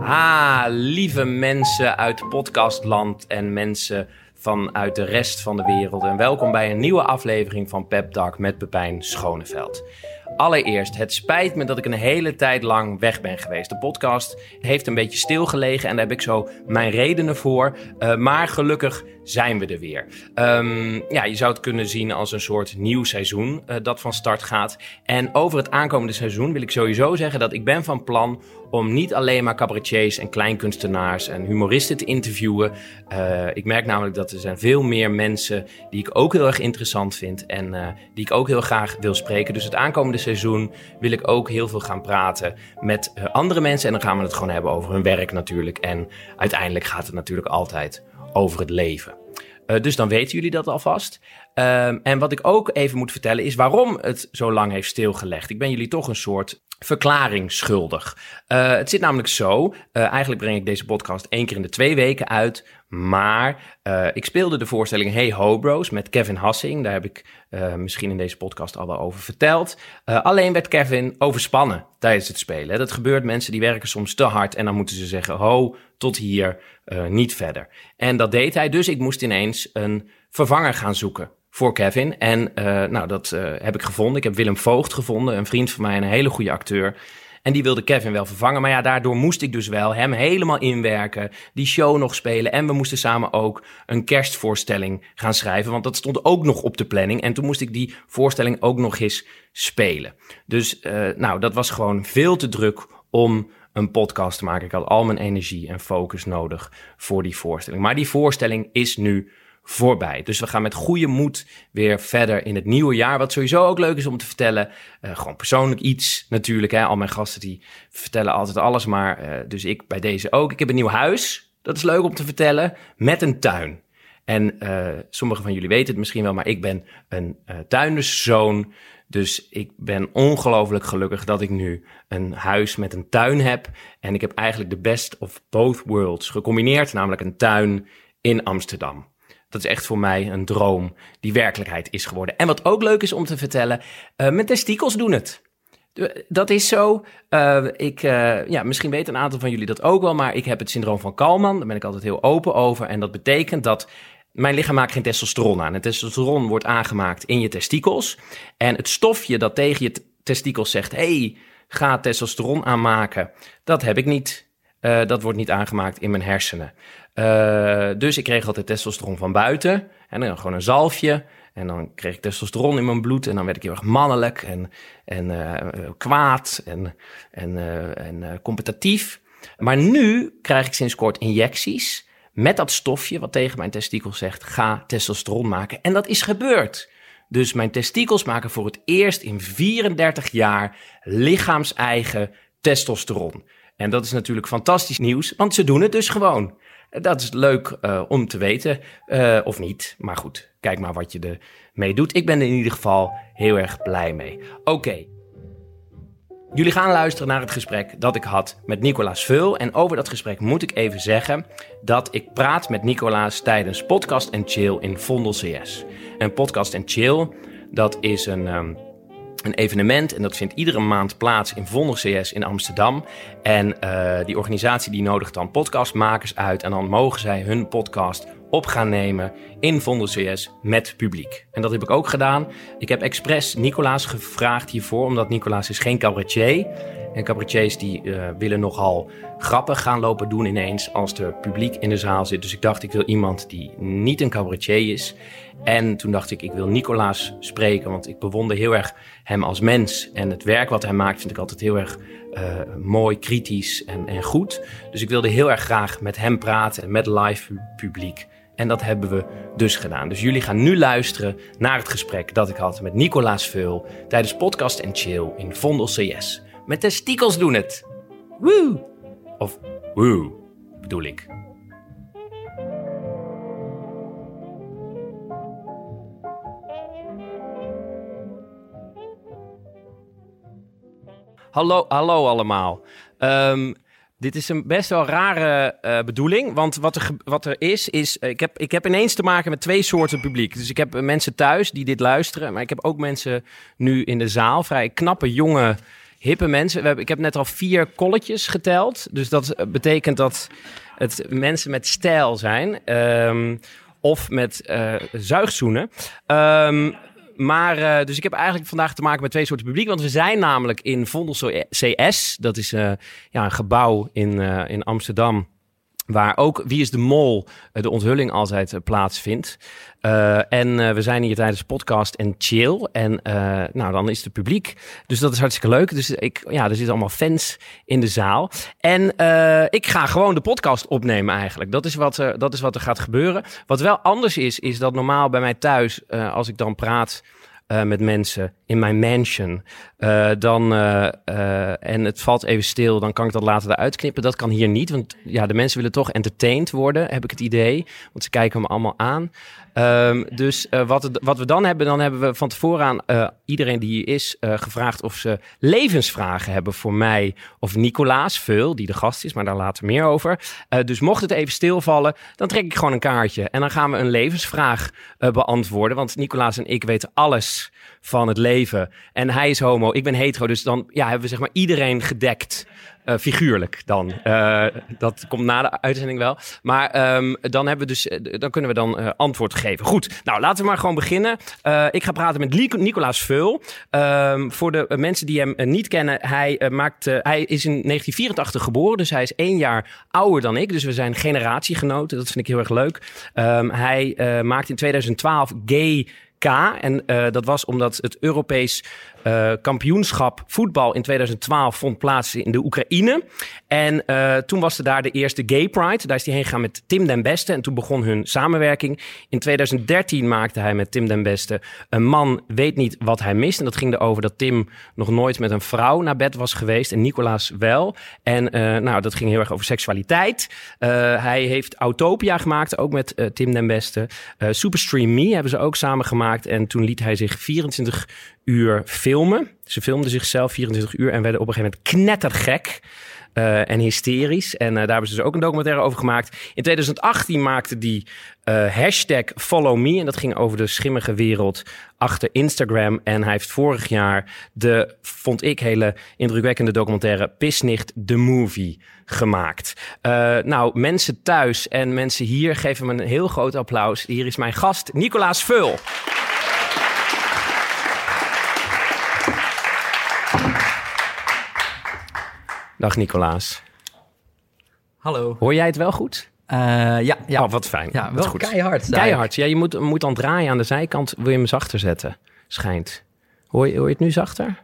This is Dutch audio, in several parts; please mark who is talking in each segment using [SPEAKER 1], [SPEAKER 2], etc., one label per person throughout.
[SPEAKER 1] Ah, lieve mensen uit podcastland en mensen vanuit de rest van de wereld. En welkom bij een nieuwe aflevering van Pep Talk met Pepijn Schoneveld. Allereerst, het spijt me dat ik een hele tijd lang weg ben geweest. De podcast heeft een beetje stilgelegen en daar heb ik zo mijn redenen voor. Eh, maar gelukkig zijn we er weer. Ehm, ja, je zou het kunnen zien als een soort nieuw seizoen eh, dat van start gaat. En over het aankomende seizoen wil ik sowieso zeggen dat ik ben van plan om niet alleen maar cabaretiers en kleinkunstenaars en humoristen te interviewen. Eh, ik merk namelijk dat er zijn veel meer mensen die ik ook heel erg interessant vind en eh, die ik ook heel graag wil spreken. Dus het aankomende seizoen wil ik ook heel veel gaan praten met eh, andere mensen. En dan gaan we het gewoon hebben over hun werk natuurlijk. En uiteindelijk gaat het natuurlijk altijd over het leven. Eh, dus dan weten jullie dat alvast. Ehm, en wat ik ook even moet vertellen is waarom het zo lang heeft stilgelegd. Ik ben jullie toch een soort verklaring schuldig. Eh, het zit namelijk zo. eh, eigenlijk breng ik deze podcast één keer in de twee weken uit. Maar eh, ik speelde de voorstelling Hey Ho Bros met Kevin Hassing. Daar heb ik eh, misschien in deze podcast al wel over verteld. Eh, alleen werd Kevin overspannen tijdens het spelen. hè. Dat gebeurt. Mensen die werken soms te hard en dan moeten ze zeggen ho, tot hier, eh, niet verder. En dat deed hij. Dus ik moest ineens een vervanger gaan zoeken voor Kevin. En eh, nou, dat eh, heb ik gevonden. Ik heb Willem Voogd gevonden, een vriend van mij, en een hele goede acteur. En die wilde Kevin wel vervangen. Maar ja, daardoor moest ik dus wel hem helemaal inwerken. Die show nog spelen. En we moesten samen ook een kerstvoorstelling gaan schrijven. Want dat stond ook nog op de planning. En toen moest ik die voorstelling ook nog eens spelen. Dus eh, nou, dat was gewoon veel te druk om een podcast te maken. Ik had al mijn energie en focus nodig voor die voorstelling. Maar die voorstelling is nu voorbij. Dus we gaan met goede moed weer verder in het nieuwe jaar. Wat sowieso ook leuk is om te vertellen. eh, gewoon persoonlijk iets natuurlijk. Hè. Al mijn gasten die vertellen altijd alles. Maar eh, dus ik bij deze ook. Ik heb een nieuw huis. Dat is leuk om te vertellen. Met een tuin. En eh, sommigen van jullie weten het misschien wel, maar ik ben een eh, tuinderszoon. Dus ik ben ongelooflijk gelukkig dat ik nu een huis met een tuin heb. En ik heb eigenlijk de best of both worlds gecombineerd, namelijk een tuin in Amsterdam. Dat is echt voor mij een droom die werkelijkheid is geworden. En wat ook leuk is om te vertellen, eh, mijn testikels doen het. De- Dat is zo. Eh, ik, eh, ja, misschien weten een aantal van jullie dat ook wel, maar ik heb het syndroom van Kalman. Daar ben ik altijd heel open over. En dat betekent dat mijn lichaam maakt geen testosteron aan. En testosteron wordt aangemaakt in je testikels. En het stofje dat tegen je t- testikels zegt, hey, ga testosteron aanmaken, dat heb ik niet. Eh, dat wordt niet aangemaakt in mijn hersenen. Eh, dus ik kreeg altijd testosteron van buiten. En dan gewoon een zalfje. En dan kreeg ik testosteron in mijn bloed. En dan werd ik heel erg mannelijk en, en eh, kwaad en, en, eh, en eh, competitief. Maar nu krijg ik sinds kort injecties met dat stofje wat tegen mijn testikel zegt: ga testosteron maken. En dat is gebeurd. Dus mijn testikels maken voor het eerst in 34 jaar lichaams-eigen testosteron. En dat is natuurlijk fantastisch nieuws, want ze doen het dus gewoon. Dat is leuk eh, om te weten, eh, of niet. Maar goed, kijk maar wat je ermee doet. Ik ben er in ieder geval heel erg blij mee. Oké. Jullie gaan luisteren naar het gesprek dat ik had met Nicolaas Vul. En over dat gesprek moet ik even zeggen dat ik praat met Nicolaas tijdens Podcast en Chill in Vondel CS. En Podcast en Chill, dat is een, ehm, een evenement en dat vindt iedere maand plaats in Vondel CS in Amsterdam. En eh, die organisatie die nodigt dan podcastmakers uit en dan mogen zij hun podcast op gaan nemen in Vondel CS met publiek. En dat heb ik ook gedaan. Ik heb expres Nicolaas gevraagd hiervoor, omdat Nicolaas is geen cabaretier. En cabaretiers die eh, willen nogal grappen gaan lopen doen ineens als er publiek in de zaal zit. Dus ik dacht, ik wil iemand die niet een cabaretier is. En toen dacht ik, ik wil Nicolaas spreken, want ik bewonder heel erg hem als mens. En het werk wat hij maakt vind ik altijd heel erg eh, mooi, kritisch en, en goed. Dus ik wilde heel erg graag met hem praten en met live pu- publiek. En dat hebben we dus gedaan. Dus jullie gaan nu luisteren naar het gesprek dat ik had met Nicolaas Veul tijdens Podcast en Chill in Vondel CS. Met testikels doen het. Woe! Of woe, bedoel ik. Hallo, hallo allemaal. Ehm, dit is een best wel rare eh, bedoeling. Want wat er, ge- wat er is, is. eh, ik, heb, ik heb ineens te maken met twee soorten publiek. Dus ik heb eh, mensen thuis die dit luisteren. Maar ik heb ook mensen nu in de zaal. Vrij knappe, jonge hippe mensen. We hebben, ik heb net al vier kolletjes geteld. Dus dat eh, betekent dat het mensen met stijl zijn. ehm, of met eh zuigzoenen. Ehm, maar, eh, dus ik heb eigenlijk vandaag te maken met twee soorten publiek. Want we zijn namelijk in Vondel CS. Dat is eh, ja, een gebouw in, eh, in Amsterdam. Waar ook Wie is de Mol eh, de onthulling altijd eh, plaatsvindt. Eh, en eh, we zijn hier tijdens podcast en chill. En eh, nou, dan is het publiek. Dus dat is hartstikke leuk. Dus ik, ja, er zitten allemaal fans in de zaal. En eh, ik ga gewoon de podcast opnemen eigenlijk. Dat is, wat, er- dat is wat er gaat gebeuren. Wat wel anders is, is dat normaal bij mij thuis, eh, als ik dan praat eh, met mensen in mijn mansion. eh, dan, eh, eh, en het valt even stil, dan kan ik dat later eruit knippen. Dat kan hier niet, want ja, de mensen willen toch entertained worden, heb ik het idee. Want ze kijken me allemaal aan. Ehm, dus eh, wat, het- wat we dan hebben, dan hebben we van tevoren aan eh, iedereen die hier is eh, gevraagd of ze levensvragen hebben voor mij of Nicolaas Veul, die de gast is, maar daar later meer over. Eh, dus mocht het even stilvallen, dan trek ik gewoon een kaartje en dan gaan we een levensvraag eh, beantwoorden. Want Nicolaas en ik weten alles van het leven. eh, En hij is homo, ik ben hetero. Dus dan ja, hebben we zeg maar iedereen gedekt. eh, figuurlijk dan. Eh, dat komt na de uitzending wel. Maar ehm, dan, hebben we dus, eh, dan kunnen we dan eh, antwoord geven. Goed, nou laten we maar gewoon beginnen. Eh, ik ga praten met Lico- Nicolaas Veul. Ehm, voor de eh, mensen die hem eh, niet kennen, hij, eh, maakt, eh, hij is in 1984 geboren. Dus hij is één jaar ouder dan ik. Dus we zijn generatiegenoten. Dat vind ik heel erg leuk. Ehm, hij eh, maakt in 2012 Gay K. En eh, dat was omdat het Europees eh, kampioenschap voetbal in 2012 vond plaats in de Oekraïne. En eh, toen was er daar de eerste Gay Pride. Daar is hij heen gegaan met Tim den Beste. En toen begon hun samenwerking. In 2013 maakte hij met Tim den Beste een man weet niet wat hij mist. En dat ging erover dat Tim nog nooit met een vrouw naar bed was geweest. En Nicolaas wel. En eh, nou, dat ging heel erg over seksualiteit. Eh, hij heeft Autopia gemaakt, ook met eh, Tim den Beste. Eh Superstream Me hebben ze ook samen gemaakt. En toen liet hij zich 24 uur filmen. Ze filmden zichzelf 24 uur en werden op een gegeven moment knettergek. eh, en hysterisch. En eh, daar hebben ze dus ook een documentaire over gemaakt. In 2018 maakte die eh, hashtag Follow Me. En dat ging over de schimmige wereld achter Instagram. En hij heeft vorig jaar de, vond ik, hele indrukwekkende documentaire Pisnicht The Movie gemaakt. Eh, nou, mensen thuis en mensen hier geven hem een heel groot applaus. Hier is mijn gast, Nicolaas Veul. Dag Nicolaas.
[SPEAKER 2] Hallo.
[SPEAKER 1] Hoor jij het wel goed?
[SPEAKER 2] Eh, ja, ja.
[SPEAKER 1] Oh, wat fijn.
[SPEAKER 2] ja
[SPEAKER 1] Dat
[SPEAKER 2] wel
[SPEAKER 1] is goed.
[SPEAKER 2] keihard. daar.
[SPEAKER 1] Keihard. Ja, je moet, moet dan draaien aan de zijkant. Wil je hem zachter zetten? Schijnt. Hoor je, hoor je het nu zachter?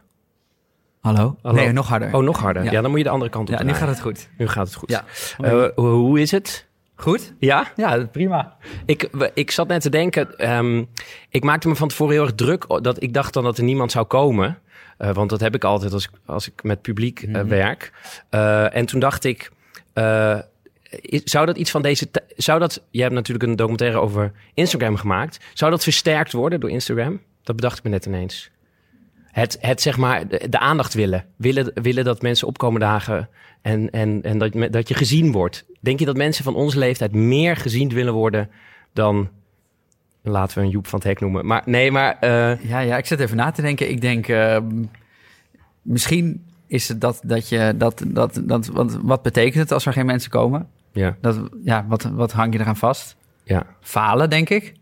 [SPEAKER 2] Hallo.
[SPEAKER 1] Hallo.
[SPEAKER 2] Nee, nog harder.
[SPEAKER 1] Oh, nog harder. Ja.
[SPEAKER 2] Ja.
[SPEAKER 1] dan moet je de andere kant op
[SPEAKER 2] ja, nu
[SPEAKER 1] draaien.
[SPEAKER 2] gaat het goed.
[SPEAKER 1] nu gaat het goed.
[SPEAKER 2] Ja.
[SPEAKER 1] Eh, hoe, hoe is het?
[SPEAKER 2] Goed?
[SPEAKER 1] Ja?
[SPEAKER 2] Ja, prima.
[SPEAKER 1] Ik, we- ik zat net te denken... ehm, ik maakte me van tevoren heel erg druk... o- dat ik dacht dan dat er niemand zou komen. Eh, want dat heb ik altijd als, ik- als ik met publiek eh, werk. Eh, en toen dacht ik... eh, is- zou dat iets van deze... ti- Zou dat... Jij hebt natuurlijk een documentaire over Instagram gemaakt. Zou dat versterkt worden door Instagram? Dat bedacht ik me net ineens. Het, het zeg maar, de, de aandacht willen. willen. Willen dat mensen opkomen dagen en, en, en dat, me- dat je gezien wordt. Denk je dat mensen van onze leeftijd meer gezien willen worden dan... Laten we een Joep van het Hek noemen. Maar nee, maar... eh,
[SPEAKER 2] Ja, ja, ik zit even na te denken. Ik denk, eh, misschien is het dat, dat je dat, dat, dat want wat betekent het als er geen mensen komen?
[SPEAKER 1] ja,
[SPEAKER 2] Dat, ja, wat, wat hang je eraan vast?
[SPEAKER 1] ja.
[SPEAKER 2] Falen, denk ik.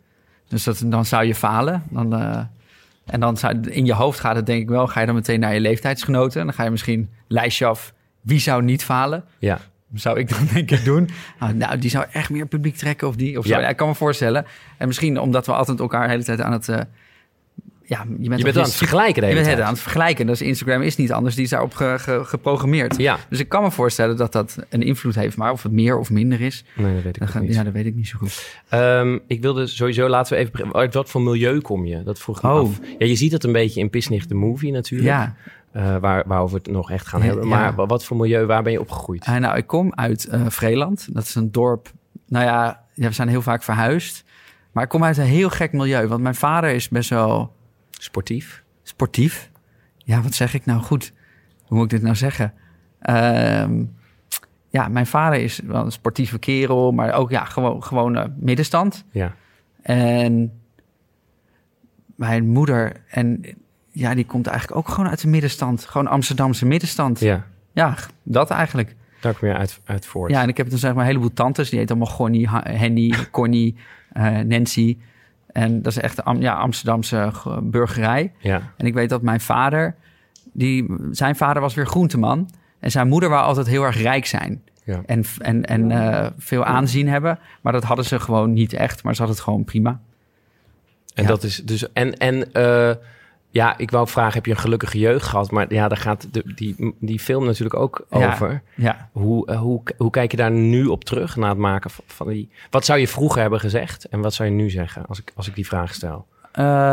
[SPEAKER 2] Dus dat, dan zou je falen. Dan, eh, en dan zou, in je hoofd gaat het denk ik wel, ga je dan meteen naar je leeftijdsgenoten. En dan ga je misschien lijstje af, wie zou niet falen?
[SPEAKER 1] Ja,
[SPEAKER 2] zou ik dan denk ik doen. Nou, nou, die zou echt meer publiek trekken of die. Of zo.
[SPEAKER 1] Ja.
[SPEAKER 2] Ja. ik kan me voorstellen. En misschien omdat we altijd elkaar de hele tijd aan het... eh, ja, je bent,
[SPEAKER 1] je bent
[SPEAKER 2] toch
[SPEAKER 1] aan het vergelijken de
[SPEAKER 2] je
[SPEAKER 1] hele
[SPEAKER 2] bent het
[SPEAKER 1] tijd.
[SPEAKER 2] aan het vergelijken. Dus Instagram is niet anders. Die is daarop ge- ge- geprogrammeerd.
[SPEAKER 1] Ja,
[SPEAKER 2] Dus ik kan me voorstellen dat dat een invloed heeft. Maar of het meer of minder is,
[SPEAKER 1] nee, dat weet ik
[SPEAKER 2] dan
[SPEAKER 1] ook
[SPEAKER 2] gaan,
[SPEAKER 1] niet.
[SPEAKER 2] ja, dat weet ik niet zo goed.
[SPEAKER 1] Ehm, ik wilde sowieso, laten we even beginnen. Uit wat voor milieu kom je? Dat vroeg ik me
[SPEAKER 2] Oh.
[SPEAKER 1] af. Ja, je ziet dat een beetje in Pisnicht de Movie natuurlijk.
[SPEAKER 2] Ja,
[SPEAKER 1] Eh, waar, waarover we het nog echt gaan
[SPEAKER 2] Ja,
[SPEAKER 1] hebben.
[SPEAKER 2] ja.
[SPEAKER 1] Maar wa- wat voor milieu, waar ben je opgegroeid?
[SPEAKER 2] Eh, nou, ik kom uit eh, Vreeland. Dat is een dorp. Nou ja, ja, we zijn heel vaak verhuisd. Maar ik kom uit een heel gek milieu. Want mijn vader is best wel...
[SPEAKER 1] Sportief?
[SPEAKER 2] sportief. Ja, wat zeg ik nou goed? Hoe moet ik dit nou zeggen? Ehm, ja, mijn vader is wel een sportieve kerel, maar ook ja, gewoon, gewoon eh, middenstand.
[SPEAKER 1] Ja.
[SPEAKER 2] En mijn moeder en ja, die komt eigenlijk ook gewoon uit de middenstand. Gewoon Amsterdamse middenstand. Ja,
[SPEAKER 1] Ja,
[SPEAKER 2] g- dat eigenlijk.
[SPEAKER 1] daar kom je uit, uit voort.
[SPEAKER 2] Ja, en ik heb dan zeg maar een heleboel tantes. Die heet allemaal Gonnie, Ha- Henny, Connie, eh, Nancy. En dat is echt de Am- ja, Amsterdamse ge- burgerij.
[SPEAKER 1] Ja.
[SPEAKER 2] En ik weet dat mijn vader, die, zijn vader was weer groenteman. En zijn moeder wou altijd heel erg rijk zijn.
[SPEAKER 1] Ja.
[SPEAKER 2] En, en, en eh, veel aanzien hebben. Maar dat hadden ze gewoon niet echt. Maar ze hadden het gewoon prima.
[SPEAKER 1] En
[SPEAKER 2] Ja.
[SPEAKER 1] dat is dus. En, en eh, ja, ik wou ook vragen: heb je een gelukkige jeugd gehad? Maar ja, daar gaat de, die, die film natuurlijk ook
[SPEAKER 2] Ja.
[SPEAKER 1] over.
[SPEAKER 2] Ja.
[SPEAKER 1] Hoe, eh, hoe, hoe kijk je daar nu op terug na het maken van, van die. Wat zou je vroeger hebben gezegd en wat zou je nu zeggen als ik, als ik die vraag stel?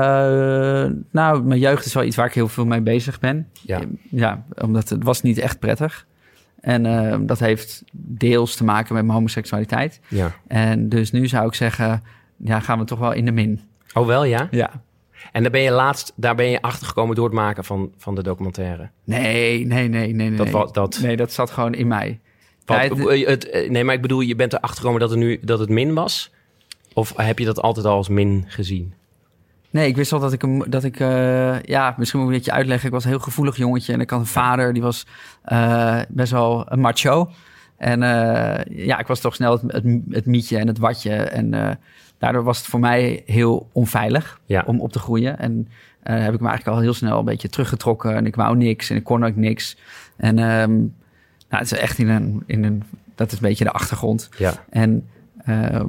[SPEAKER 2] Eh, nou, mijn jeugd is wel iets waar ik heel veel mee bezig ben.
[SPEAKER 1] Ja.
[SPEAKER 2] Ja, omdat het was niet echt prettig. En eh, dat heeft deels te maken met mijn homoseksualiteit.
[SPEAKER 1] ja.
[SPEAKER 2] En dus nu zou ik zeggen, ja, gaan we toch wel in de min.
[SPEAKER 1] Oh, wel ja.
[SPEAKER 2] Ja.
[SPEAKER 1] En daar ben je laatst daar ben je achtergekomen door het maken van, van de documentaire.
[SPEAKER 2] Nee, nee, nee, nee, nee.
[SPEAKER 1] Dat wa- dat-
[SPEAKER 2] Nee, dat zat gewoon in mij.
[SPEAKER 1] Want,
[SPEAKER 2] Nee, het-
[SPEAKER 1] eh, het, eh, nee, maar ik bedoel, je bent erachter gekomen dat, er nu, dat het min was? Of heb je dat altijd al als min gezien?
[SPEAKER 2] Nee, ik wist al dat ik hem, dat ik, eh, ja, misschien moet ik een beetje uitleggen. Ik was een heel gevoelig jongetje en ik had een vader die was eh, best wel een macho. En eh, ja, ik was toch snel het, het, het mietje en het watje. En eh, daardoor was het voor mij heel onveilig
[SPEAKER 1] Ja.
[SPEAKER 2] om op te groeien. En eh, heb ik me eigenlijk al heel snel een beetje teruggetrokken. En ik wou niks en ik kon ook niks. En ehm, nou, het is echt in een, in een, dat is een beetje de achtergrond.
[SPEAKER 1] Ja.
[SPEAKER 2] En ehm,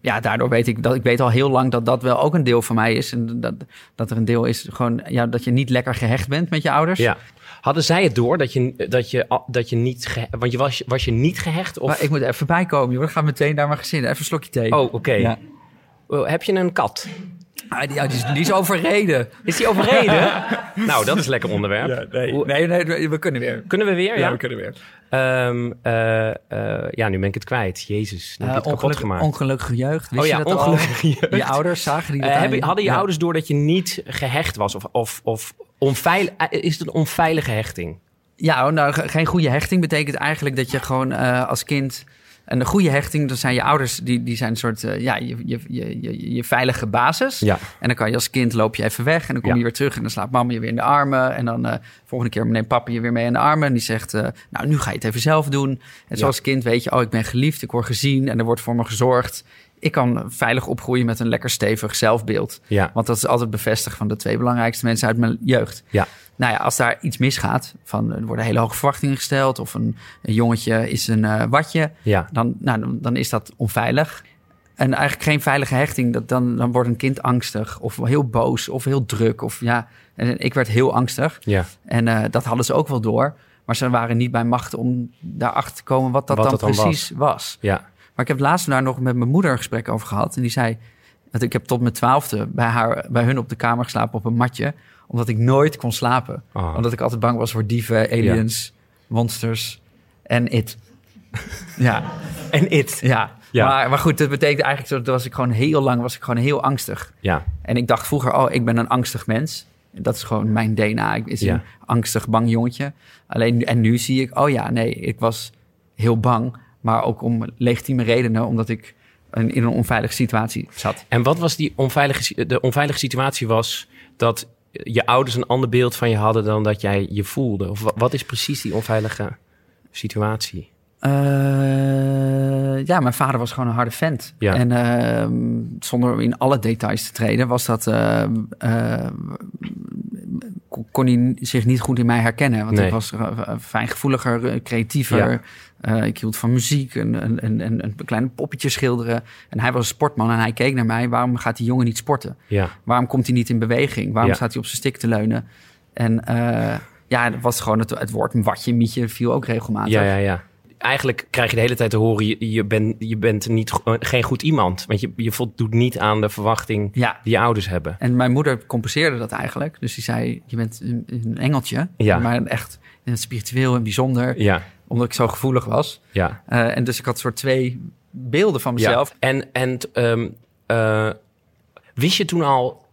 [SPEAKER 2] ja, daardoor weet ik dat ik weet al heel lang dat dat wel ook een deel van mij is. En dat, dat er een deel is gewoon ja, dat je niet lekker gehecht bent met je ouders.
[SPEAKER 1] Ja. Hadden zij het door dat je, dat je, dat je niet... Ge, want je was, was je niet gehecht? Of,
[SPEAKER 2] Maar ik moet er even bij komen, joh. Dan ga meteen naar mijn gezin. Even een slokje thee.
[SPEAKER 1] oh, oké.
[SPEAKER 2] Ja.
[SPEAKER 1] Oh, Heb je een kat?
[SPEAKER 2] Ah, die, ah, die is, die is overreden.
[SPEAKER 1] Is die overreden? nou, dat is lekker onderwerp.
[SPEAKER 2] nee,
[SPEAKER 1] Hoe-
[SPEAKER 2] nee, nee, we kunnen weer.
[SPEAKER 1] Kunnen we weer? Ja,
[SPEAKER 2] kunnen weer.
[SPEAKER 1] Ehm, eh, eh, ja nu ben ik het kwijt. Jezus,
[SPEAKER 2] Eh,
[SPEAKER 1] dan heb je het kapot gemaakt.
[SPEAKER 2] ongelukkige jeugd. Wist
[SPEAKER 1] Oh ja,
[SPEAKER 2] je dat al?
[SPEAKER 1] ongelukkige jeugd.
[SPEAKER 2] Je ouders zagen die dat
[SPEAKER 1] Eh,
[SPEAKER 2] aan
[SPEAKER 1] hebben-
[SPEAKER 2] je?
[SPEAKER 1] hadden je
[SPEAKER 2] Ja.
[SPEAKER 1] ouders door dat je niet gehecht was? Of, of, of onveil, eh, is het een onveilige hechting?
[SPEAKER 2] Ja, nou, ge- geen goede hechting betekent eigenlijk dat je gewoon eh, als kind... Een goede hechting, dat zijn je ouders, die, die zijn een soort... eh, ja, je, je, je, je, je veilige basis.
[SPEAKER 1] Ja.
[SPEAKER 2] En dan kan je als kind loop je even weg en dan kom
[SPEAKER 1] Ja.
[SPEAKER 2] je weer terug... en dan slaapt mama je weer in de armen. En dan eh, volgende keer neemt papa je weer mee in de armen... en die zegt, eh, nou, nu ga je het even zelf doen. En zoals kind weet je, oh, ik ben geliefd, ik word gezien... en er wordt voor me gezorgd. Ik kan veilig opgroeien met een lekker stevig zelfbeeld.
[SPEAKER 1] Ja.
[SPEAKER 2] Want dat is altijd bevestigd van de twee belangrijkste mensen uit mijn jeugd.
[SPEAKER 1] Ja.
[SPEAKER 2] Nou ja, als daar iets misgaat, van er worden hele hoge verwachtingen gesteld of een, een jongetje is een eh, watje,
[SPEAKER 1] Ja.
[SPEAKER 2] dan, nou, dan, dan is dat onveilig. En eigenlijk geen veilige hechting, dat dan, dan wordt een kind angstig of heel boos of heel druk. Of, ja. En ik werd heel angstig
[SPEAKER 1] Ja.
[SPEAKER 2] en eh, dat hadden ze ook wel door. Maar ze waren niet bij macht om daarachter te komen wat dat
[SPEAKER 1] Wat
[SPEAKER 2] dan
[SPEAKER 1] dat dan
[SPEAKER 2] precies was.
[SPEAKER 1] Ja.
[SPEAKER 2] Maar ik heb laatst daar nog met mijn moeder een gesprek over gehad. En die zei, dat ik heb tot mijn twaalfde bij, haar, bij hun op de kamer geslapen op een matje. Omdat ik nooit kon slapen.
[SPEAKER 1] Ah.
[SPEAKER 2] Omdat ik altijd bang was voor dieven, aliens, monsters en it. ja,
[SPEAKER 1] En it.
[SPEAKER 2] ja.
[SPEAKER 1] Ja.
[SPEAKER 2] Maar, maar goed, dat betekent eigenlijk... zo- Dat was ik gewoon heel lang was ik gewoon heel angstig.
[SPEAKER 1] Ja.
[SPEAKER 2] En ik dacht vroeger, oh, ik ben een angstig mens. Dat is gewoon mijn DNA. Ik is
[SPEAKER 1] Ja.
[SPEAKER 2] een angstig, bang jongetje. Alleen, en nu zie ik, oh ja, nee, ik was heel bang. Maar ook om legitieme redenen, omdat ik een, in een onveilige situatie zat.
[SPEAKER 1] En wat was die onveilige, si- de onveilige situatie was dat je ouders een ander beeld van je hadden dan dat jij je voelde? Of wa- wat is precies die onveilige situatie?
[SPEAKER 2] Eh, ja, mijn vader was gewoon een harde vent.
[SPEAKER 1] Ja.
[SPEAKER 2] En ehm, zonder in alle details te treden, was dat. ehm, ehm, kon- kon hij zich niet goed in mij herkennen. Want
[SPEAKER 1] Nee.
[SPEAKER 2] ik was eh, fijngevoeliger, eh, creatiever.
[SPEAKER 1] Ja.
[SPEAKER 2] Eh, ik hield van muziek en een, een, een, een kleine poppetje schilderen. En hij was een sportman en hij keek naar mij. Waarom gaat die jongen niet sporten?
[SPEAKER 1] Ja.
[SPEAKER 2] Waarom komt hij niet in beweging? Waarom
[SPEAKER 1] Ja.
[SPEAKER 2] staat hij op zijn stik te leunen? En eh, ja, dat was gewoon het, het woord watje, mietje viel ook regelmatig.
[SPEAKER 1] Ja, ja, ja. Eigenlijk krijg je de hele tijd te horen, je, je, bent je bent niet, go- eh, geen goed iemand. Want je, je voldoet niet aan de verwachting
[SPEAKER 2] Ja.
[SPEAKER 1] die je ouders hebben.
[SPEAKER 2] En mijn moeder compenseerde dat eigenlijk. Dus die zei, je bent een, een engeltje.
[SPEAKER 1] Ja.
[SPEAKER 2] Maar echt eh, spiritueel en bijzonder.
[SPEAKER 1] Ja,
[SPEAKER 2] Omdat ik zo gevoelig was.
[SPEAKER 1] ja.
[SPEAKER 2] Eh, en dus ik had soort twee beelden van
[SPEAKER 1] ja.
[SPEAKER 2] mezelf.
[SPEAKER 1] En, en ehm, eh, wist je toen al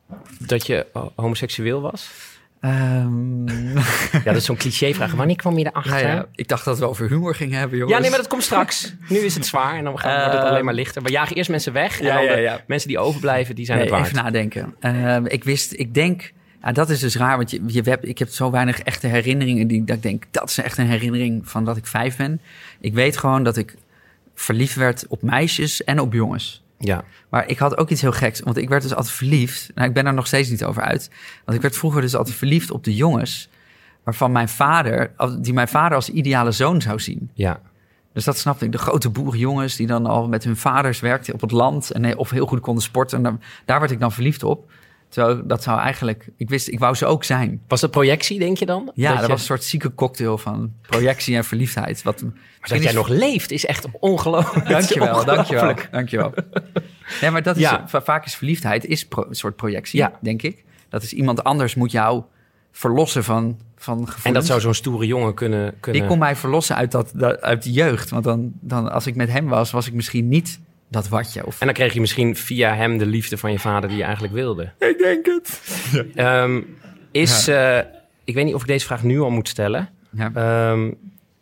[SPEAKER 1] dat je ho- homoseksueel was?
[SPEAKER 2] Ehm,
[SPEAKER 1] Ja, dat is zo'n clichévraag. Wanneer kwam je erachter?
[SPEAKER 2] nou ja, ik dacht dat we over humor gingen hebben, jongens.
[SPEAKER 1] Ja, nee, maar dat komt straks. Nu is het zwaar en dan gaan, wordt het
[SPEAKER 2] Eh,
[SPEAKER 1] alleen maar lichter. We jagen eerst mensen weg en
[SPEAKER 2] ja,
[SPEAKER 1] dan
[SPEAKER 2] ja,
[SPEAKER 1] de
[SPEAKER 2] ja.
[SPEAKER 1] mensen die overblijven, die zijn
[SPEAKER 2] Nee,
[SPEAKER 1] het waard.
[SPEAKER 2] even nadenken. Ehm, ik wist, ik denk Ja, dat is dus raar, want je, je hebt, ik heb zo weinig echte herinneringen die dat ik denk, dat is echt een herinnering van dat ik vijf ben. Ik weet gewoon dat ik verliefd werd op meisjes en op jongens.
[SPEAKER 1] Ja.
[SPEAKER 2] Maar ik had ook iets heel geks, want ik werd dus altijd verliefd. Nou, ik ben er nog steeds niet over uit. Want ik werd vroeger dus altijd verliefd op de jongens waarvan mijn vader, die mijn vader als ideale zoon zou zien.
[SPEAKER 1] Ja.
[SPEAKER 2] Dus dat snapte ik. De grote boerenjongens die dan al met hun vaders werkten op het land en eh, of heel goed konden sporten. En dan- daar werd ik dan verliefd op. Terwijl dat zou eigenlijk, ik wist, ik wou ze ook zijn.
[SPEAKER 1] Was dat projectie, denk je dan?
[SPEAKER 2] Ja, dat,
[SPEAKER 1] je-
[SPEAKER 2] was een soort zieke cocktail van projectie en verliefdheid. Wat,
[SPEAKER 1] Maar dat jij nog leeft is echt ongelooflijk.
[SPEAKER 2] Dankjewel, dankjewel,
[SPEAKER 1] Ongelooflijk.
[SPEAKER 2] dankjewel. Nee, maar dat is,
[SPEAKER 1] Ja.
[SPEAKER 2] va- vaak is verliefdheid is pro- een soort projectie,
[SPEAKER 1] Ja.
[SPEAKER 2] denk ik. Dat is iemand anders moet jou verlossen van, van gevoelens.
[SPEAKER 1] En dat zou zo'n stoere jongen kunnen... kunnen...
[SPEAKER 2] Die kon mij verlossen uit, dat, dat- uit de jeugd. Want dan, dan, als ik met hem was, was ik misschien niet dat watje. Of...
[SPEAKER 1] En dan kreeg je misschien via hem de liefde van je vader die je eigenlijk wilde.
[SPEAKER 2] Ik denk het.
[SPEAKER 1] Ehm, is... eh, ik weet niet of ik deze vraag nu al moet stellen.
[SPEAKER 2] Ja.
[SPEAKER 1] Ehm,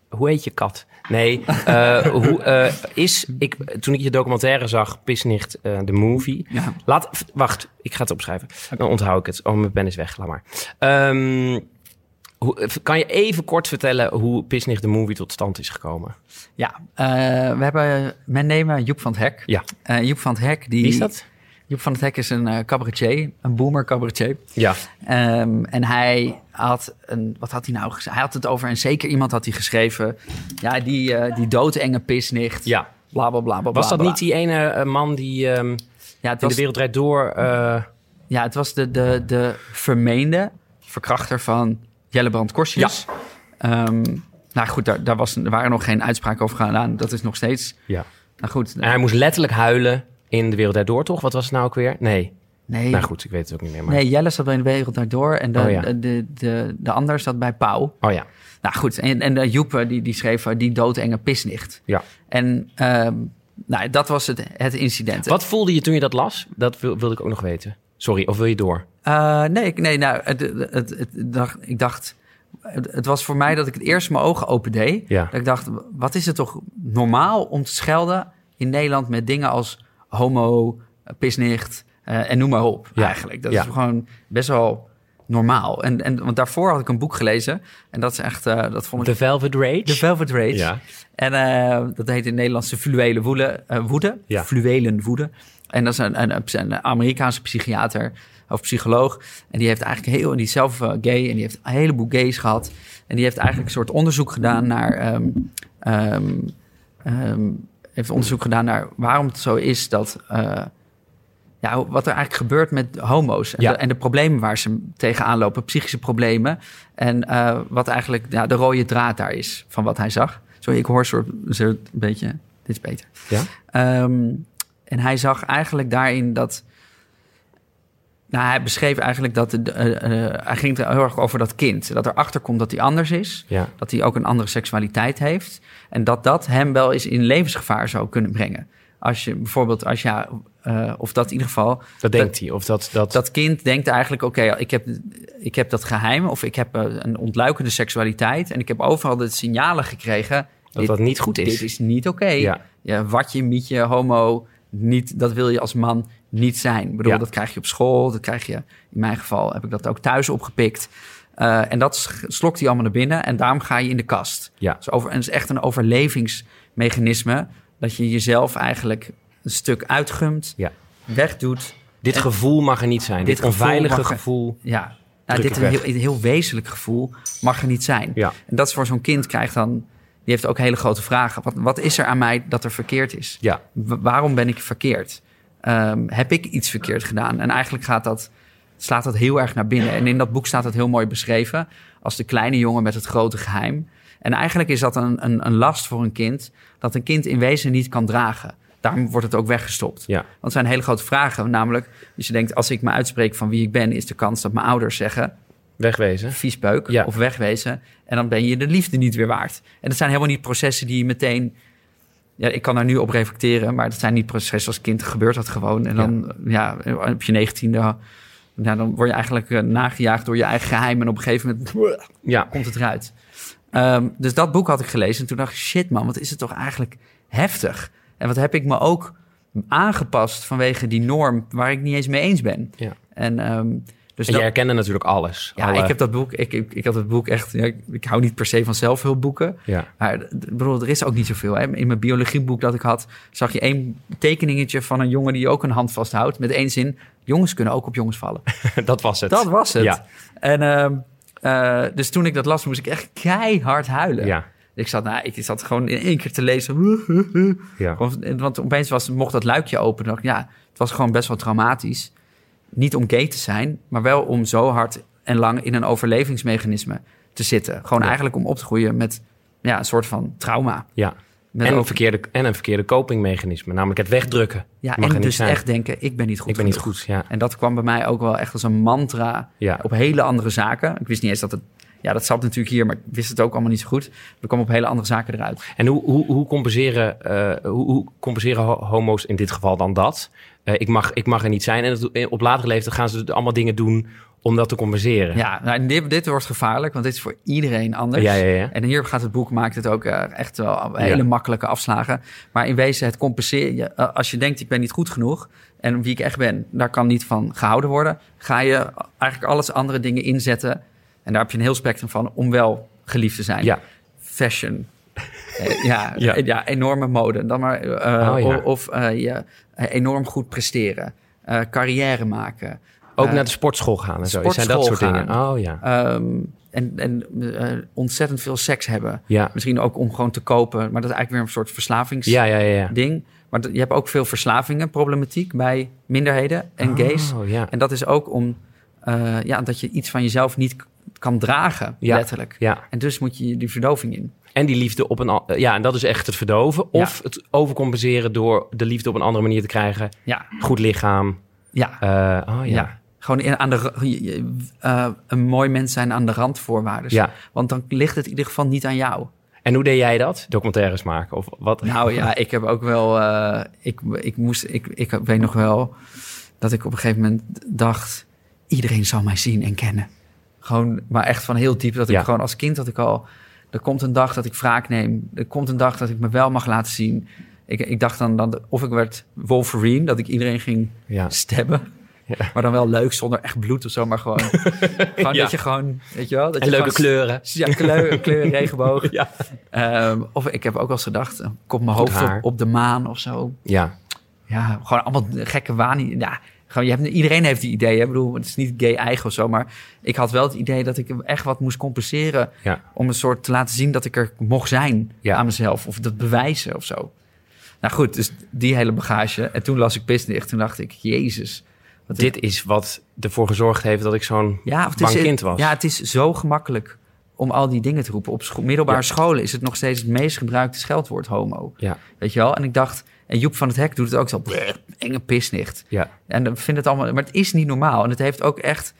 [SPEAKER 1] hoe heet je kat? Nee, eh, hoe, eh, is, ik, toen ik je documentaire zag, Pisnicht, eh de movie.
[SPEAKER 2] Ja.
[SPEAKER 1] Laat, f- wacht, ik ga het opschrijven. Dan onthoud ik het. Oh, mijn pen is weg, laat maar. Ehm, hoe, f- kan je even kort vertellen hoe Pisnicht, de movie tot stand is gekomen?
[SPEAKER 2] Ja, eh, we hebben, men nemen Joep van het Hek.
[SPEAKER 1] Ja.
[SPEAKER 2] Eh, Joep van het Hek, die...
[SPEAKER 1] Wie is dat?
[SPEAKER 2] Joep van het Hek is een eh, cabaretier, een boomer cabaretier.
[SPEAKER 1] Ja.
[SPEAKER 2] Ehm, en hij had een, wat had hij nou gezegd? Hij had het over, en zeker iemand had hij geschreven, ja, die, eh, die doodenge pisnicht.
[SPEAKER 1] ja.
[SPEAKER 2] Bla bla bla bla.
[SPEAKER 1] Was dat
[SPEAKER 2] bla, bla.
[SPEAKER 1] niet die ene eh, man die ehm,
[SPEAKER 2] Ja, het
[SPEAKER 1] in de
[SPEAKER 2] was,
[SPEAKER 1] wereld draait door... eh,
[SPEAKER 2] ja, het was de, de, de vermeende verkrachter van Jellebrand Korsjes. Ehm, nou goed, daar, daar, was, er waren nog geen uitspraken over gedaan. Nou, Dat is nog steeds.
[SPEAKER 1] ja.
[SPEAKER 2] Nou goed,
[SPEAKER 1] En hij moest letterlijk huilen in de wereld draait door, toch? Wat was het nou ook weer? Nee.
[SPEAKER 2] nee.
[SPEAKER 1] Nou goed, ik weet het ook niet meer. Maar...
[SPEAKER 2] Nee, Jelle zat bij de wereld daardoor en de,
[SPEAKER 1] Oh ja.
[SPEAKER 2] de, de, de, de ander zat bij Pauw.
[SPEAKER 1] Oh ja.
[SPEAKER 2] Nou goed, en, en eh, Joep eh, die, die schreef eh, die doodenge pisnicht.
[SPEAKER 1] Ja.
[SPEAKER 2] En ehm, nou, dat was het, het incident.
[SPEAKER 1] Wat voelde je toen je dat las? Dat wil, wilde ik ook nog weten. Sorry, of wil je door?
[SPEAKER 2] Eh, nee, ik- nee nou, het, het, het- het dacht, ik dacht... Het, het was voor mij dat ik het eerst mijn ogen open deed.
[SPEAKER 1] Ja.
[SPEAKER 2] Dat ik dacht, wat is het toch normaal om te schelden in Nederland... met dingen als homo, eh, pisnicht eh, en noem maar op
[SPEAKER 1] Ja.
[SPEAKER 2] eigenlijk. Dat
[SPEAKER 1] Ja.
[SPEAKER 2] is gewoon best wel normaal. En, en, want daarvoor had ik een boek gelezen. En dat is echt, eh, dat vond ik...
[SPEAKER 1] The Velvet Rage?
[SPEAKER 2] The Velvet Rage.
[SPEAKER 1] Ja.
[SPEAKER 2] En eh, dat heet in het Nederlands de fluwele woede. eh, woede
[SPEAKER 1] Ja.
[SPEAKER 2] Fluwelen woede. En dat is een, een, een Amerikaanse psychiater of psycholoog. En die heeft eigenlijk heel... En die is zelf eh, gay en die heeft een heleboel gays gehad. En die heeft eigenlijk een soort onderzoek gedaan naar... ehm, ehm, ehm, heeft onderzoek gedaan naar waarom het zo is dat... eh, ja, wat er eigenlijk gebeurt met homo's. En,
[SPEAKER 1] Ja.
[SPEAKER 2] de, en de problemen waar ze tegenaan lopen, psychische problemen. En eh, wat eigenlijk ja, de rode draad daar is van wat hij zag. Sorry, ik hoor soort, soort een beetje. Dit is beter.
[SPEAKER 1] Ja?
[SPEAKER 2] Ehm, en hij zag eigenlijk daarin dat. Nou, hij beschreef eigenlijk dat. de- eh, eh, hij ging het heel erg over dat kind. Dat erachter komt dat hij anders is.
[SPEAKER 1] Ja.
[SPEAKER 2] Dat hij ook een andere seksualiteit heeft. En dat dat hem wel eens in levensgevaar zou kunnen brengen. Als je bijvoorbeeld, als je, eh, of dat in ieder geval,
[SPEAKER 1] Dat denkt hij. Of dat, dat...
[SPEAKER 2] dat kind denkt eigenlijk: oké, ik, heb, ik heb dat geheim of ik heb eh, een ontluikende seksualiteit. En ik heb overal de signalen gekregen.
[SPEAKER 1] Dat dat niet goed is.
[SPEAKER 2] Dit is niet oké.
[SPEAKER 1] Ja.
[SPEAKER 2] Ja. watje, mietje, homo, niet, dat wil je als man niet zijn. Ik bedoel,
[SPEAKER 1] Ja.
[SPEAKER 2] dat krijg je op school, dat krijg je... In mijn geval heb ik dat ook thuis opgepikt. Eh, en dat sch- slokt hij allemaal naar binnen en daarom ga je in de kast.
[SPEAKER 1] Ja.
[SPEAKER 2] Dus over, en het is echt een overlevingsmechanisme... dat je jezelf eigenlijk een stuk uitgumt,
[SPEAKER 1] Ja.
[SPEAKER 2] wegdoet,
[SPEAKER 1] Dit gevoel mag er niet zijn. Dit,
[SPEAKER 2] Dit gevoel
[SPEAKER 1] onveilige
[SPEAKER 2] mag er-
[SPEAKER 1] gevoel.
[SPEAKER 2] ja, nou,
[SPEAKER 1] Druk
[SPEAKER 2] dit
[SPEAKER 1] het
[SPEAKER 2] een heel,
[SPEAKER 1] weg.
[SPEAKER 2] een heel wezenlijk gevoel mag er niet zijn.
[SPEAKER 1] Ja.
[SPEAKER 2] En dat is voor zo'n kind krijgt dan... Die heeft ook hele grote vragen. Wat, wat is er aan mij dat er verkeerd is?
[SPEAKER 1] Ja.
[SPEAKER 2] Wa- waarom ben ik verkeerd? Ehm, heb ik iets verkeerd gedaan? En eigenlijk gaat dat, slaat dat heel erg naar binnen. En in dat boek staat dat heel mooi beschreven als de kleine jongen met het grote geheim. En eigenlijk is dat een, een, een last voor een kind dat een kind in wezen niet kan dragen. Daarom wordt het ook weggestopt.
[SPEAKER 1] Ja.
[SPEAKER 2] Want het zijn hele grote vragen. Namelijk, als je denkt, als ik me uitspreek van wie ik ben, is de kans dat mijn ouders zeggen:
[SPEAKER 1] Wegwezen.
[SPEAKER 2] viespeuk
[SPEAKER 1] Ja.
[SPEAKER 2] of wegwezen. En dan ben je de liefde niet weer waard. En dat zijn helemaal niet processen die je meteen... Ja, ik kan daar nu op reflecteren, maar dat zijn niet processen als kind. Gebeurt dat gewoon. En dan ja. op je negentiende... Nou, dan word je eigenlijk eh, nagejaagd door je eigen geheim. En op een gegeven moment
[SPEAKER 1] Ja.
[SPEAKER 2] komt het eruit. Ehm, dus dat boek had ik gelezen en toen dacht ik... shit man, wat is het toch eigenlijk heftig. En wat heb ik me ook aangepast vanwege die norm... waar ik niet eens mee eens ben.
[SPEAKER 1] Ja.
[SPEAKER 2] En, ehm, Dus
[SPEAKER 1] en
[SPEAKER 2] dat-
[SPEAKER 1] jij herkende natuurlijk alles.
[SPEAKER 2] ja,
[SPEAKER 1] Alle-
[SPEAKER 2] ik heb dat boek. Ik, ik, ik had het boek echt. Ja, ik, ik hou niet per se van zelfhulpboeken.
[SPEAKER 1] Ja.
[SPEAKER 2] Maar d- ik bedoel, er is ook niet zoveel. Hè? In mijn biologieboek dat ik had, zag je één tekeningetje van een jongen die ook een hand vasthoudt. Met één zin: jongens kunnen ook op jongens vallen.
[SPEAKER 1] dat was het.
[SPEAKER 2] Dat was het.
[SPEAKER 1] Ja.
[SPEAKER 2] En ehm, eh, dus toen ik dat las, moest ik echt keihard huilen.
[SPEAKER 1] Ja.
[SPEAKER 2] Ik zat, nou, ik zat gewoon in één keer te lezen.
[SPEAKER 1] Ja.
[SPEAKER 2] Want, want opeens was, mocht dat luikje open. Dacht, ik, ja, het was gewoon best wel traumatisch. Niet om gay te zijn, maar wel om zo hard en lang in een overlevingsmechanisme te zitten. Gewoon
[SPEAKER 1] Ja.
[SPEAKER 2] eigenlijk om op te groeien met ja, een soort van trauma.
[SPEAKER 1] ja.
[SPEAKER 2] Met
[SPEAKER 1] En, een
[SPEAKER 2] ook-
[SPEAKER 1] verkeerde, en een verkeerde copingmechanisme, namelijk het wegdrukken.
[SPEAKER 2] ja,
[SPEAKER 1] Het mag er
[SPEAKER 2] en
[SPEAKER 1] niet
[SPEAKER 2] dus
[SPEAKER 1] zijn.
[SPEAKER 2] echt denken, ik ben niet goed
[SPEAKER 1] Ik ben niet
[SPEAKER 2] genoeg.
[SPEAKER 1] goed, ja.
[SPEAKER 2] En dat kwam bij mij ook wel echt als een mantra
[SPEAKER 1] Ja.
[SPEAKER 2] op hele andere zaken. Ik wist niet eens dat het... Ja, dat zat natuurlijk hier, maar ik wist het ook allemaal niet zo goed. We kwamen op hele andere zaken eruit.
[SPEAKER 1] En hoe, hoe, hoe, compenseren, eh, hoe, hoe compenseren ho- homo's in dit geval dan dat? Eh, ik, mag, ik mag er niet zijn. En het- eh, op latere leeftijd gaan ze allemaal dingen doen om dat te compenseren.
[SPEAKER 2] Ja, nou, en dit, dit wordt gevaarlijk, want dit is voor iedereen anders.
[SPEAKER 1] Ja, ja, ja.
[SPEAKER 2] En hier gaat het boek, maakt het ook eh, echt wel hele
[SPEAKER 1] Ja.
[SPEAKER 2] makkelijke afslagen. Maar in wezen, het compenseren je. eh, als je denkt, ik ben niet goed genoeg en wie ik echt ben, daar kan niet van gehouden worden. Ga je eigenlijk alles andere dingen inzetten. En daar heb je een heel spectrum van om wel geliefd te zijn.
[SPEAKER 1] Ja.
[SPEAKER 2] Fashion. Eh, ja,
[SPEAKER 1] Ja.
[SPEAKER 2] ja. ja, enorme mode. Dan maar, eh,
[SPEAKER 1] Oh, ja.
[SPEAKER 2] o- Of eh, je eh, enorm goed presteren. eh, carrière maken.
[SPEAKER 1] Ook
[SPEAKER 2] Eh,
[SPEAKER 1] naar de sportschool gaan en zo. Zijn dat
[SPEAKER 2] sportschool
[SPEAKER 1] soort dingen.
[SPEAKER 2] gaan.
[SPEAKER 1] Oh ja.
[SPEAKER 2] Ehm, en en eh, ontzettend veel seks hebben.
[SPEAKER 1] Ja.
[SPEAKER 2] Misschien ook om gewoon te kopen. Maar dat is eigenlijk weer een soort verslavingsding.
[SPEAKER 1] Ja, ja, ja. ja.
[SPEAKER 2] Maar d- je hebt ook veel verslavingen, problematiek bij minderheden en gays.
[SPEAKER 1] Oh, ja.
[SPEAKER 2] En dat is ook om eh, ja, dat je iets van jezelf niet k- kan dragen,
[SPEAKER 1] Ja.
[SPEAKER 2] letterlijk.
[SPEAKER 1] Ja.
[SPEAKER 2] En dus moet je die verdoving in.
[SPEAKER 1] En die liefde op een... an- Ja, en dat is echt het verdoven. Of
[SPEAKER 2] Ja.
[SPEAKER 1] het overcompenseren door de liefde op een andere manier te krijgen.
[SPEAKER 2] Ja,
[SPEAKER 1] Goed lichaam.
[SPEAKER 2] ja,
[SPEAKER 1] Eh, oh ja.
[SPEAKER 2] ja.
[SPEAKER 1] Ja.
[SPEAKER 2] Gewoon in, aan de, ra- je- je- eh, een mooi mens zijn aan de randvoorwaarden. Want dan ligt het in ieder geval niet aan jou.
[SPEAKER 1] En hoe deed jij dat? Documentaires maken of wat?
[SPEAKER 2] Nou ja, ik heb ook wel. eh, ik, ik, moest, ik, ik weet nog wel dat ik op een gegeven moment dacht: iedereen zal mij zien en kennen. Gewoon, maar echt van heel diep. Dat ik
[SPEAKER 1] Ja.
[SPEAKER 2] gewoon als kind dat ik al. Er komt een dag dat ik wraak neem. Er komt een dag dat ik me wel mag laten zien. Ik, ik dacht dan, dan of ik werd Wolverine, dat ik iedereen ging
[SPEAKER 1] Ja.
[SPEAKER 2] stemmen. Maar dan wel leuk, zonder echt bloed of zo, maar gewoon. gewoon
[SPEAKER 1] Ja.
[SPEAKER 2] dat je gewoon, weet je wel. Dat
[SPEAKER 1] En
[SPEAKER 2] je
[SPEAKER 1] leuke
[SPEAKER 2] gewoon-
[SPEAKER 1] kleuren.
[SPEAKER 2] Dus Ja, kleur, kleur regenboog.
[SPEAKER 1] Ja.
[SPEAKER 2] Ehm, of ik heb ook wel eens gedacht, eh, kop mijn
[SPEAKER 1] Goed
[SPEAKER 2] hoofd op,
[SPEAKER 1] haar.
[SPEAKER 2] op de maan of zo.
[SPEAKER 1] Ja.
[SPEAKER 2] Ja, gewoon allemaal gekke waan. Ja, gewoon, je hebt, iedereen heeft die ideeën. Ik bedoel, het is niet gay eigen of zo. Maar ik had wel het idee dat ik echt wat moest compenseren.
[SPEAKER 1] Ja.
[SPEAKER 2] Om een soort te laten zien dat ik er mocht zijn
[SPEAKER 1] Ja.
[SPEAKER 2] aan mezelf. Of dat bewijzen of zo. Nou goed, dus die hele bagage. En toen las ik Pisdicht. Toen dacht ik, jezus. Wat
[SPEAKER 1] Dit is wat ervoor gezorgd heeft dat ik zo'n
[SPEAKER 2] ja, of
[SPEAKER 1] bang kind was.
[SPEAKER 2] Ja, het is zo gemakkelijk om al die dingen te roepen. Op scho- middelbare
[SPEAKER 1] Ja.
[SPEAKER 2] scholen is het nog steeds het meest gebruikte scheldwoord homo.
[SPEAKER 1] Ja.
[SPEAKER 2] Weet je wel? En ik dacht, en Joep van het Hek doet het ook zo. "Brrr, enge pisnicht.
[SPEAKER 1] Ja.
[SPEAKER 2] En dan vind het allemaal, maar het is niet normaal. En het heeft ook echt,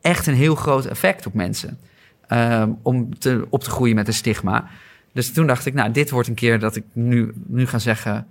[SPEAKER 2] echt een heel groot effect op mensen. Ehm, om te, op te groeien met een stigma. Dus toen dacht ik, nou, dit wordt een keer dat ik nu, nu ga zeggen. In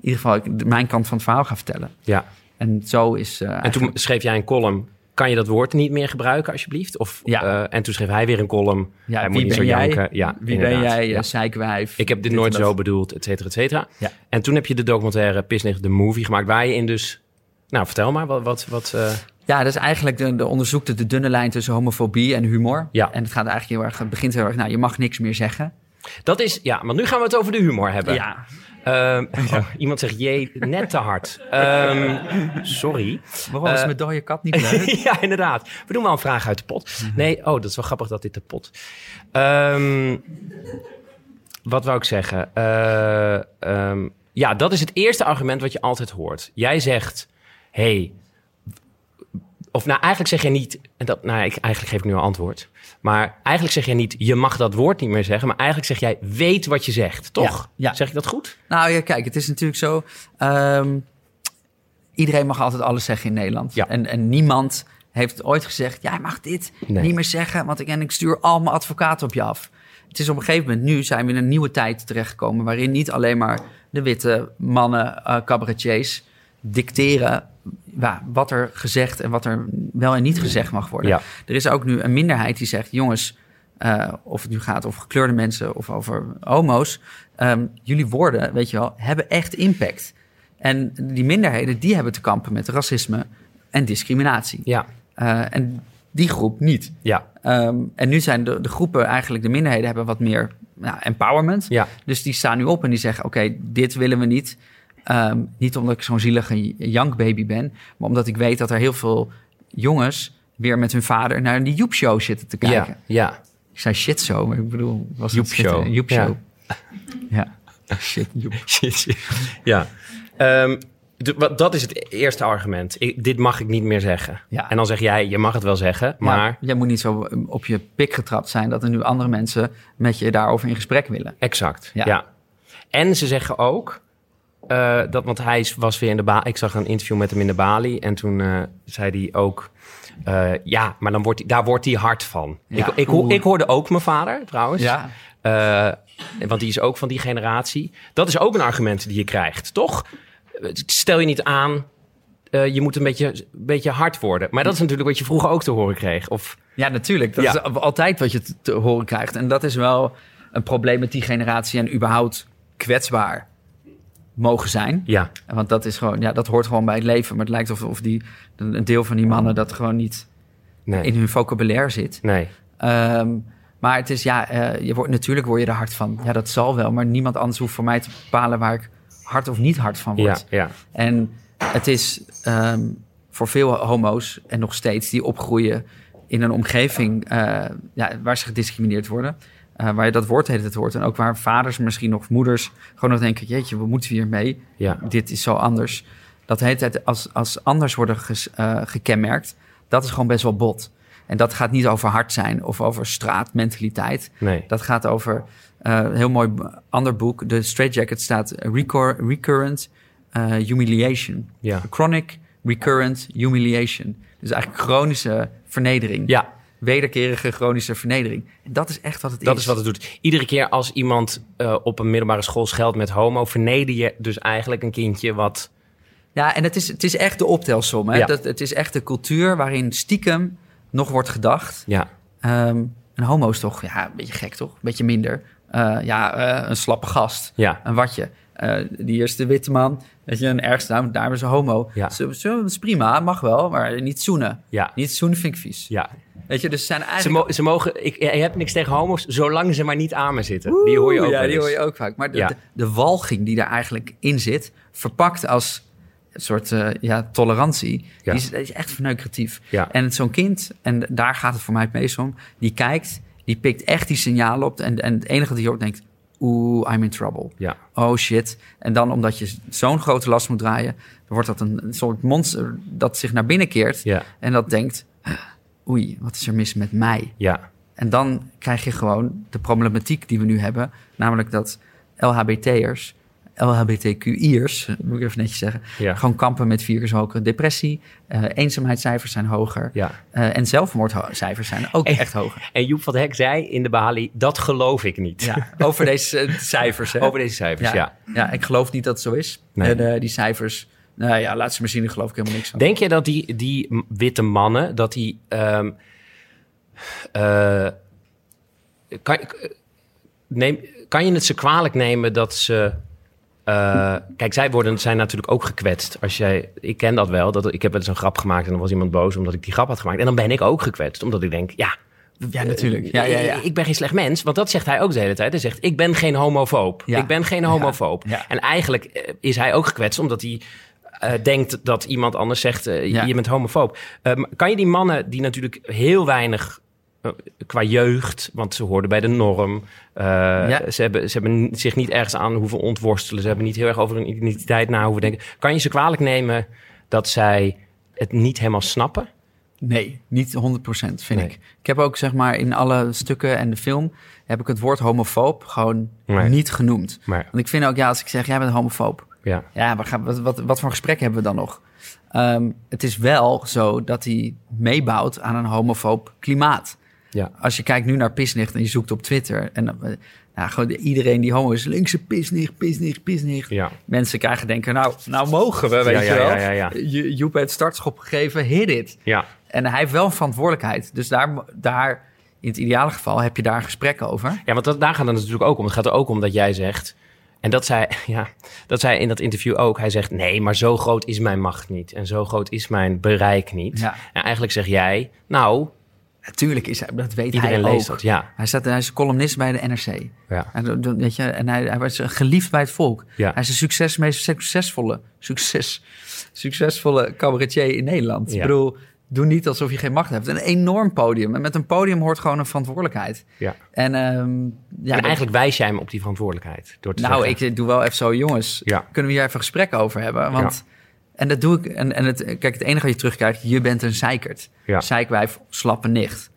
[SPEAKER 2] ieder geval, ik, mijn kant van het verhaal ga vertellen.
[SPEAKER 1] ja.
[SPEAKER 2] En zo is. eh,
[SPEAKER 1] En
[SPEAKER 2] eigenlijk-
[SPEAKER 1] toen schreef jij een column. Kan je dat woord niet meer gebruiken, alsjeblieft? Of,
[SPEAKER 2] Ja.
[SPEAKER 1] eh, en toen schreef hij weer een column.
[SPEAKER 2] Ja,
[SPEAKER 1] hij
[SPEAKER 2] wie
[SPEAKER 1] moet niet
[SPEAKER 2] ben
[SPEAKER 1] zo
[SPEAKER 2] jij?
[SPEAKER 1] janken. Ja,
[SPEAKER 2] Wie
[SPEAKER 1] inderdaad.
[SPEAKER 2] ben jij, eh,
[SPEAKER 1] Ja.
[SPEAKER 2] ja. zeikwijf?
[SPEAKER 1] Ik heb dit
[SPEAKER 2] en
[SPEAKER 1] nooit
[SPEAKER 2] dat.
[SPEAKER 1] zo bedoeld, et cetera, et cetera.
[SPEAKER 2] Ja.
[SPEAKER 1] En toen heb je de documentaire Pisnicht de Movie gemaakt, waar je in dus... Nou, vertel maar, wat... wat, wat eh,
[SPEAKER 2] Ja, dat is eigenlijk de, de onderzoekte de dunne lijn tussen homofobie en humor.
[SPEAKER 1] Ja.
[SPEAKER 2] En het gaat eigenlijk heel erg, het begint heel erg, nou, je mag niks meer zeggen.
[SPEAKER 1] dat is... Ja, maar nu gaan we het over de humor hebben.
[SPEAKER 2] Ja.
[SPEAKER 1] Ehm, oh, iemand zegt, jee, net te hard. Ehm, sorry.
[SPEAKER 2] Waarom is mijn dode kat niet leuk?
[SPEAKER 1] ja, inderdaad. We doen wel een vraag uit de
[SPEAKER 2] Mhm.
[SPEAKER 1] pot. Nee, oh, dat is wel grappig dat dit de pot. Ehm, wat wou ik zeggen? Eh, ehm, ja, dat is het eerste argument wat je altijd hoort. Jij zegt, hey, of nou eigenlijk zeg je niet, en dat, nou, ik, eigenlijk geef ik nu een antwoord. Maar eigenlijk zeg je niet, je mag dat woord niet meer zeggen. Maar eigenlijk zeg jij, weet wat je zegt, toch?
[SPEAKER 2] Ja, ja.
[SPEAKER 1] Zeg ik dat goed?
[SPEAKER 2] Nou ja, kijk, het is natuurlijk zo. ehm, iedereen mag altijd alles zeggen in Nederland.
[SPEAKER 1] Ja.
[SPEAKER 2] En, en niemand heeft ooit gezegd: jij mag dit
[SPEAKER 1] Nee.
[SPEAKER 2] niet meer zeggen, want ik, en ik stuur al mijn advocaten op je af. Het is op een gegeven moment, nu zijn we in een nieuwe tijd terechtgekomen. waarin niet alleen maar de witte mannen, eh, cabaretiers, dicteren ja, wat er gezegd en wat er wel en niet gezegd mag worden.
[SPEAKER 1] Ja.
[SPEAKER 2] Er is ook nu een minderheid die zegt: jongens, eh, of het nu gaat over gekleurde mensen of over homo's, ehm, jullie woorden, weet je wel, hebben echt impact. En die minderheden, die hebben te kampen met racisme en discriminatie.
[SPEAKER 1] Ja.
[SPEAKER 2] Eh, en die groep niet.
[SPEAKER 1] Ja,
[SPEAKER 2] Ehm, en nu zijn de, de groepen eigenlijk, de minderheden hebben wat meer nou, empowerment.
[SPEAKER 1] ja,
[SPEAKER 2] Dus die staan nu op en die zeggen: Oké, dit willen we niet. Ehm, niet omdat ik zo'n zielige jankbaby ben, maar omdat ik weet dat er heel veel jongens weer met hun vader naar een Joep-show zitten te kijken.
[SPEAKER 1] ja, ja.
[SPEAKER 2] Ik zei shit zo, maar ik bedoel, was het
[SPEAKER 1] Joep-show.
[SPEAKER 2] zitten- Joep-show.
[SPEAKER 1] Ja.
[SPEAKER 2] Ja. Shit, Joep.
[SPEAKER 1] ja. Ehm, d- wat- dat is het eerste argument. Ik- dit mag ik niet meer zeggen.
[SPEAKER 2] Ja.
[SPEAKER 1] En dan zeg jij, je mag het wel zeggen, maar...
[SPEAKER 2] Ja, jij moet niet zo op je pik getrapt zijn dat er nu andere mensen met je daarover in gesprek willen.
[SPEAKER 1] Exact, ja.
[SPEAKER 2] Ja.
[SPEAKER 1] En ze zeggen ook... eh, dat, want hij is- was weer in de Bali. Ik zag een interview met hem in de Bali. En toen eh, zei hij ook... eh, ja, maar dan wordt hij, daar wordt hij hard van.
[SPEAKER 2] Ja.
[SPEAKER 1] Ik, ik, ho-
[SPEAKER 2] Oeh.
[SPEAKER 1] ik hoorde ook mijn vader, trouwens.
[SPEAKER 2] Ja.
[SPEAKER 1] Eh, want die is ook van die generatie. Dat is ook een argument die je krijgt, toch? Stel je niet aan, eh, je moet een beetje, een beetje hard worden. Maar dat is natuurlijk wat je vroeger ook te horen kreeg. Of,
[SPEAKER 2] Ja, natuurlijk. Dat
[SPEAKER 1] Ja.
[SPEAKER 2] is al- altijd wat je te, te horen krijgt. En dat is wel een probleem met die generatie en überhaupt kwetsbaar mogen zijn.
[SPEAKER 1] ja,
[SPEAKER 2] Want dat is gewoon, ja, dat hoort gewoon bij het leven. Maar het lijkt of, of die, een een deel van die mannen dat gewoon niet
[SPEAKER 1] nee.
[SPEAKER 2] in hun vocabulaire zit.
[SPEAKER 1] nee.
[SPEAKER 2] Ehm, maar het is ja, eh, je wordt, natuurlijk word je er hard van. Ja, dat zal wel. Maar niemand anders hoeft voor mij te bepalen waar ik hard of niet hard van
[SPEAKER 1] Ja,
[SPEAKER 2] word.
[SPEAKER 1] ja,
[SPEAKER 2] En het is ehm, voor veel homo's en nog steeds die opgroeien in een omgeving eh, ja, waar ze gediscrimineerd worden. eh, waar je dat woord heet het hoort. En ook waar vaders, misschien nog moeders, gewoon nog denken: jeetje, we moeten hier mee.
[SPEAKER 1] ja.
[SPEAKER 2] Dit is zo anders. Dat de hele tijd als, als anders worden ges- eh, gekenmerkt, dat is gewoon best wel bot. En dat gaat niet over hard zijn of over straatmentaliteit.
[SPEAKER 1] Nee.
[SPEAKER 2] Dat gaat over eh, een heel mooi b- ander boek. De Straight Jacket staat recur- Recurrent eh, Humiliation.
[SPEAKER 1] Ja.
[SPEAKER 2] Chronic Recurrent Humiliation. Dus eigenlijk chronische vernedering.
[SPEAKER 1] Ja,
[SPEAKER 2] Wederkerige chronische vernedering. En dat is echt wat het
[SPEAKER 1] dat
[SPEAKER 2] is.
[SPEAKER 1] is wat het doet. Iedere keer als iemand eh, op een middelbare school scheldt met homo, verneder je dus eigenlijk een kindje wat.
[SPEAKER 2] Ja, en het is, het is echt de optelsom. Hè?
[SPEAKER 1] Ja.
[SPEAKER 2] Dat, het is echt de cultuur waarin stiekem nog wordt gedacht.
[SPEAKER 1] Ja,
[SPEAKER 2] Ehm een homo is toch, ja, een beetje gek toch? Een beetje minder. Eh, ja, eh, een slappe gast.
[SPEAKER 1] ja,
[SPEAKER 2] Een watje. Eh, die is de witte man. Weet je, een ergste naam, daar is een homo.
[SPEAKER 1] Ja.
[SPEAKER 2] Zo, zo, dat is prima, mag wel, maar niet zoenen.
[SPEAKER 1] ja.
[SPEAKER 2] Niet zoenen vind ik vies.
[SPEAKER 1] ja.
[SPEAKER 2] Weet je, dus ze zijn
[SPEAKER 1] Ze,
[SPEAKER 2] eigenlijk...
[SPEAKER 1] mo- ze mogen. Ik, ik heb niks tegen homo's, zolang ze maar niet aan me zitten. die hoor je ook.
[SPEAKER 2] Oeh, Ja,
[SPEAKER 1] wel
[SPEAKER 2] die hoor
[SPEAKER 1] eens.
[SPEAKER 2] je ook vaak. Maar de,
[SPEAKER 1] Ja.
[SPEAKER 2] de, de walging die daar eigenlijk in zit, verpakt als een soort eh, ja, tolerantie,
[SPEAKER 1] Ja.
[SPEAKER 2] Die, is, die is echt verneukeratief.
[SPEAKER 1] Ja.
[SPEAKER 2] En het- zo'n kind, en daar gaat het voor mij het meest om, die kijkt, die pikt echt die signalen op. En, en het enige dat hij hoort, denkt, oeh, I'm in trouble.
[SPEAKER 1] Ja,
[SPEAKER 2] Oh shit. En dan omdat je zo'n grote last moet draaien, dan wordt dat een een soort monster dat zich naar binnen keert.
[SPEAKER 1] ja,
[SPEAKER 2] En dat denkt, "Ah, oei, wat is er mis met mij?
[SPEAKER 1] ja,
[SPEAKER 2] En dan krijg je gewoon de problematiek die we nu hebben. Namelijk dat LHBT'ers, LHBTQI'ers, moet ik even netjes zeggen...
[SPEAKER 1] ja.
[SPEAKER 2] gewoon kampen met virushokken, depressie, eh, eenzaamheidscijfers zijn hoger...
[SPEAKER 1] ja.
[SPEAKER 2] eh, en zelfmoordcijfers zijn ook
[SPEAKER 1] Echt?
[SPEAKER 2] echt hoger.
[SPEAKER 1] En Joep van het Hek zei in de Bali: dat geloof ik niet.
[SPEAKER 2] Ja, over deze eh, cijfers, hè?
[SPEAKER 1] Over deze cijfers, ja.
[SPEAKER 2] ja. ik geloof niet dat het zo is.
[SPEAKER 1] Nee.
[SPEAKER 2] En eh, die cijfers, nou ja, laat ze maar zien, daar geloof ik helemaal niks van.
[SPEAKER 1] Denk je dat die, die m- witte mannen, dat die. ehm, eh, kan, k- neem, kan je het ze kwalijk nemen dat ze. eh, kijk, zij worden, zijn natuurlijk ook gekwetst. Als jij, ik ken dat wel. Dat, ik heb wel eens een grap gemaakt en dan was iemand boos omdat ik die grap had gemaakt. En dan ben ik ook gekwetst, omdat ik denk, ja,
[SPEAKER 2] ja, natuurlijk. Ja, ja, ja.
[SPEAKER 1] ik ben geen slecht mens, want dat zegt hij ook de hele tijd. Hij zegt, ik ben geen homofoob.
[SPEAKER 2] Ja.
[SPEAKER 1] Ik ben geen homofoob.
[SPEAKER 2] Ja.
[SPEAKER 1] En eigenlijk eh, is hij ook gekwetst omdat hij eh, denkt dat iemand anders zegt, eh,
[SPEAKER 2] Ja.
[SPEAKER 1] je bent homofoob. Ehm, kan je die mannen die natuurlijk heel weinig eh, qua jeugd, want ze hoorden bij de norm. eh,
[SPEAKER 2] Ja.
[SPEAKER 1] ze, hebben, ze hebben zich niet ergens aan hoeven ontworstelen. Ze hebben niet heel erg over hun identiteit na hoeven denken. Kan je ze kwalijk nemen dat zij het niet helemaal snappen?
[SPEAKER 2] Nee, niet 100% vind
[SPEAKER 1] Nee.
[SPEAKER 2] ik. Ik heb ook zeg maar in alle stukken en de film heb ik het woord homofoob gewoon
[SPEAKER 1] Nee.
[SPEAKER 2] niet genoemd.
[SPEAKER 1] Maar
[SPEAKER 2] Want ik vind ook ja, als ik zeg jij bent homofoob,
[SPEAKER 1] ja,
[SPEAKER 2] ja, waar gaan- wat, wat, wat voor gesprek hebben we dan nog? Ehm, het is wel zo dat hij meebouwt aan een homofoob klimaat.
[SPEAKER 1] Ja.
[SPEAKER 2] Als je kijkt nu naar pisnicht en je zoekt op Twitter en dan, eh, nou, gewoon iedereen die homo is, linkse pisnicht, pisnicht, pisnicht.
[SPEAKER 1] ja,
[SPEAKER 2] Mensen krijgen denken, nou, nou mogen we, weet
[SPEAKER 1] Ja,
[SPEAKER 2] je
[SPEAKER 1] ja,
[SPEAKER 2] wel.
[SPEAKER 1] ja, ja, ja.
[SPEAKER 2] Jo- Joep heeft startschop gegeven, hit it.
[SPEAKER 1] ja.
[SPEAKER 2] En hij heeft wel een verantwoordelijkheid. Dus daar, daar, in het ideale geval, heb je daar een gesprek over.
[SPEAKER 1] Ja, want dat, daar gaat het natuurlijk ook om. Het gaat er ook om dat jij zegt... En dat zei, ja, dat zei in dat interview ook. Hij zegt, nee, maar zo groot is mijn macht niet. En zo groot is mijn bereik niet.
[SPEAKER 2] Ja.
[SPEAKER 1] En eigenlijk zeg jij, nou,
[SPEAKER 2] Natuurlijk is hij, dat weet
[SPEAKER 1] iedereen
[SPEAKER 2] hij
[SPEAKER 1] leest
[SPEAKER 2] ook.
[SPEAKER 1] dat. Ja,
[SPEAKER 2] Hij, zat, hij is columnist bij de NRC.
[SPEAKER 1] ja.
[SPEAKER 2] En, dat- dat- weet je, en hij, hij was geliefd bij het volk.
[SPEAKER 1] Ja.
[SPEAKER 2] Hij is de succes, meest succesvolle, succes, succesvolle cabaretier in Nederland.
[SPEAKER 1] Ja.
[SPEAKER 2] Ik bedoel, doe niet alsof je geen macht hebt. Een enorm podium. En met een podium hoort gewoon een verantwoordelijkheid.
[SPEAKER 1] ja.
[SPEAKER 2] En, ehm, ja,
[SPEAKER 1] en
[SPEAKER 2] dat-
[SPEAKER 1] eigenlijk wijs jij hem op die verantwoordelijkheid. Door te
[SPEAKER 2] nou,
[SPEAKER 1] zeggen,
[SPEAKER 2] ik doe wel even zo, jongens.
[SPEAKER 1] Ja.
[SPEAKER 2] Kunnen we hier even een gesprek over hebben? Want, En dat doe ik. En, en het, kijk, het enige wat je terugkrijgt, je bent een zeikert.
[SPEAKER 1] Ja.
[SPEAKER 2] Zeikwijf, slappe nicht.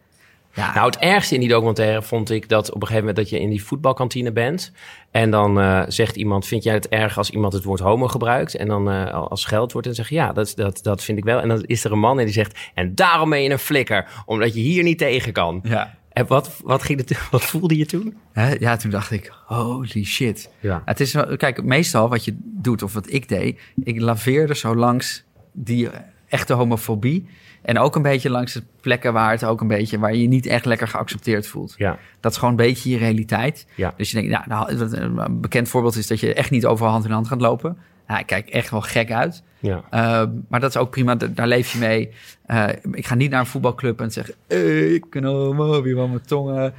[SPEAKER 2] Ja,
[SPEAKER 1] Nou, het ergste in die documentaire vond ik dat op een gegeven moment dat je in die voetbalkantine bent. En dan eh, zegt iemand, vind jij het erg als iemand het woord homo gebruikt? En dan eh, als scheldwoord en dan zeg je, ja, dat, dat, dat vind ik wel. En dan is er een man en die zegt, en daarom ben je een flikker. Omdat je hier niet tegen kan.
[SPEAKER 2] ja.
[SPEAKER 1] En wat, wat, ging het, wat voelde je toen?
[SPEAKER 2] Hè? ja, toen dacht ik, holy shit.
[SPEAKER 1] Ja.
[SPEAKER 2] Het is wel, kijk, meestal wat je doet of wat ik deed, ik laveerde zo langs die echte homofobie. En ook een beetje langs de plekken waar het ook een beetje, waar je je niet echt lekker geaccepteerd voelt.
[SPEAKER 1] Ja,
[SPEAKER 2] Dat is gewoon een beetje je realiteit.
[SPEAKER 1] ja.
[SPEAKER 2] Dus je denkt, nou, nou, dat- een bekend voorbeeld is dat je echt niet overal hand in hand gaat lopen. Nou, ik kijk echt wel gek uit.
[SPEAKER 1] ja.
[SPEAKER 2] Uh, maar dat is ook prima, da- daar leef je mee. Uh, ik ga niet naar een voetbalclub en zeg... "Eh, ik kan homo, wie wil mijn tongen?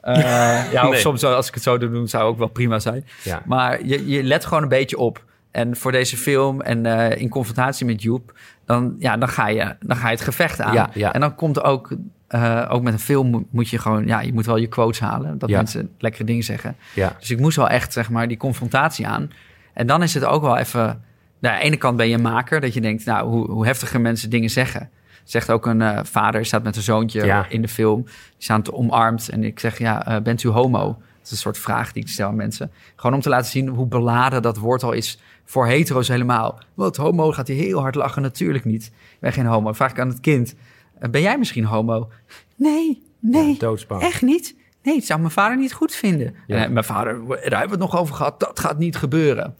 [SPEAKER 2] Eh, ja, of
[SPEAKER 1] Nee.
[SPEAKER 2] soms wel, als ik het zo doe, doen, zou ook wel prima zijn.
[SPEAKER 1] Ja.
[SPEAKER 2] Maar je, je let gewoon een beetje op. En voor deze film en eh, in confrontatie met Joep... dan, ja, dan, ga, je, dan ga je het gevecht aan.
[SPEAKER 1] Ja, ja.
[SPEAKER 2] En dan komt ook... eh, ook met een film moet- moet je gewoon... Ja, je moet wel je quotes halen. Dat
[SPEAKER 1] Ja.
[SPEAKER 2] mensen lekkere dingen zeggen.
[SPEAKER 1] ja.
[SPEAKER 2] Dus ik moest wel echt, zeg maar, die confrontatie aan. En dan is het ook wel even... Nou, aan de ene kant ben je een maker, dat je denkt, nou, hoe, hoe heftiger mensen dingen zeggen. Zegt ook een eh, vader, staat met een zoontje
[SPEAKER 1] Ja.
[SPEAKER 2] in de film. Die staan te omarmd en ik zeg, ja, eh, bent u homo? Dat is een soort vraag die ik stel aan mensen. Gewoon om te laten zien hoe beladen dat woord al is voor hetero's helemaal. Wat, homo? Gaat hij heel hard lachen? Natuurlijk niet. Ik ben geen homo. Dan vraag ik aan het kind, eh, ben jij misschien homo? Nee, nee.
[SPEAKER 1] Doodsbang.
[SPEAKER 2] Echt niet? Nee, het zou mijn vader niet goed vinden.
[SPEAKER 1] Ja.
[SPEAKER 2] En hij- mijn vader, daar hebben we het nog over gehad, dat gaat niet gebeuren.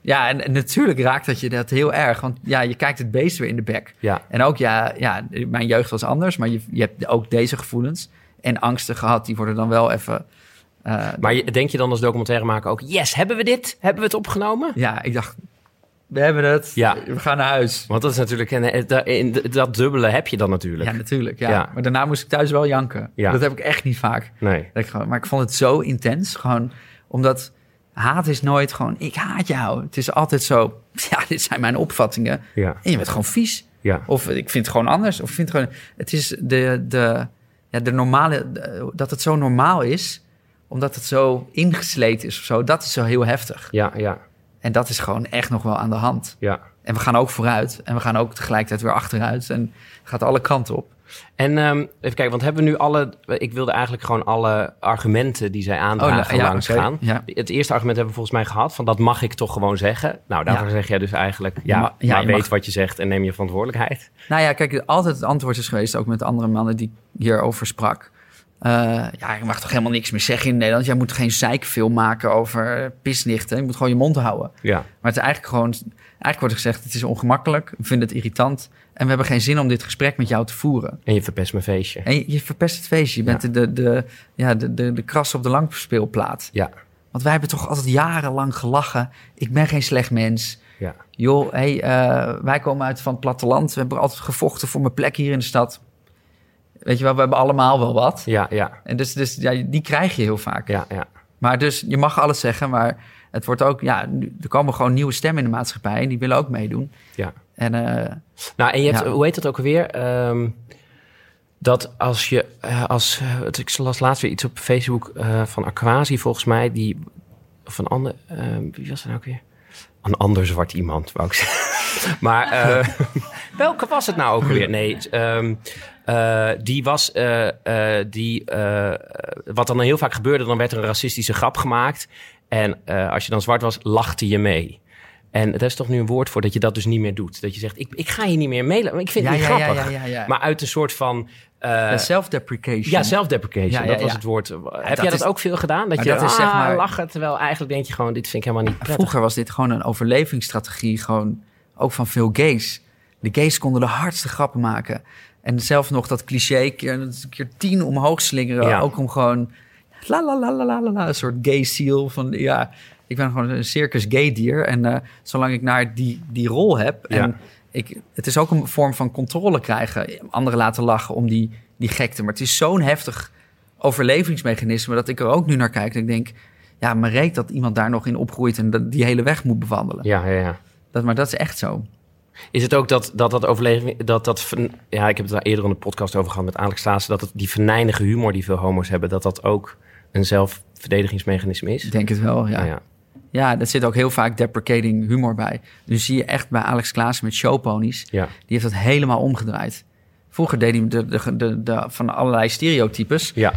[SPEAKER 2] Ja, en, en natuurlijk raakt dat je dat heel erg, want ja, je kijkt het beest weer in de bek.
[SPEAKER 1] Ja.
[SPEAKER 2] En ook, ja, ja mijn jeugd was anders, maar je, je hebt ook deze gevoelens en angsten gehad, die worden dan wel even... eh,
[SPEAKER 1] Maar je- denk je dan als documentairemaker ook, yes, hebben we dit? Hebben we het opgenomen?
[SPEAKER 2] ja, ik dacht, we hebben het,
[SPEAKER 1] Ja.
[SPEAKER 2] we gaan naar huis.
[SPEAKER 1] Want dat is natuurlijk, en, eh, da- in d- dat dubbele heb je dan natuurlijk.
[SPEAKER 2] Ja, natuurlijk, ja.
[SPEAKER 1] Ja.
[SPEAKER 2] Maar daarna moest ik thuis wel janken.
[SPEAKER 1] Ja.
[SPEAKER 2] Dat heb ik echt niet vaak.
[SPEAKER 1] Nee.
[SPEAKER 2] Dat ik gewoon- maar ik vond het zo intens. Gewoon omdat haat is nooit gewoon, ik haat jou. Het is altijd zo, ja, dit zijn mijn opvattingen.
[SPEAKER 1] Ja,
[SPEAKER 2] En je bent gewoon vies.
[SPEAKER 1] ja.
[SPEAKER 2] Of ik vind het gewoon anders. Of ik vind het gewoon, het is de, de, ja, de normale, de- dat het zo normaal is omdat het zo ingesleten is of zo, dat is zo heel heftig.
[SPEAKER 1] Ja, ja,
[SPEAKER 2] En dat is gewoon echt nog wel aan de hand.
[SPEAKER 1] ja.
[SPEAKER 2] En we gaan ook vooruit. En we gaan ook tegelijkertijd weer achteruit. En het gaat alle kanten op.
[SPEAKER 1] En ehm, even kijken, want hebben we nu alle... Ik wilde eigenlijk gewoon alle argumenten die zij aandragen
[SPEAKER 2] Oh, nou, ja,
[SPEAKER 1] langs
[SPEAKER 2] oké,
[SPEAKER 1] gaan.
[SPEAKER 2] ja.
[SPEAKER 1] Het eerste argument hebben we volgens mij gehad, van dat mag ik toch gewoon zeggen. Nou, daarvoor
[SPEAKER 2] Ja.
[SPEAKER 1] zeg jij dus eigenlijk, ja,
[SPEAKER 2] Ma- ja,
[SPEAKER 1] maar
[SPEAKER 2] je
[SPEAKER 1] weet
[SPEAKER 2] mag-
[SPEAKER 1] wat je zegt en neem je verantwoordelijkheid.
[SPEAKER 2] Nou ja, kijk, altijd het antwoord is geweest, ook met andere mannen die ik hierover sprak. Eh, ja, je mag toch helemaal niks meer zeggen in Nederland. Jij moet geen zeikfilm maken over pisnichten. Je moet gewoon je mond houden.
[SPEAKER 1] Ja,
[SPEAKER 2] Maar het is eigenlijk gewoon... Eigenlijk wordt er gezegd, het is ongemakkelijk. We vinden het irritant. En we hebben geen zin om dit gesprek met jou te voeren.
[SPEAKER 1] en je verpest mijn feestje.
[SPEAKER 2] En je, je verpest het feestje. Je bent
[SPEAKER 1] Ja.
[SPEAKER 2] de, de, ja, de, de, de kras op de langspeelplaat.
[SPEAKER 1] Ja,
[SPEAKER 2] Want wij hebben toch altijd jarenlang gelachen. Ik ben geen slecht mens
[SPEAKER 1] ja,
[SPEAKER 2] joh, hey, eh, wij komen uit van het platteland. We hebben altijd gevochten voor mijn plek hier in de stad. Weet je wel, we hebben allemaal wel wat.
[SPEAKER 1] ja, ja,
[SPEAKER 2] En dus, dus ja, die krijg je heel vaak.
[SPEAKER 1] ja, ja.
[SPEAKER 2] Maar dus, je mag alles zeggen, maar het wordt ook... Ja, nu- er komen gewoon nieuwe stemmen in de maatschappij en die willen ook meedoen.
[SPEAKER 1] ja.
[SPEAKER 2] En eh,
[SPEAKER 1] Nou, en je hebt,
[SPEAKER 2] Ja.
[SPEAKER 1] hoe heet dat ook alweer? Ehm, dat als je, eh, als, eh, het- ik las laatst weer iets op Facebook eh, van Aquasi, volgens mij, die, of een ander, ehm, wie was dat nou ook weer? Een ander zwart iemand, wou ik zeggen. Maar eh, welke was het nou ook weer? Nee, ehm, eh, die was, eh, eh, die, eh, wat dan heel vaak gebeurde, dan werd er een racistische grap gemaakt. En eh, als je dan zwart was, lachte je mee. En daar is toch nu een woord voor dat je dat dus niet meer doet. Dat je zegt, ik, ik ga hier niet meer meelen. Ik vind
[SPEAKER 2] ja,
[SPEAKER 1] het niet
[SPEAKER 2] ja, ja,
[SPEAKER 1] grappig.
[SPEAKER 2] ja, ja, ja.
[SPEAKER 1] Maar uit een soort van... eh,
[SPEAKER 2] Ja, self-deprecation.
[SPEAKER 1] ja, self-deprecation.
[SPEAKER 2] Ja, ja,
[SPEAKER 1] dat was
[SPEAKER 2] ja.
[SPEAKER 1] het woord. Heb
[SPEAKER 2] dat
[SPEAKER 1] jij dat
[SPEAKER 2] is-
[SPEAKER 1] ook veel gedaan? Dat
[SPEAKER 2] Maar
[SPEAKER 1] je
[SPEAKER 2] dat is
[SPEAKER 1] ah,
[SPEAKER 2] zeg maar-
[SPEAKER 1] lachen, terwijl eigenlijk denk je gewoon... dit vind ik helemaal niet prettig.
[SPEAKER 2] Vroeger was dit gewoon een overlevingsstrategie, gewoon ook van veel gays. De gays konden de hardste grappen maken. En zelf nog dat cliché keer, keer tien omhoog slingeren.
[SPEAKER 1] Ja.
[SPEAKER 2] Ook om gewoon la la la la la la la, een soort gay seal van ja. Ik ben gewoon een circus gay dier. En eh, zolang ik naar die, die rol heb.
[SPEAKER 1] Ja.
[SPEAKER 2] En ik, het is ook een vorm van controle krijgen. Anderen laten lachen om die, die gekte. Maar het is zo'n heftig overlevingsmechanisme dat ik er ook nu naar kijk. En ik denk, ja, me reekt dat iemand daar nog in opgroeit en dat die hele weg moet bewandelen.
[SPEAKER 1] Ja, ja, ja.
[SPEAKER 2] Dat, maar dat is echt zo.
[SPEAKER 1] Is het ook dat dat, dat overleving... Dat, dat, vern- ja, ik heb het daar eerder in de podcast over gehad met Alex Staatsen... dat het, die venijnige humor die veel homo's hebben... dat dat ook een zelfverdedigingsmechanisme is?
[SPEAKER 2] Ik denk het wel, ja.
[SPEAKER 1] Nou
[SPEAKER 2] ja. daar zit ook heel vaak deprecating humor bij. Nu zie je echt bij Alex Klaassen met showponies.
[SPEAKER 1] ja.
[SPEAKER 2] Die heeft dat helemaal omgedraaid. Vroeger deed hij de, de, de, de- van allerlei stereotypes.
[SPEAKER 1] ja.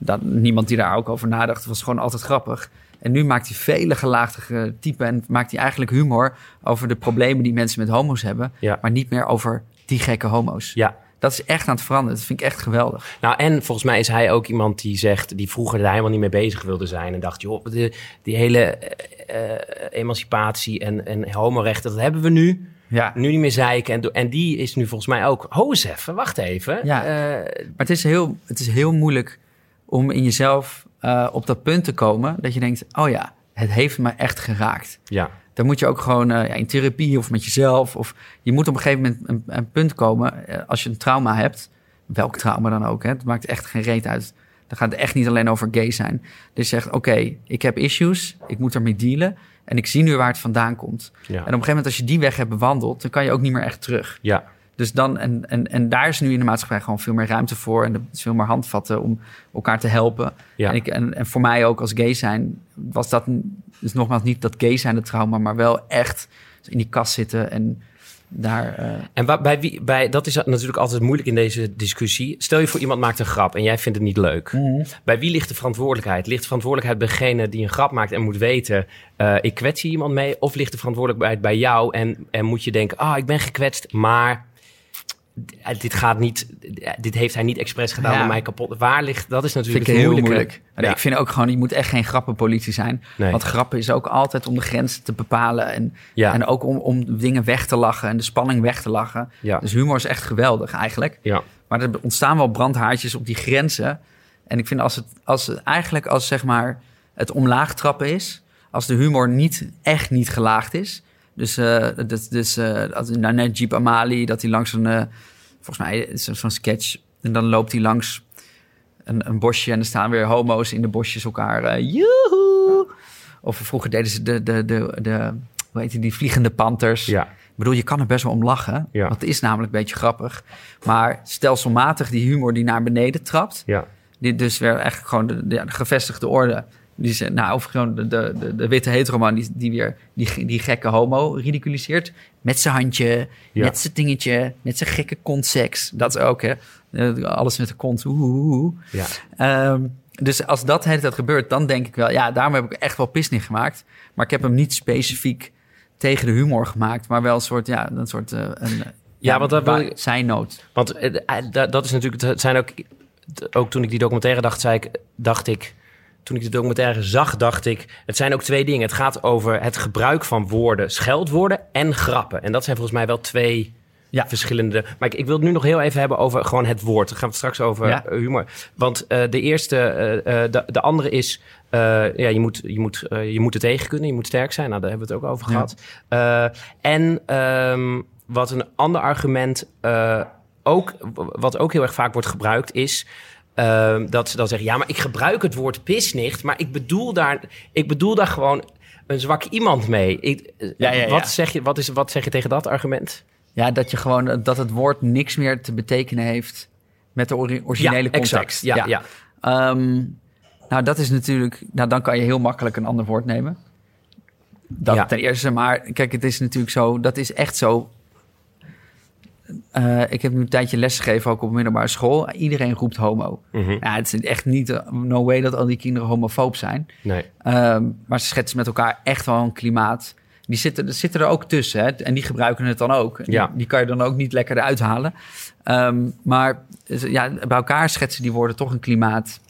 [SPEAKER 2] Dat, niemand die daar ook over nadacht. Het was gewoon altijd grappig. En nu maakt hij vele gelaagdige typen. En maakt hij eigenlijk humor over de problemen die mensen met homo's hebben.
[SPEAKER 1] Ja.
[SPEAKER 2] Maar niet meer over die gekke homo's.
[SPEAKER 1] ja.
[SPEAKER 2] Dat is echt aan het veranderen. Dat vind ik echt geweldig.
[SPEAKER 1] Nou, en volgens mij is hij ook iemand die zegt, die vroeger daar helemaal niet mee bezig wilde zijn. En dacht, joh, de, die hele eh, eh, emancipatie en, en homorechten, dat hebben we nu.
[SPEAKER 2] Ja.
[SPEAKER 1] Nu niet meer zeiken. En, do- en die is nu volgens mij ook, ho eens even, wacht even.
[SPEAKER 2] Ja.
[SPEAKER 1] Eh,
[SPEAKER 2] Maar het is heel, het is heel moeilijk om in jezelf eh, op dat punt te komen. Dat je denkt, oh ja, het heeft me echt geraakt.
[SPEAKER 1] ja.
[SPEAKER 2] Dan moet je ook gewoon eh, ja, in therapie of met jezelf. Of je moet op een gegeven moment een, een punt komen eh, als je een trauma hebt. Welk trauma dan ook. Hè, het maakt echt geen reet uit. Dan gaat het echt niet alleen over gay zijn. Dus je zegt, oké, ik heb issues. Ik moet ermee dealen. En ik zie nu waar het vandaan komt. En op
[SPEAKER 1] Ja.
[SPEAKER 2] een gegeven moment als je die weg hebt bewandeld... dan kan je ook niet meer echt terug.
[SPEAKER 1] ja.
[SPEAKER 2] Dus dan, en, en, en daar is nu in de maatschappij gewoon veel meer ruimte voor. En er is veel meer handvatten om elkaar te helpen.
[SPEAKER 1] Ja.
[SPEAKER 2] En, ik, en, en voor mij ook als gay zijn, was dat n- dus nogmaals niet dat gay zijn het trauma, maar wel echt in die kast zitten en daar. eh,
[SPEAKER 1] En wa- bij wie, bij, dat is natuurlijk altijd moeilijk in deze discussie. Stel je voor, iemand maakt een grap en jij vindt het niet leuk.
[SPEAKER 2] Mhm.
[SPEAKER 1] Bij wie ligt de verantwoordelijkheid? Ligt de verantwoordelijkheid bij degene die een grap maakt en moet weten... eh, ik kwets hier iemand mee? Of ligt de verantwoordelijkheid bij jou en, en moet je denken... ah, ik ben gekwetst, maar d- dit, gaat niet, d- dit heeft hij niet expres gedaan
[SPEAKER 2] Ja.
[SPEAKER 1] om mij kapot... Waar ligt... Dat is natuurlijk
[SPEAKER 2] vind ik heel
[SPEAKER 1] het moeilijke.
[SPEAKER 2] moeilijk. En
[SPEAKER 1] Ja.
[SPEAKER 2] Ik vind ook gewoon, je moet echt geen grappenpolitie zijn.
[SPEAKER 1] Nee.
[SPEAKER 2] Want grappen is ook altijd om de grenzen te bepalen. En,
[SPEAKER 1] Ja.
[SPEAKER 2] en ook om, om dingen weg te lachen en de spanning weg te lachen.
[SPEAKER 1] Ja.
[SPEAKER 2] Dus humor is echt geweldig eigenlijk.
[SPEAKER 1] Ja.
[SPEAKER 2] Maar er ontstaan wel brandhaartjes op die grenzen. En ik vind als het, als het eigenlijk als zeg maar het omlaag trappen is, als de humor niet echt niet gelaagd is. Dus, eh dat, dus eh, als, nou, net Jeep Amali, dat hij langs een, eh, volgens mij is het zo'n sketch. En dan loopt hij langs een, een bosje en er staan weer homo's in de bosjes elkaar. eh joehoe! Of vroeger deden ze de, de, de, de, hoe heet die, die vliegende panters.
[SPEAKER 1] Ja.
[SPEAKER 2] Ik bedoel, je kan er best wel om lachen.
[SPEAKER 1] Ja.
[SPEAKER 2] Want het is namelijk een beetje grappig. Maar stelselmatig die humor die naar beneden trapt.
[SPEAKER 1] Ja.
[SPEAKER 2] Die dus weer eigenlijk gewoon de, de- ja, de gevestigde orde. Die ze, nou, of gewoon de, de, de, de witte heteroman die, die weer die, ge- die gekke homo ridiculiseert. Met zijn handje,
[SPEAKER 1] Ja.
[SPEAKER 2] met zijn dingetje, met zijn gekke kontseks. Dat is ook, hè. Eh, Alles met de kont. Oeh, oeh, oeh.
[SPEAKER 1] Ja.
[SPEAKER 2] Ehm, dus als dat de hele tijd gebeurt, dan denk ik wel... ja, daarom heb ik echt wel pisnig gemaakt. Maar ik heb hem niet specifiek tegen de humor gemaakt... maar wel een soort, ja, een soort... eh, een, ja,
[SPEAKER 1] want dat wil
[SPEAKER 2] wa-
[SPEAKER 1] ik-
[SPEAKER 2] Zijnoot.
[SPEAKER 1] Want eh, eh, da- dat is natuurlijk, het zijn ook, t- ook toen ik die documentaire dacht, zei ik, dacht ik, toen ik de documentaire zag, dacht ik, het zijn ook twee dingen. Het gaat over het gebruik van woorden, scheldwoorden en grappen. En dat zijn volgens mij wel twee
[SPEAKER 2] Ja.
[SPEAKER 1] verschillende. Maar ik, ik wil het nu nog heel even hebben over gewoon het woord. Dan gaan we het straks over
[SPEAKER 2] Ja.
[SPEAKER 1] eh, humor. Want eh, de eerste, eh, eh, de, de andere is, eh, ja, je moet, je, moet, eh, je moet het tegen kunnen, je moet sterk zijn. Nou, daar hebben we het ook over
[SPEAKER 2] Ja.
[SPEAKER 1] gehad. Eh, en ehm, wat een ander argument eh, ook, wat ook heel erg vaak wordt gebruikt, is ehm, dat ze dan zeggen: ja, maar ik gebruik het woord pisnicht, maar ik bedoel daar, ik bedoel daar gewoon een zwak iemand mee. Ik, eh,
[SPEAKER 2] Ja, ja, ja.
[SPEAKER 1] Wat, zeg je, wat, is, wat zeg je tegen dat argument?
[SPEAKER 2] Ja, dat je gewoon eh, dat het woord niks meer te betekenen heeft met de ori- originele
[SPEAKER 1] ja,
[SPEAKER 2] context.
[SPEAKER 1] exact. Ja, ja. ja.
[SPEAKER 2] Ehm, nou, dat is natuurlijk. Nou, dan kan je heel makkelijk een ander woord nemen. Dat
[SPEAKER 1] Ja.
[SPEAKER 2] ten eerste, maar kijk, het is natuurlijk zo. Dat is echt zo. Eh, ik heb nu een tijdje lesgegeven ook op middelbare school. Iedereen roept homo. Ja, het is echt niet. eh, No way dat al die kinderen homofoob zijn.
[SPEAKER 1] Nee.
[SPEAKER 2] Ehm, maar ze schetsen met elkaar echt wel een klimaat. Die zitten, zitten er ook tussen. Hè? En die gebruiken het dan ook. Die-
[SPEAKER 1] Ja.
[SPEAKER 2] Die, kan je dan ook niet lekker eruit halen. Ehm, maar ze- ja, bij elkaar schetsen die woorden toch een klimaat...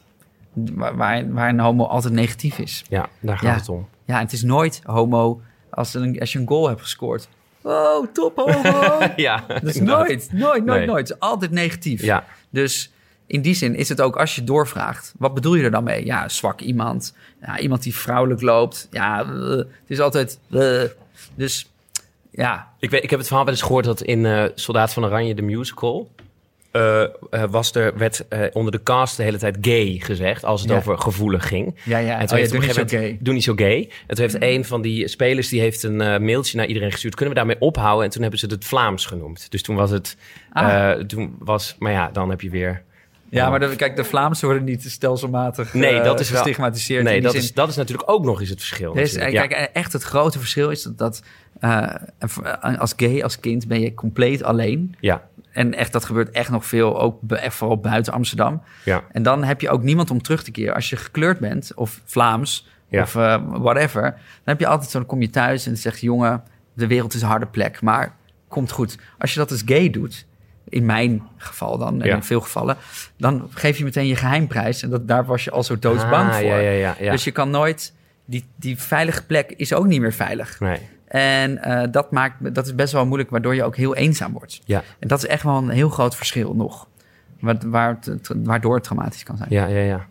[SPEAKER 2] waar, waar, waar een homo altijd negatief is.
[SPEAKER 1] Ja, daar gaat
[SPEAKER 2] Ja.
[SPEAKER 1] het om.
[SPEAKER 2] Ja, en het is nooit homo als, er een, als je een goal hebt gescoord. Oh, top homo!
[SPEAKER 1] Ja,
[SPEAKER 2] Dat is
[SPEAKER 1] inderdaad.
[SPEAKER 2] Dus nooit, nooit, nooit,
[SPEAKER 1] Nee.
[SPEAKER 2] nooit. Het is altijd negatief.
[SPEAKER 1] Ja,
[SPEAKER 2] Dus in die zin is het ook als je doorvraagt, wat bedoel je er dan mee? Ja, zwak iemand. Ja, iemand die vrouwelijk loopt. Ja, eh, het is altijd. eh. Dus ja,
[SPEAKER 1] Ik, weet, ik heb het verhaal wel eens gehoord dat in eh, Soldaat van Oranje, de musical... eh, eh, was er, werd eh, onder de cast de hele tijd gay gezegd, als het
[SPEAKER 2] Ja.
[SPEAKER 1] over gevoelig ging.
[SPEAKER 2] ja, ja. Oh,
[SPEAKER 1] En toen heeft op een gegeven moment- Doe niet zo gay. En toen
[SPEAKER 2] Mm.
[SPEAKER 1] heeft een van die spelers die heeft een eh, mailtje naar iedereen gestuurd. Kunnen we daarmee ophouden? En toen hebben ze het Vlaams genoemd. Dus toen was het.
[SPEAKER 2] Ah.
[SPEAKER 1] eh, toen was, maar ja, dan heb je weer.
[SPEAKER 2] Ja, maar de- kijk, de Vlaamse worden niet stelselmatig
[SPEAKER 1] Nee,
[SPEAKER 2] eh,
[SPEAKER 1] dat is wel-
[SPEAKER 2] gestigmatiseerd. in
[SPEAKER 1] Nee,
[SPEAKER 2] die
[SPEAKER 1] dat
[SPEAKER 2] zin.
[SPEAKER 1] is, dat is natuurlijk ook nog eens het verschil.
[SPEAKER 2] Er is- eh,
[SPEAKER 1] natuurlijk. Ja.
[SPEAKER 2] kijk, echt het grote verschil is dat, dat eh, als gay, als kind ben je compleet alleen.
[SPEAKER 1] ja,
[SPEAKER 2] En echt, dat gebeurt echt nog veel, ook bu- echt vooral buiten Amsterdam.
[SPEAKER 1] ja.
[SPEAKER 2] En dan heb je ook niemand om terug te keren. Als je gekleurd bent, of Vlaams,
[SPEAKER 1] Ja.
[SPEAKER 2] of eh, whatever... dan heb je altijd zo'n, kom je thuis en zeg je... jongen, de wereld is een harde plek, maar komt goed. Als je dat als gay doet, in mijn geval dan, en
[SPEAKER 1] Ja.
[SPEAKER 2] in veel gevallen... dan geef je meteen je geheimprijs. En dat, daar was je al zo doodsbang
[SPEAKER 1] Ah,
[SPEAKER 2] voor.
[SPEAKER 1] Ja, ja, ja. ja.
[SPEAKER 2] Dus je kan nooit... Die, die veilige plek is ook niet meer veilig.
[SPEAKER 1] Nee.
[SPEAKER 2] En eh, dat, maakt, dat is best wel moeilijk, waardoor je ook heel eenzaam wordt.
[SPEAKER 1] Ja.
[SPEAKER 2] En dat is echt wel een heel groot verschil nog. Wa- waar het- tra- waardoor het traumatisch kan zijn.
[SPEAKER 1] Ja, ja, ja.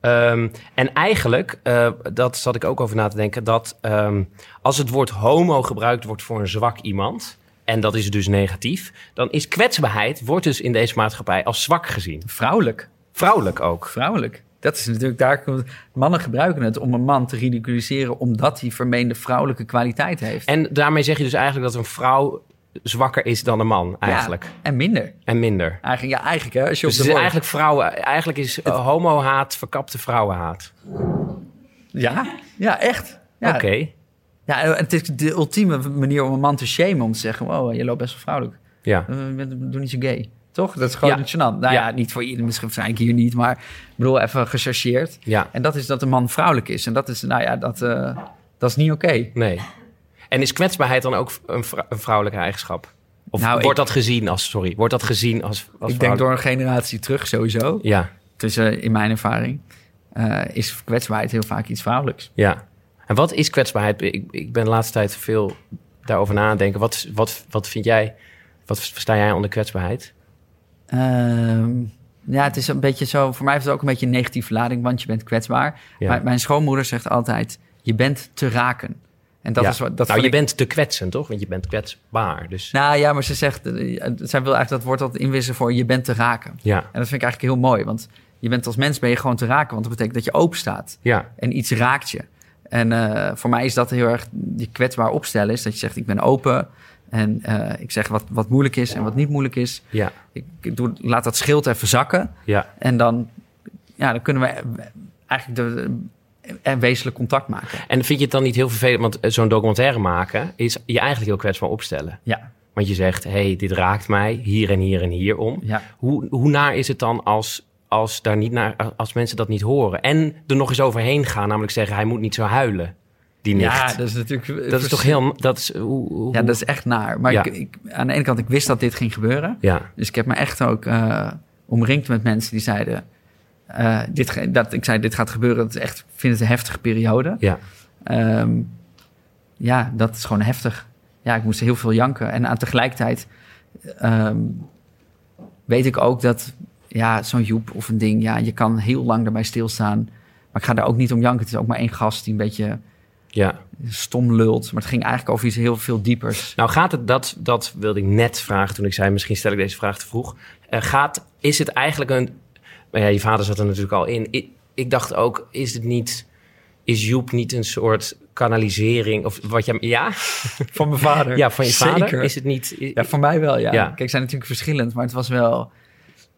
[SPEAKER 1] Ehm, en eigenlijk, eh, dat zat ik ook over na te denken, dat ehm, als het woord homo gebruikt wordt voor een zwak iemand, en dat is dus negatief, dan is kwetsbaarheid, wordt dus in deze maatschappij als zwak gezien.
[SPEAKER 2] Vrouwelijk.
[SPEAKER 1] Vrouwelijk ook.
[SPEAKER 2] Vrouwelijk. Dat is natuurlijk, daar komt- mannen gebruiken het om een man te ridiculiseren omdat hij vermeende vrouwelijke kwaliteit heeft.
[SPEAKER 1] En daarmee zeg je dus eigenlijk dat een vrouw zwakker is dan een man,
[SPEAKER 2] Ja,
[SPEAKER 1] eigenlijk.
[SPEAKER 2] en minder.
[SPEAKER 1] En minder.
[SPEAKER 2] Eigenlijk, ja, eigenlijk hè, als je
[SPEAKER 1] Dus het
[SPEAKER 2] op de
[SPEAKER 1] is
[SPEAKER 2] woord-
[SPEAKER 1] eigenlijk vrouwen, eigenlijk is eh, homo-haat verkapte vrouwenhaat.
[SPEAKER 2] Ja, ja, echt. Ja,
[SPEAKER 1] Oké.
[SPEAKER 2] ja, en het is de ultieme manier om een man te shamen. Om te zeggen, wow, je loopt best wel vrouwelijk.
[SPEAKER 1] Ja.
[SPEAKER 2] Eh, je bent- Doe niet zo gay. Toch? Dat is gewoon
[SPEAKER 1] Ja.
[SPEAKER 2] gênant. Nou ja.
[SPEAKER 1] Ja.
[SPEAKER 2] niet voor iedereen. Misschien zijn ik hier niet, maar ik bedoel, even gechargeerd.
[SPEAKER 1] ja.
[SPEAKER 2] En dat is dat een man vrouwelijk is. En dat is, nou ja, dat, eh, dat is niet oké.
[SPEAKER 1] Nee. En is kwetsbaarheid dan ook een, vrou- een vrouwelijke eigenschap? Of
[SPEAKER 2] Nou,
[SPEAKER 1] wordt
[SPEAKER 2] ik-
[SPEAKER 1] dat gezien als, sorry, wordt dat gezien als, als
[SPEAKER 2] Ik denk
[SPEAKER 1] vrouwelijk-
[SPEAKER 2] door een generatie terug sowieso.
[SPEAKER 1] Ja,
[SPEAKER 2] Tussen, in mijn ervaring, eh, is kwetsbaarheid heel vaak iets vrouwelijks.
[SPEAKER 1] ja. En wat is kwetsbaarheid? Ik, ik ben de laatste tijd veel daarover na aan het denken. Wat, wat, wat vind jij, wat versta jij onder kwetsbaarheid?
[SPEAKER 2] Ehm, ja, het is een beetje zo. Voor mij heeft het ook een beetje een negatieve lading, want je bent kwetsbaar.
[SPEAKER 1] Ja.
[SPEAKER 2] Maar mijn schoonmoeder zegt altijd: je bent te raken. En dat
[SPEAKER 1] Ja.
[SPEAKER 2] is wat. Dat
[SPEAKER 1] nou,
[SPEAKER 2] vond
[SPEAKER 1] je
[SPEAKER 2] ik-
[SPEAKER 1] bent te kwetsen, toch? Want je bent kwetsbaar, dus...
[SPEAKER 2] Nou ja, maar ze zegt, eh, zij wil eigenlijk dat woord altijd inwissen voor je bent te raken.
[SPEAKER 1] Ja,
[SPEAKER 2] En dat vind ik eigenlijk heel mooi, want je bent als mens ben je gewoon te raken, want dat betekent dat je open staat
[SPEAKER 1] ja,
[SPEAKER 2] en iets raakt je. En eh, voor mij is dat heel erg je kwetsbaar opstellen, is dat je zegt ik ben open en eh, ik zeg wat, wat moeilijk is en wat niet moeilijk is.
[SPEAKER 1] ja,
[SPEAKER 2] Ik, ik doe, laat dat schild even zakken
[SPEAKER 1] ja.
[SPEAKER 2] en dan, ja, dan kunnen we eigenlijk de, de- en wezenlijk contact maken.
[SPEAKER 1] En vind je het dan niet heel vervelend, want eh, zo'n documentaire maken... is je eigenlijk heel kwetsbaar opstellen.
[SPEAKER 2] Ja,
[SPEAKER 1] Want je zegt, hé, hey, dit raakt mij hier en hier en hier om.
[SPEAKER 2] ja.
[SPEAKER 1] Hoe, hoe naar is het dan als, als, daar niet naar, als mensen dat niet horen? En er nog eens overheen gaan, namelijk zeggen... hij moet niet zo huilen, die nicht.
[SPEAKER 2] ja,
[SPEAKER 1] dat,
[SPEAKER 2] dat is natuurlijk.
[SPEAKER 1] is toch heel... Dat is, hoe, hoe-
[SPEAKER 2] Ja, dat is echt naar. Maar
[SPEAKER 1] Ja.
[SPEAKER 2] ik, ik- aan de ene kant, ik wist dat dit ging gebeuren.
[SPEAKER 1] ja,
[SPEAKER 2] Dus ik heb me echt ook eh, omringd met mensen die zeiden... eh, dit, ge- dat, ik zei, dit gaat gebeuren. Dat is echt, ik vind het een heftige periode.
[SPEAKER 1] ja,
[SPEAKER 2] Ehm, ja, dat is gewoon heftig. Ja, ik moest heel veel janken. En aan tegelijkertijd ehm, weet ik ook dat... Ja, zo'n joep of een ding... Ja, je kan heel lang erbij stilstaan. Maar ik ga daar ook niet om janken. Het is ook maar één gast die een beetje
[SPEAKER 1] ja.
[SPEAKER 2] stom lult. Maar het ging eigenlijk over iets heel veel diepers.
[SPEAKER 1] Nou gaat het, dat, dat wilde ik net vragen toen ik zei... misschien stel ik deze vraag te vroeg. Eh, gaat, is het eigenlijk een... Maar ja, je vader zat er natuurlijk al in. Ik, ik dacht ook, is het niet... Is Joep niet een soort kanalisering? Of wat jij... Ja?
[SPEAKER 2] Van mijn vader.
[SPEAKER 1] Ja, van je vader?
[SPEAKER 2] Zeker.
[SPEAKER 1] Is het niet... i-
[SPEAKER 2] Ja, voor mij wel, ja.
[SPEAKER 1] Ja.
[SPEAKER 2] Kijk, ze zijn natuurlijk verschillend, maar het was wel...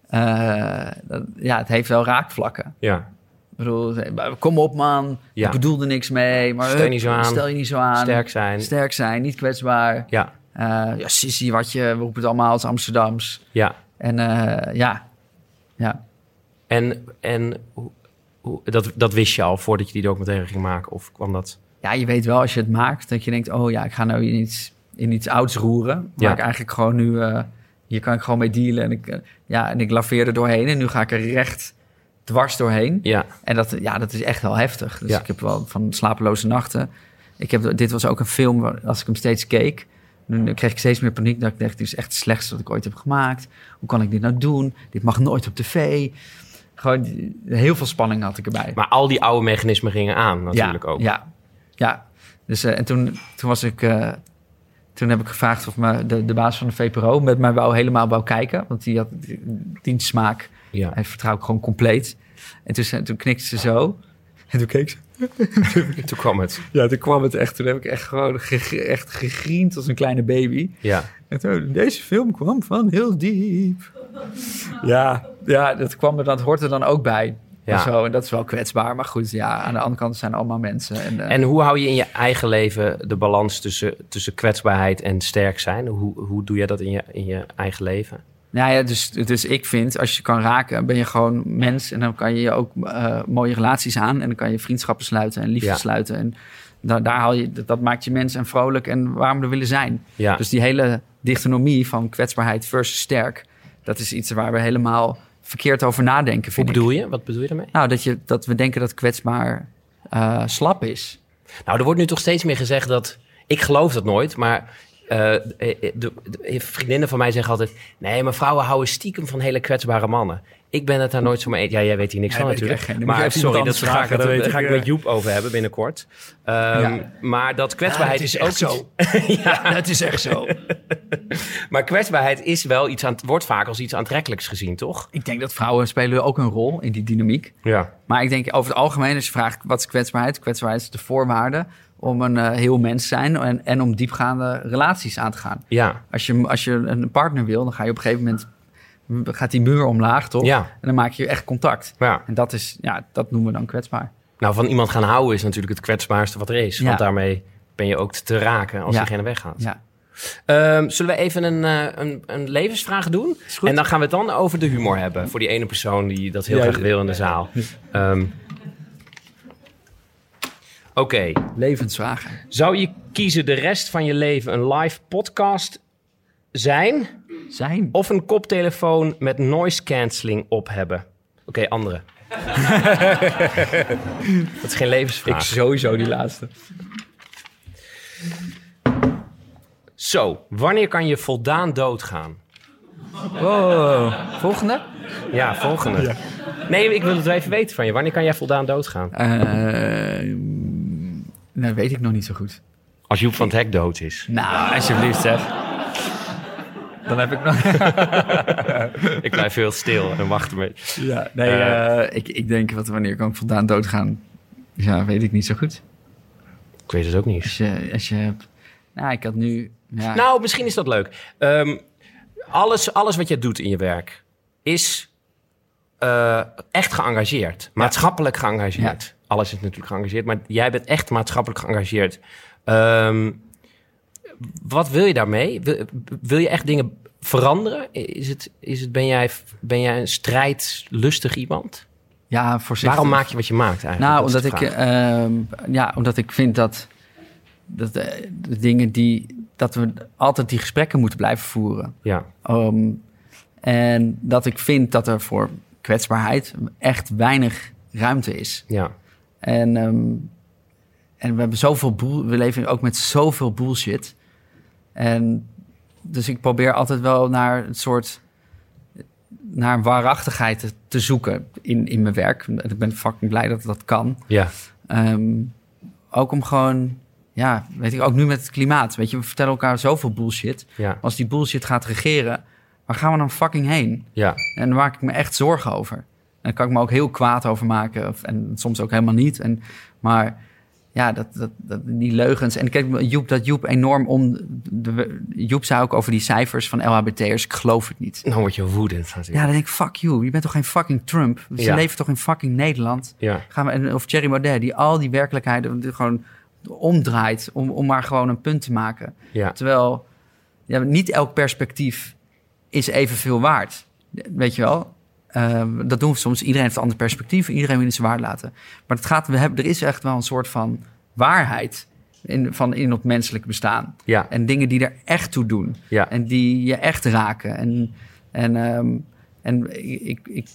[SPEAKER 2] eh, dat- ja, het heeft wel raakvlakken.
[SPEAKER 1] ja.
[SPEAKER 2] Ik bedoel, ze- kom op man,
[SPEAKER 1] Ja.
[SPEAKER 2] ik bedoelde niks mee. Maar
[SPEAKER 1] Stel je
[SPEAKER 2] hup,
[SPEAKER 1] niet zo aan.
[SPEAKER 2] Stel je niet zo aan.
[SPEAKER 1] Sterk zijn.
[SPEAKER 2] Sterk zijn, niet kwetsbaar.
[SPEAKER 1] Ja,
[SPEAKER 2] Eh, ja, sissy, wat je, we roepen het allemaal als Amsterdams.
[SPEAKER 1] ja.
[SPEAKER 2] En eh, ja, ja.
[SPEAKER 1] En, en hoe- hoe- dat, dat wist je al voordat je die documentaire ging maken? Of kwam dat?
[SPEAKER 2] ja, je weet wel als je het maakt, dat je denkt... oh ja, ik ga nou in iets, in iets ouds roeren. Waar
[SPEAKER 1] Ja.
[SPEAKER 2] ik eigenlijk gewoon nu... eh, hier kan ik gewoon mee dealen. En ik, eh, ja, en ik laveer er doorheen en nu ga ik er recht dwars doorheen.
[SPEAKER 1] Ja,
[SPEAKER 2] En dat, ja, dat is echt wel heftig. Dus
[SPEAKER 1] Ja.
[SPEAKER 2] ik heb wel van slapeloze nachten. Ik heb, dit was ook een film, waar- als ik hem steeds keek... Toen kreeg ik steeds meer paniek. Dat ik dacht, dit is echt het slechtste wat ik ooit heb gemaakt. Hoe kan ik dit nou doen? Dit mag nooit op tv. Gewoon die- heel veel spanning had ik erbij.
[SPEAKER 1] Maar al die oude mechanismen gingen aan natuurlijk
[SPEAKER 2] ja,
[SPEAKER 1] ook.
[SPEAKER 2] Ja, ja. Dus, eh, en toen, toen was ik... eh, toen heb ik gevraagd of me, de, de baas van de VPRO met mij wou, helemaal wou kijken. Want die had dienstsmaak.
[SPEAKER 1] Ja.
[SPEAKER 2] Hij vertrouw ik gewoon compleet. En toen, zei- toen knikte ze zo. En toen keek ze.
[SPEAKER 1] Toen kwam het.
[SPEAKER 2] Ja, toen kwam het echt. Toen heb ik echt gewoon gegr- echt gegriend als een kleine baby.
[SPEAKER 1] Ja.
[SPEAKER 2] En toen, deze film kwam van heel diep. Ja, ja dat, kwam er, dat hoort er dan ook bij.
[SPEAKER 1] Ja.
[SPEAKER 2] En, zo, en dat is wel kwetsbaar. Maar goed, ja, aan de andere kant zijn allemaal mensen. En, eh,
[SPEAKER 1] En hoe hou je in je eigen leven de balans tussen, tussen kwetsbaarheid en sterk zijn? Hoe, hoe doe jij dat in je, in je eigen leven?
[SPEAKER 2] Nou ja, dus, dus ik vind, als je kan raken, ben je gewoon mens. En dan kan je ook eh, mooie relaties aan. En dan kan je vriendschappen sluiten en liefde
[SPEAKER 1] Ja.
[SPEAKER 2] sluiten. En da- daar haal je, dat, dat maakt je mens en vrolijk en warm er willen zijn.
[SPEAKER 1] Ja,
[SPEAKER 2] Dus die hele dichotomie van kwetsbaarheid versus sterk... dat is iets waar we helemaal verkeerd over nadenken,
[SPEAKER 1] hoe
[SPEAKER 2] vind ik.
[SPEAKER 1] bedoel je? Wat bedoel je daarmee?
[SPEAKER 2] Nou, dat, je, dat we denken dat kwetsbaar eh, slap is.
[SPEAKER 1] Nou, er wordt nu toch steeds meer gezegd dat... Ik geloof dat nooit, maar eh, eh, de, de- vriendinnen van mij zeggen altijd... Nee, maar vrouwen houden stiekem van hele kwetsbare mannen. Ik ben het daar nooit zo mee eens. Ja, jij weet hier niks
[SPEAKER 2] Nee,
[SPEAKER 1] van
[SPEAKER 2] weet ik
[SPEAKER 1] natuurlijk.
[SPEAKER 2] echt geen- dan moet je
[SPEAKER 1] maar
[SPEAKER 2] even iemand
[SPEAKER 1] sorry, dat ga
[SPEAKER 2] anders
[SPEAKER 1] ik,
[SPEAKER 2] vragen,
[SPEAKER 1] dat
[SPEAKER 2] dat
[SPEAKER 1] weet-
[SPEAKER 2] weet
[SPEAKER 1] ga ik
[SPEAKER 2] ik,
[SPEAKER 1] met
[SPEAKER 2] eh.
[SPEAKER 1] Joep over hebben binnenkort. Ehm,
[SPEAKER 2] Ja.
[SPEAKER 1] Maar dat kwetsbaarheid
[SPEAKER 3] Ja, dat
[SPEAKER 1] is,
[SPEAKER 3] is
[SPEAKER 1] ook
[SPEAKER 3] echt
[SPEAKER 1] iets-
[SPEAKER 3] zo. Ja, dat is echt zo.
[SPEAKER 1] Maar kwetsbaarheid is wel iets aan, wordt vaak als iets aantrekkelijks gezien, toch?
[SPEAKER 2] Ik denk dat vrouwen spelen ook een rol in die dynamiek.
[SPEAKER 1] Ja.
[SPEAKER 2] Maar ik denk over het algemeen, als je vraagt wat is kwetsbaarheid? Kwetsbaarheid is de voorwaarde om een eh, heel mens te zijn en, en om diepgaande relaties aan te gaan.
[SPEAKER 1] Ja.
[SPEAKER 2] Als je, als je een partner wil, dan ga je op een gegeven moment, gaat die muur omlaag, toch?
[SPEAKER 1] Ja.
[SPEAKER 2] En dan maak je echt contact.
[SPEAKER 1] ja.
[SPEAKER 2] En dat, is, ja, dat noemen we dan kwetsbaar.
[SPEAKER 1] Nou, van iemand gaan houden is natuurlijk het kwetsbaarste wat er is.
[SPEAKER 2] Ja.
[SPEAKER 1] Want daarmee ben je ook te raken als
[SPEAKER 2] Ja.
[SPEAKER 1] diegene weggaat.
[SPEAKER 2] Ja.
[SPEAKER 1] Ehm, zullen we even een, eh, een, een levensvraag doen?
[SPEAKER 2] goed.
[SPEAKER 1] En dan gaan we het dan over de humor hebben. Voor die ene persoon die dat heel
[SPEAKER 2] Ja,
[SPEAKER 1] graag
[SPEAKER 2] ja.
[SPEAKER 1] wil in de zaal. Ehm, Oké,
[SPEAKER 2] Levensvragen.
[SPEAKER 1] zou je kiezen de rest van je leven een live podcast zijn...
[SPEAKER 2] Zijn.
[SPEAKER 1] of een koptelefoon met noise cancelling op hebben? Oké, andere. dat is geen
[SPEAKER 2] Ik
[SPEAKER 1] levensvraag.
[SPEAKER 2] sowieso die laatste.
[SPEAKER 1] Zo, wanneer kan je voldaan doodgaan?
[SPEAKER 2] Wow. Volgende.
[SPEAKER 1] Ja, volgende. Nee, ik wil het wel even weten van je. Wanneer kan jij voldaan doodgaan?
[SPEAKER 2] Eh, mm, nou, weet ik nog niet zo goed.
[SPEAKER 1] Als Joep van het Hek dood is.
[SPEAKER 2] Nou, alsjeblieft zeg. Dan heb ik nog...
[SPEAKER 1] Ik blijf heel stil en wacht ermee.
[SPEAKER 2] Ja, nee,
[SPEAKER 1] Eh,
[SPEAKER 2] eh, ik, ik denk, wat, wanneer kan ik vandaan doodgaan? Ja, weet ik niet zo goed.
[SPEAKER 1] Ik weet het ook niet.
[SPEAKER 2] Als je, als je hebt... Nou, ik had nu... Ja,
[SPEAKER 1] Nou, misschien is dat leuk. Ehm, alles, alles wat jij doet in je werk is eh, echt geëngageerd. Maatschappelijk geëngageerd. Alles is natuurlijk geëngageerd, maar jij bent echt maatschappelijk geëngageerd. Ehm, wat wil je daarmee? Wil, wil je echt dingen veranderen? Is het, is het, ben, jij, ben jij een strijdlustig iemand?
[SPEAKER 2] ja voorzichtig.
[SPEAKER 1] Waarom maak je wat je maakt eigenlijk?
[SPEAKER 2] Nou,
[SPEAKER 1] Dat
[SPEAKER 2] omdat
[SPEAKER 1] is
[SPEAKER 2] ik,
[SPEAKER 1] de vraag.
[SPEAKER 2] ehm, ja, omdat ik vind dat, dat eh, de dingen die... Dat we altijd die gesprekken moeten blijven voeren.
[SPEAKER 1] Ja,
[SPEAKER 2] Ehm, en dat ik vind dat er voor kwetsbaarheid echt weinig ruimte is.
[SPEAKER 1] ja,
[SPEAKER 2] En, ehm, en we hebben zoveel boel, we leven ook met zoveel bullshit. En dus ik probeer altijd wel naar een soort naar waarachtigheid te, te zoeken in, in mijn werk. En ik ben fucking blij dat dat kan.
[SPEAKER 1] ja.
[SPEAKER 2] Ehm, ook om gewoon, ja, weet ik, ook nu met het klimaat. Weet je, we vertellen elkaar zoveel bullshit.
[SPEAKER 1] ja.
[SPEAKER 2] Als die bullshit gaat regeren, waar gaan we dan fucking heen?
[SPEAKER 1] ja.
[SPEAKER 2] En daar maak ik me echt zorgen over. En daar kan ik me ook heel kwaad over maken. Of, en soms ook helemaal niet. En, maar ja, dat, dat, dat, die leugens. En kijk, Joep, dat Joep enorm om... De, Joep zei ook over die cijfers van LHBT'ers. Ik geloof het niet.
[SPEAKER 1] Dan word je woedend
[SPEAKER 2] Ja,
[SPEAKER 1] natuurlijk.
[SPEAKER 2] dan denk ik, fuck you. Je bent toch geen fucking Trump? Ze
[SPEAKER 1] Ja.
[SPEAKER 2] leven toch in fucking Nederland?
[SPEAKER 1] Ja,
[SPEAKER 2] Gaan we, en- of Thierry Baudet, die al die werkelijkheden die gewoon omdraait... Om, om maar gewoon een punt te maken.
[SPEAKER 1] ja,
[SPEAKER 2] Terwijl ja, niet elk perspectief is evenveel waard. Weet je wel? Eh, dat doen we soms. Iedereen heeft een ander perspectief. Iedereen wil iets waard laten. Maar het gaat, we hebben, er is echt wel een soort van waarheid in, van, in het menselijk bestaan.
[SPEAKER 1] ja,
[SPEAKER 2] En dingen die er echt toe doen.
[SPEAKER 1] ja.
[SPEAKER 2] En die je echt raken. En, en, ehm, en ik, ik,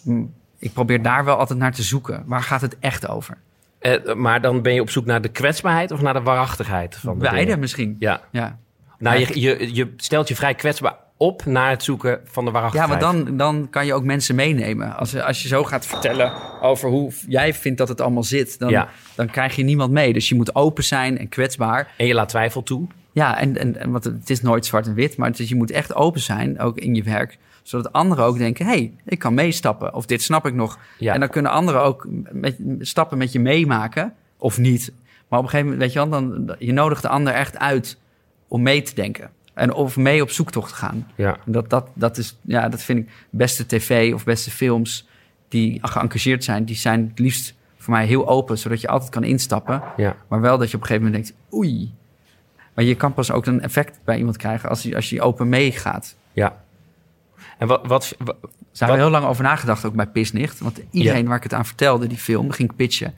[SPEAKER 2] ik probeer daar wel altijd naar te zoeken. Waar gaat het echt over?
[SPEAKER 1] Eh, maar dan ben je op zoek naar de kwetsbaarheid of naar de waarachtigheid van de
[SPEAKER 2] Beide
[SPEAKER 1] dingen?
[SPEAKER 2] misschien.
[SPEAKER 1] Ja.
[SPEAKER 2] Ja.
[SPEAKER 1] Nou, je, je, je stelt je vrij kwetsbaar op naar het zoeken van de
[SPEAKER 2] Ja,
[SPEAKER 1] waarachtigheid.
[SPEAKER 2] maar dan, dan kan je ook mensen meenemen. Als, als je zo gaat vertellen over hoe jij vindt dat het allemaal zit, dan,
[SPEAKER 1] Ja.
[SPEAKER 2] dan krijg je niemand mee. Dus je moet open zijn en kwetsbaar.
[SPEAKER 1] En je laat twijfel toe.
[SPEAKER 2] Ja, en, en, en want het is nooit zwart en wit, maar het is, je moet echt open zijn, ook in je werk, zodat anderen ook denken: hé, hey, ik kan meestappen, of dit snap ik nog.
[SPEAKER 1] Ja.
[SPEAKER 2] En dan kunnen anderen ook met, stappen met je meemaken, of niet. Maar op een gegeven moment, weet je wel, dan, je nodigt de ander echt uit om mee te denken. En of mee op zoektocht te gaan.
[SPEAKER 1] Ja.
[SPEAKER 2] En Dat, dat, dat, is, ja, dat vind ik beste tv of beste films die geëngageerd zijn, die zijn het liefst voor mij heel open, zodat je altijd kan instappen.
[SPEAKER 1] Ja.
[SPEAKER 2] Maar wel dat je op een gegeven moment denkt, oei. Maar je kan pas ook een effect bij iemand krijgen als je, als je open meegaat.
[SPEAKER 1] ja. En wat, wat, wa-
[SPEAKER 2] Dus daar hebben we heel lang over nagedacht, ook bij Pisnicht. Want iedereen waar ik het aan vertelde, die film, ging ik pitchen.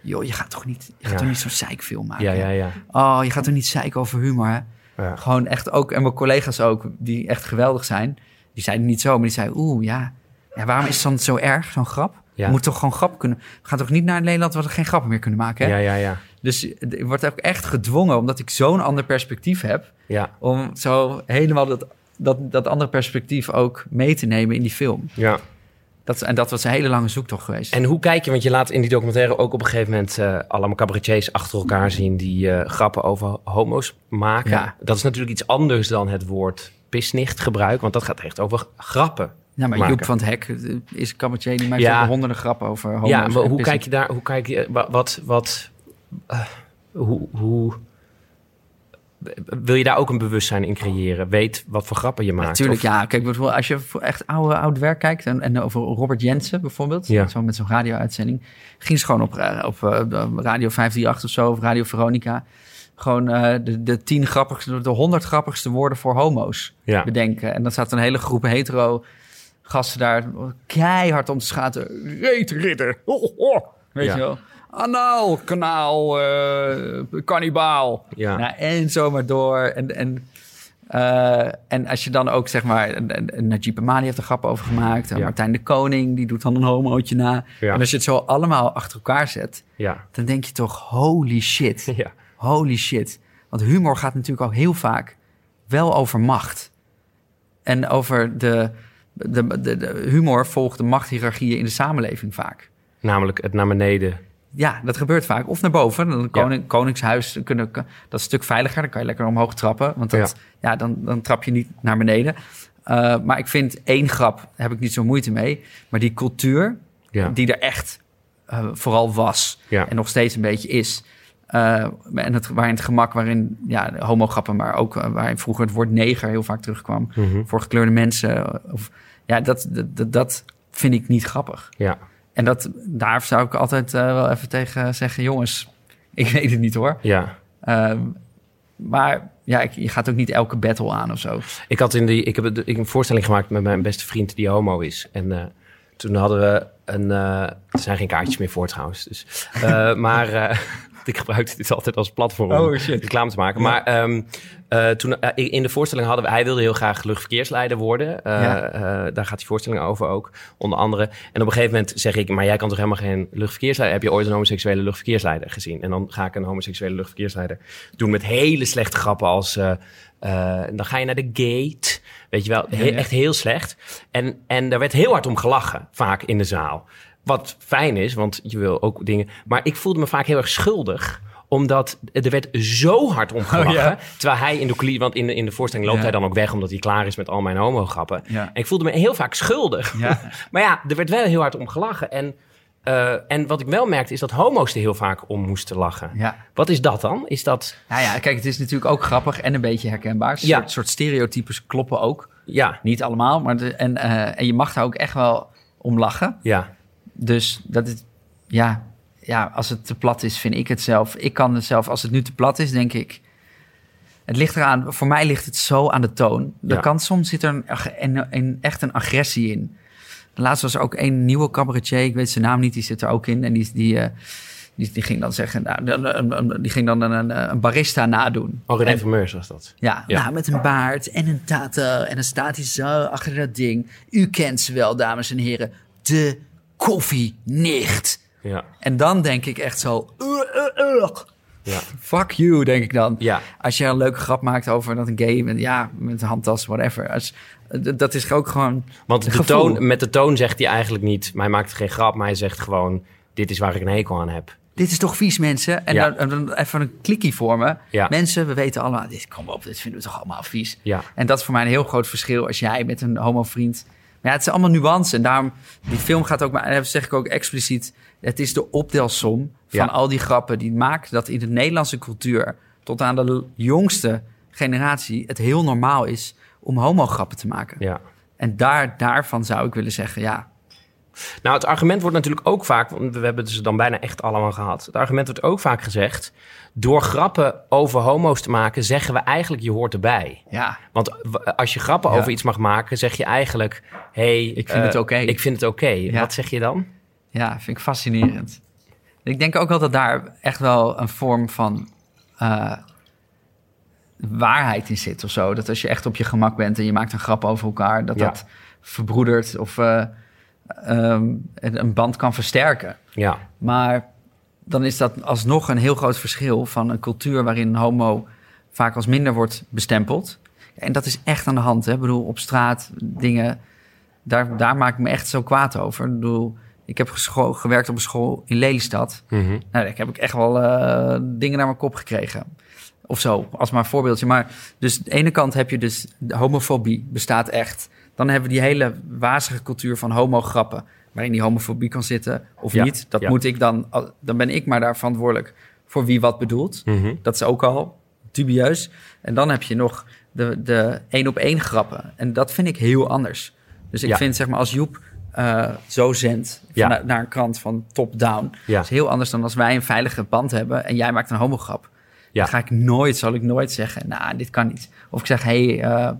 [SPEAKER 2] Joh, je gaat toch niet, je gaat
[SPEAKER 1] Ja.
[SPEAKER 2] toch niet zo'n zeikfilm maken?
[SPEAKER 1] Ja, ja, ja.
[SPEAKER 2] Oh, je gaat toch niet zeiken over humor, hè?
[SPEAKER 1] Ja.
[SPEAKER 2] Gewoon echt ook, en mijn collega's ook, die echt geweldig zijn. Die zeiden niet zo, maar die zeiden, oeh, ja. ja waarom is het dan zo erg, zo'n grap?
[SPEAKER 1] Ja.
[SPEAKER 2] Je moet toch gewoon grap kunnen... We gaan toch niet naar Nederland waar we geen grappen meer kunnen maken, hè?
[SPEAKER 1] Ja, ja, ja.
[SPEAKER 2] Dus ik word ook echt gedwongen, omdat ik zo'n ander perspectief heb,
[SPEAKER 1] Ja,
[SPEAKER 2] om zo helemaal dat, dat, dat andere perspectief ook mee te nemen in die film.
[SPEAKER 1] ja.
[SPEAKER 2] Dat, is- en dat was een hele lange zoektocht geweest.
[SPEAKER 1] En hoe kijk je, want je laat in die documentaire ook op een gegeven moment eh, allemaal cabaretiers achter elkaar zien die eh, grappen over homo's maken.
[SPEAKER 2] Ja.
[SPEAKER 1] Dat is natuurlijk iets anders dan het woord pisnicht gebruiken, want dat gaat echt over grappen.
[SPEAKER 2] ja, maar
[SPEAKER 1] maken.
[SPEAKER 2] Joep van het Hek eh, is een cabaretier die maakt
[SPEAKER 1] Ja.
[SPEAKER 2] ook honderden grappen over homo's.
[SPEAKER 1] ja, maar
[SPEAKER 2] en
[SPEAKER 1] hoe
[SPEAKER 2] pissen.
[SPEAKER 1] kijk je daar, hoe kijk je, wa- wat, wat, eh, hoe, hoe, wil je daar ook een bewustzijn in creëren? Weet wat voor grappen je maakt?
[SPEAKER 2] Natuurlijk,
[SPEAKER 1] Of-
[SPEAKER 2] ja. Kijk, bijvoorbeeld als je voor echt oude, oud werk kijkt... en, en over Robert Jensen bijvoorbeeld,
[SPEAKER 1] Ja.
[SPEAKER 2] zo met zo'n radio-uitzending... ging ze gewoon op, eh, op eh, Radio 538 of zo, of Radio Veronica... gewoon eh, de, de tien grappigste, de honderd grappigste woorden voor homo's
[SPEAKER 1] Ja.
[SPEAKER 2] bedenken. En dan zaten een hele groep hetero gasten daar keihard om te schaten. Reetritter, oh, oh, weet
[SPEAKER 1] Ja.
[SPEAKER 2] je wel. Anaal, kanaal, eh kannibaal.
[SPEAKER 1] Ja.
[SPEAKER 2] Nou, en zo maar door. En, en, eh, en als je dan ook, zeg maar, en- en- en Najib Amali heeft er grappen over gemaakt. En
[SPEAKER 1] Ja.
[SPEAKER 2] Martijn de Koning, die doet dan een homootje na.
[SPEAKER 1] Ja.
[SPEAKER 2] En als je het zo allemaal achter elkaar zet,
[SPEAKER 1] Ja,
[SPEAKER 2] dan denk je toch, holy shit.
[SPEAKER 1] ja,
[SPEAKER 2] Holy shit. Want humor gaat natuurlijk ook heel vaak wel over macht. En over de, de, de, de humor volgt de machthierarchieën in de samenleving vaak.
[SPEAKER 1] namelijk het naar beneden.
[SPEAKER 2] Ja, dat gebeurt vaak. Of naar boven. Dan koning, Koningshuis, dan kunnen, kan- dat is een stuk veiliger. Dan kan je lekker omhoog trappen. Want dat, ja. dan, dan trap je niet naar beneden. Eh, maar ik vind één grap, daar heb ik niet zo moeite mee. Maar die cultuur,
[SPEAKER 1] Ja.
[SPEAKER 2] die er echt eh, vooral was.
[SPEAKER 1] Ja.
[SPEAKER 2] En nog steeds een beetje is. Eh, en het, waarin het gemak, waarin ja, homograppen, maar ook eh, waarin vroeger het woord neger heel vaak terugkwam.
[SPEAKER 1] Mhm.
[SPEAKER 2] Voor gekleurde mensen. eh, Of, ja, dat, dat, dat- dat vind ik niet grappig.
[SPEAKER 1] Ja,
[SPEAKER 2] En dat, daar zou ik altijd eh, wel even tegen zeggen: jongens, ik weet het niet hoor.
[SPEAKER 1] ja.
[SPEAKER 2] Ehm, maar ja, ik- je gaat ook niet elke battle aan of zo.
[SPEAKER 1] Ik, had in die, ik heb het- ik een voorstelling gemaakt met mijn beste vriend die homo is. En eh, toen hadden we een... eh, er zijn geen kaartjes meer voor trouwens. Dus, eh, maar eh, ik gebruikte dit altijd als platform om
[SPEAKER 2] Oh, shit.
[SPEAKER 1] reclame te maken. Maar ehm, eh, toen, eh, in de voorstelling hadden we... Hij wilde heel graag luchtverkeersleider worden. Eh,
[SPEAKER 2] Ja.
[SPEAKER 1] eh, daar gaat die voorstelling over ook, onder andere. En op een gegeven moment zeg ik... Maar jij kan toch helemaal geen luchtverkeersleider... Heb je ooit een homoseksuele luchtverkeersleider gezien? En dan ga ik een homoseksuele luchtverkeersleider doen met hele slechte grappen als... eh, eh, dan ga je naar de gate. Weet je wel, he-
[SPEAKER 2] ja.
[SPEAKER 1] echt heel slecht. En, en daar werd heel hard om gelachen, vaak in de zaal. Wat fijn is, want je wil ook dingen. Maar ik voelde me vaak heel erg schuldig omdat er werd zo hard om gelachen.
[SPEAKER 2] Oh, ja.
[SPEAKER 1] Terwijl hij in de coulissen, want in de, in de voorstelling loopt
[SPEAKER 2] Ja.
[SPEAKER 1] hij dan ook weg... omdat hij klaar is met al mijn homograppen.
[SPEAKER 2] Ja.
[SPEAKER 1] En ik voelde me heel vaak schuldig.
[SPEAKER 2] Ja.
[SPEAKER 1] maar ja, er werd wel heel hard om gelachen. En, eh, en wat ik wel merkte is dat homo's er heel vaak om moesten lachen.
[SPEAKER 2] Ja.
[SPEAKER 1] Wat is dat dan? Is dat...
[SPEAKER 2] Nou ja, kijk, het is natuurlijk ook grappig en een beetje herkenbaar. Een
[SPEAKER 1] Ja.
[SPEAKER 2] soort, soort stereotypes kloppen ook.
[SPEAKER 1] Ja,
[SPEAKER 2] Niet allemaal, maar de- en, eh, en je mag daar ook echt wel om lachen.
[SPEAKER 1] ja,
[SPEAKER 2] Dus dat is, ja, ja, als het te plat is, vind ik het zelf. Ik kan het zelf, als het nu te plat is, denk ik. Het ligt eraan, voor mij ligt het zo aan de toon. Er
[SPEAKER 1] Ja.
[SPEAKER 2] kan soms zit er een, ag- een- een- echt een agressie in. Laatst was er ook een nieuwe cabaretier, ik weet zijn naam niet, die zit er ook in. En die, die, eh, die, die ging dan zeggen, nou, een- een- die ging dan een, een, een barista nadoen.
[SPEAKER 1] Oh, René
[SPEAKER 2] En-
[SPEAKER 1] van Meurs was dat.
[SPEAKER 2] ja,
[SPEAKER 1] Ja.
[SPEAKER 2] nou, met een baard en een tato. En dan staat hij zo achter dat ding. U kent ze wel, dames en heren. De koffienicht.
[SPEAKER 1] Ja.
[SPEAKER 2] En dan denk ik echt zo... "Ugh, ugh, ugh."
[SPEAKER 1] Ja.
[SPEAKER 2] eh, Fuck you, denk ik dan.
[SPEAKER 1] Ja.
[SPEAKER 2] Als je een leuke grap maakt over dat een gay bent, ja, met een handtas, whatever. Als, d- dat is ook gewoon.
[SPEAKER 1] Want de
[SPEAKER 2] Gevoel.
[SPEAKER 1] toon, met de toon zegt hij eigenlijk niet... Maar hij maakt geen grap, maar hij zegt gewoon... Dit is waar ik een hekel aan heb.
[SPEAKER 2] Dit is toch vies, mensen? En
[SPEAKER 1] Ja.
[SPEAKER 2] dan, en dan even een klikkie voor me.
[SPEAKER 1] Ja.
[SPEAKER 2] Mensen, we weten allemaal, dit, kom op, dit vinden we toch allemaal vies.
[SPEAKER 1] Ja.
[SPEAKER 2] En dat is voor mij een heel groot verschil als jij met een homo-vriend. Maar ja, het zijn allemaal nuances. En daarom, die film gaat ook, maar en dat zeg ik ook expliciet, het is de optelsom van
[SPEAKER 1] Ja.
[SPEAKER 2] al die grappen die maakt dat in de Nederlandse cultuur tot aan de l- jongste generatie het heel normaal is om homo-grappen te maken.
[SPEAKER 1] Ja.
[SPEAKER 2] En daar, daarvan zou ik willen zeggen, ja,
[SPEAKER 1] Nou, het argument wordt natuurlijk ook vaak, want we hebben ze dan bijna echt allemaal gehad. Het argument wordt ook vaak gezegd: door grappen over homo's te maken, zeggen we eigenlijk je hoort erbij.
[SPEAKER 2] ja,
[SPEAKER 1] Want w- als je grappen
[SPEAKER 2] Ja.
[SPEAKER 1] over iets mag maken, zeg je eigenlijk: hey,
[SPEAKER 2] Ik vind
[SPEAKER 1] eh,
[SPEAKER 2] het oké.
[SPEAKER 1] Ik vind het oké. Wat zeg je dan?
[SPEAKER 2] Ja, vind ik fascinerend. Ik denk ook wel dat daar echt wel een vorm van eh, waarheid in zit of zo. Dat als je echt op je gemak bent en je maakt een grap over elkaar, dat
[SPEAKER 1] Ja.
[SPEAKER 2] dat verbroedert of eh, ehm, een een band kan versterken.
[SPEAKER 1] Ja,
[SPEAKER 2] Maar dan is dat alsnog een heel groot verschil van een cultuur waarin een homo vaak als minder wordt bestempeld. En dat is echt aan de hand. Hè? Ik bedoel, op straat dingen, daar, daar maak ik me echt zo kwaad over. Ik bedoel, ik heb gescho- gewerkt op een school in Lelystad. Nou, daar heb ik echt wel eh, dingen naar mijn kop gekregen. Of zo, als maar een voorbeeldje. Maar dus aan de ene kant heb je dus... De homofobie bestaat echt. Dan hebben we die hele wazige cultuur van homograppen... waarin die homofobie kan zitten of
[SPEAKER 1] Ja,
[SPEAKER 2] niet. Dat
[SPEAKER 1] ja.
[SPEAKER 2] moet ik dan... Dan ben ik maar daar verantwoordelijk voor wie wat bedoelt.
[SPEAKER 1] Mhm.
[SPEAKER 2] Dat is ook al dubieus. En dan heb je nog de, de één-op-één grappen. En dat vind ik heel anders. Dus ik
[SPEAKER 1] Ja.
[SPEAKER 2] vind, zeg maar, als Joep eh, zo zendt...
[SPEAKER 1] Ja.
[SPEAKER 2] vanuit- naar een krant van top-down...
[SPEAKER 1] Ja.
[SPEAKER 2] Dat is heel anders dan als wij een veilige band hebben... en jij maakt een homograp.
[SPEAKER 1] ja.
[SPEAKER 2] Dan ga ik nooit, zal ik nooit zeggen, nou, dit kan niet. Of ik zeg, hé, hey, eh,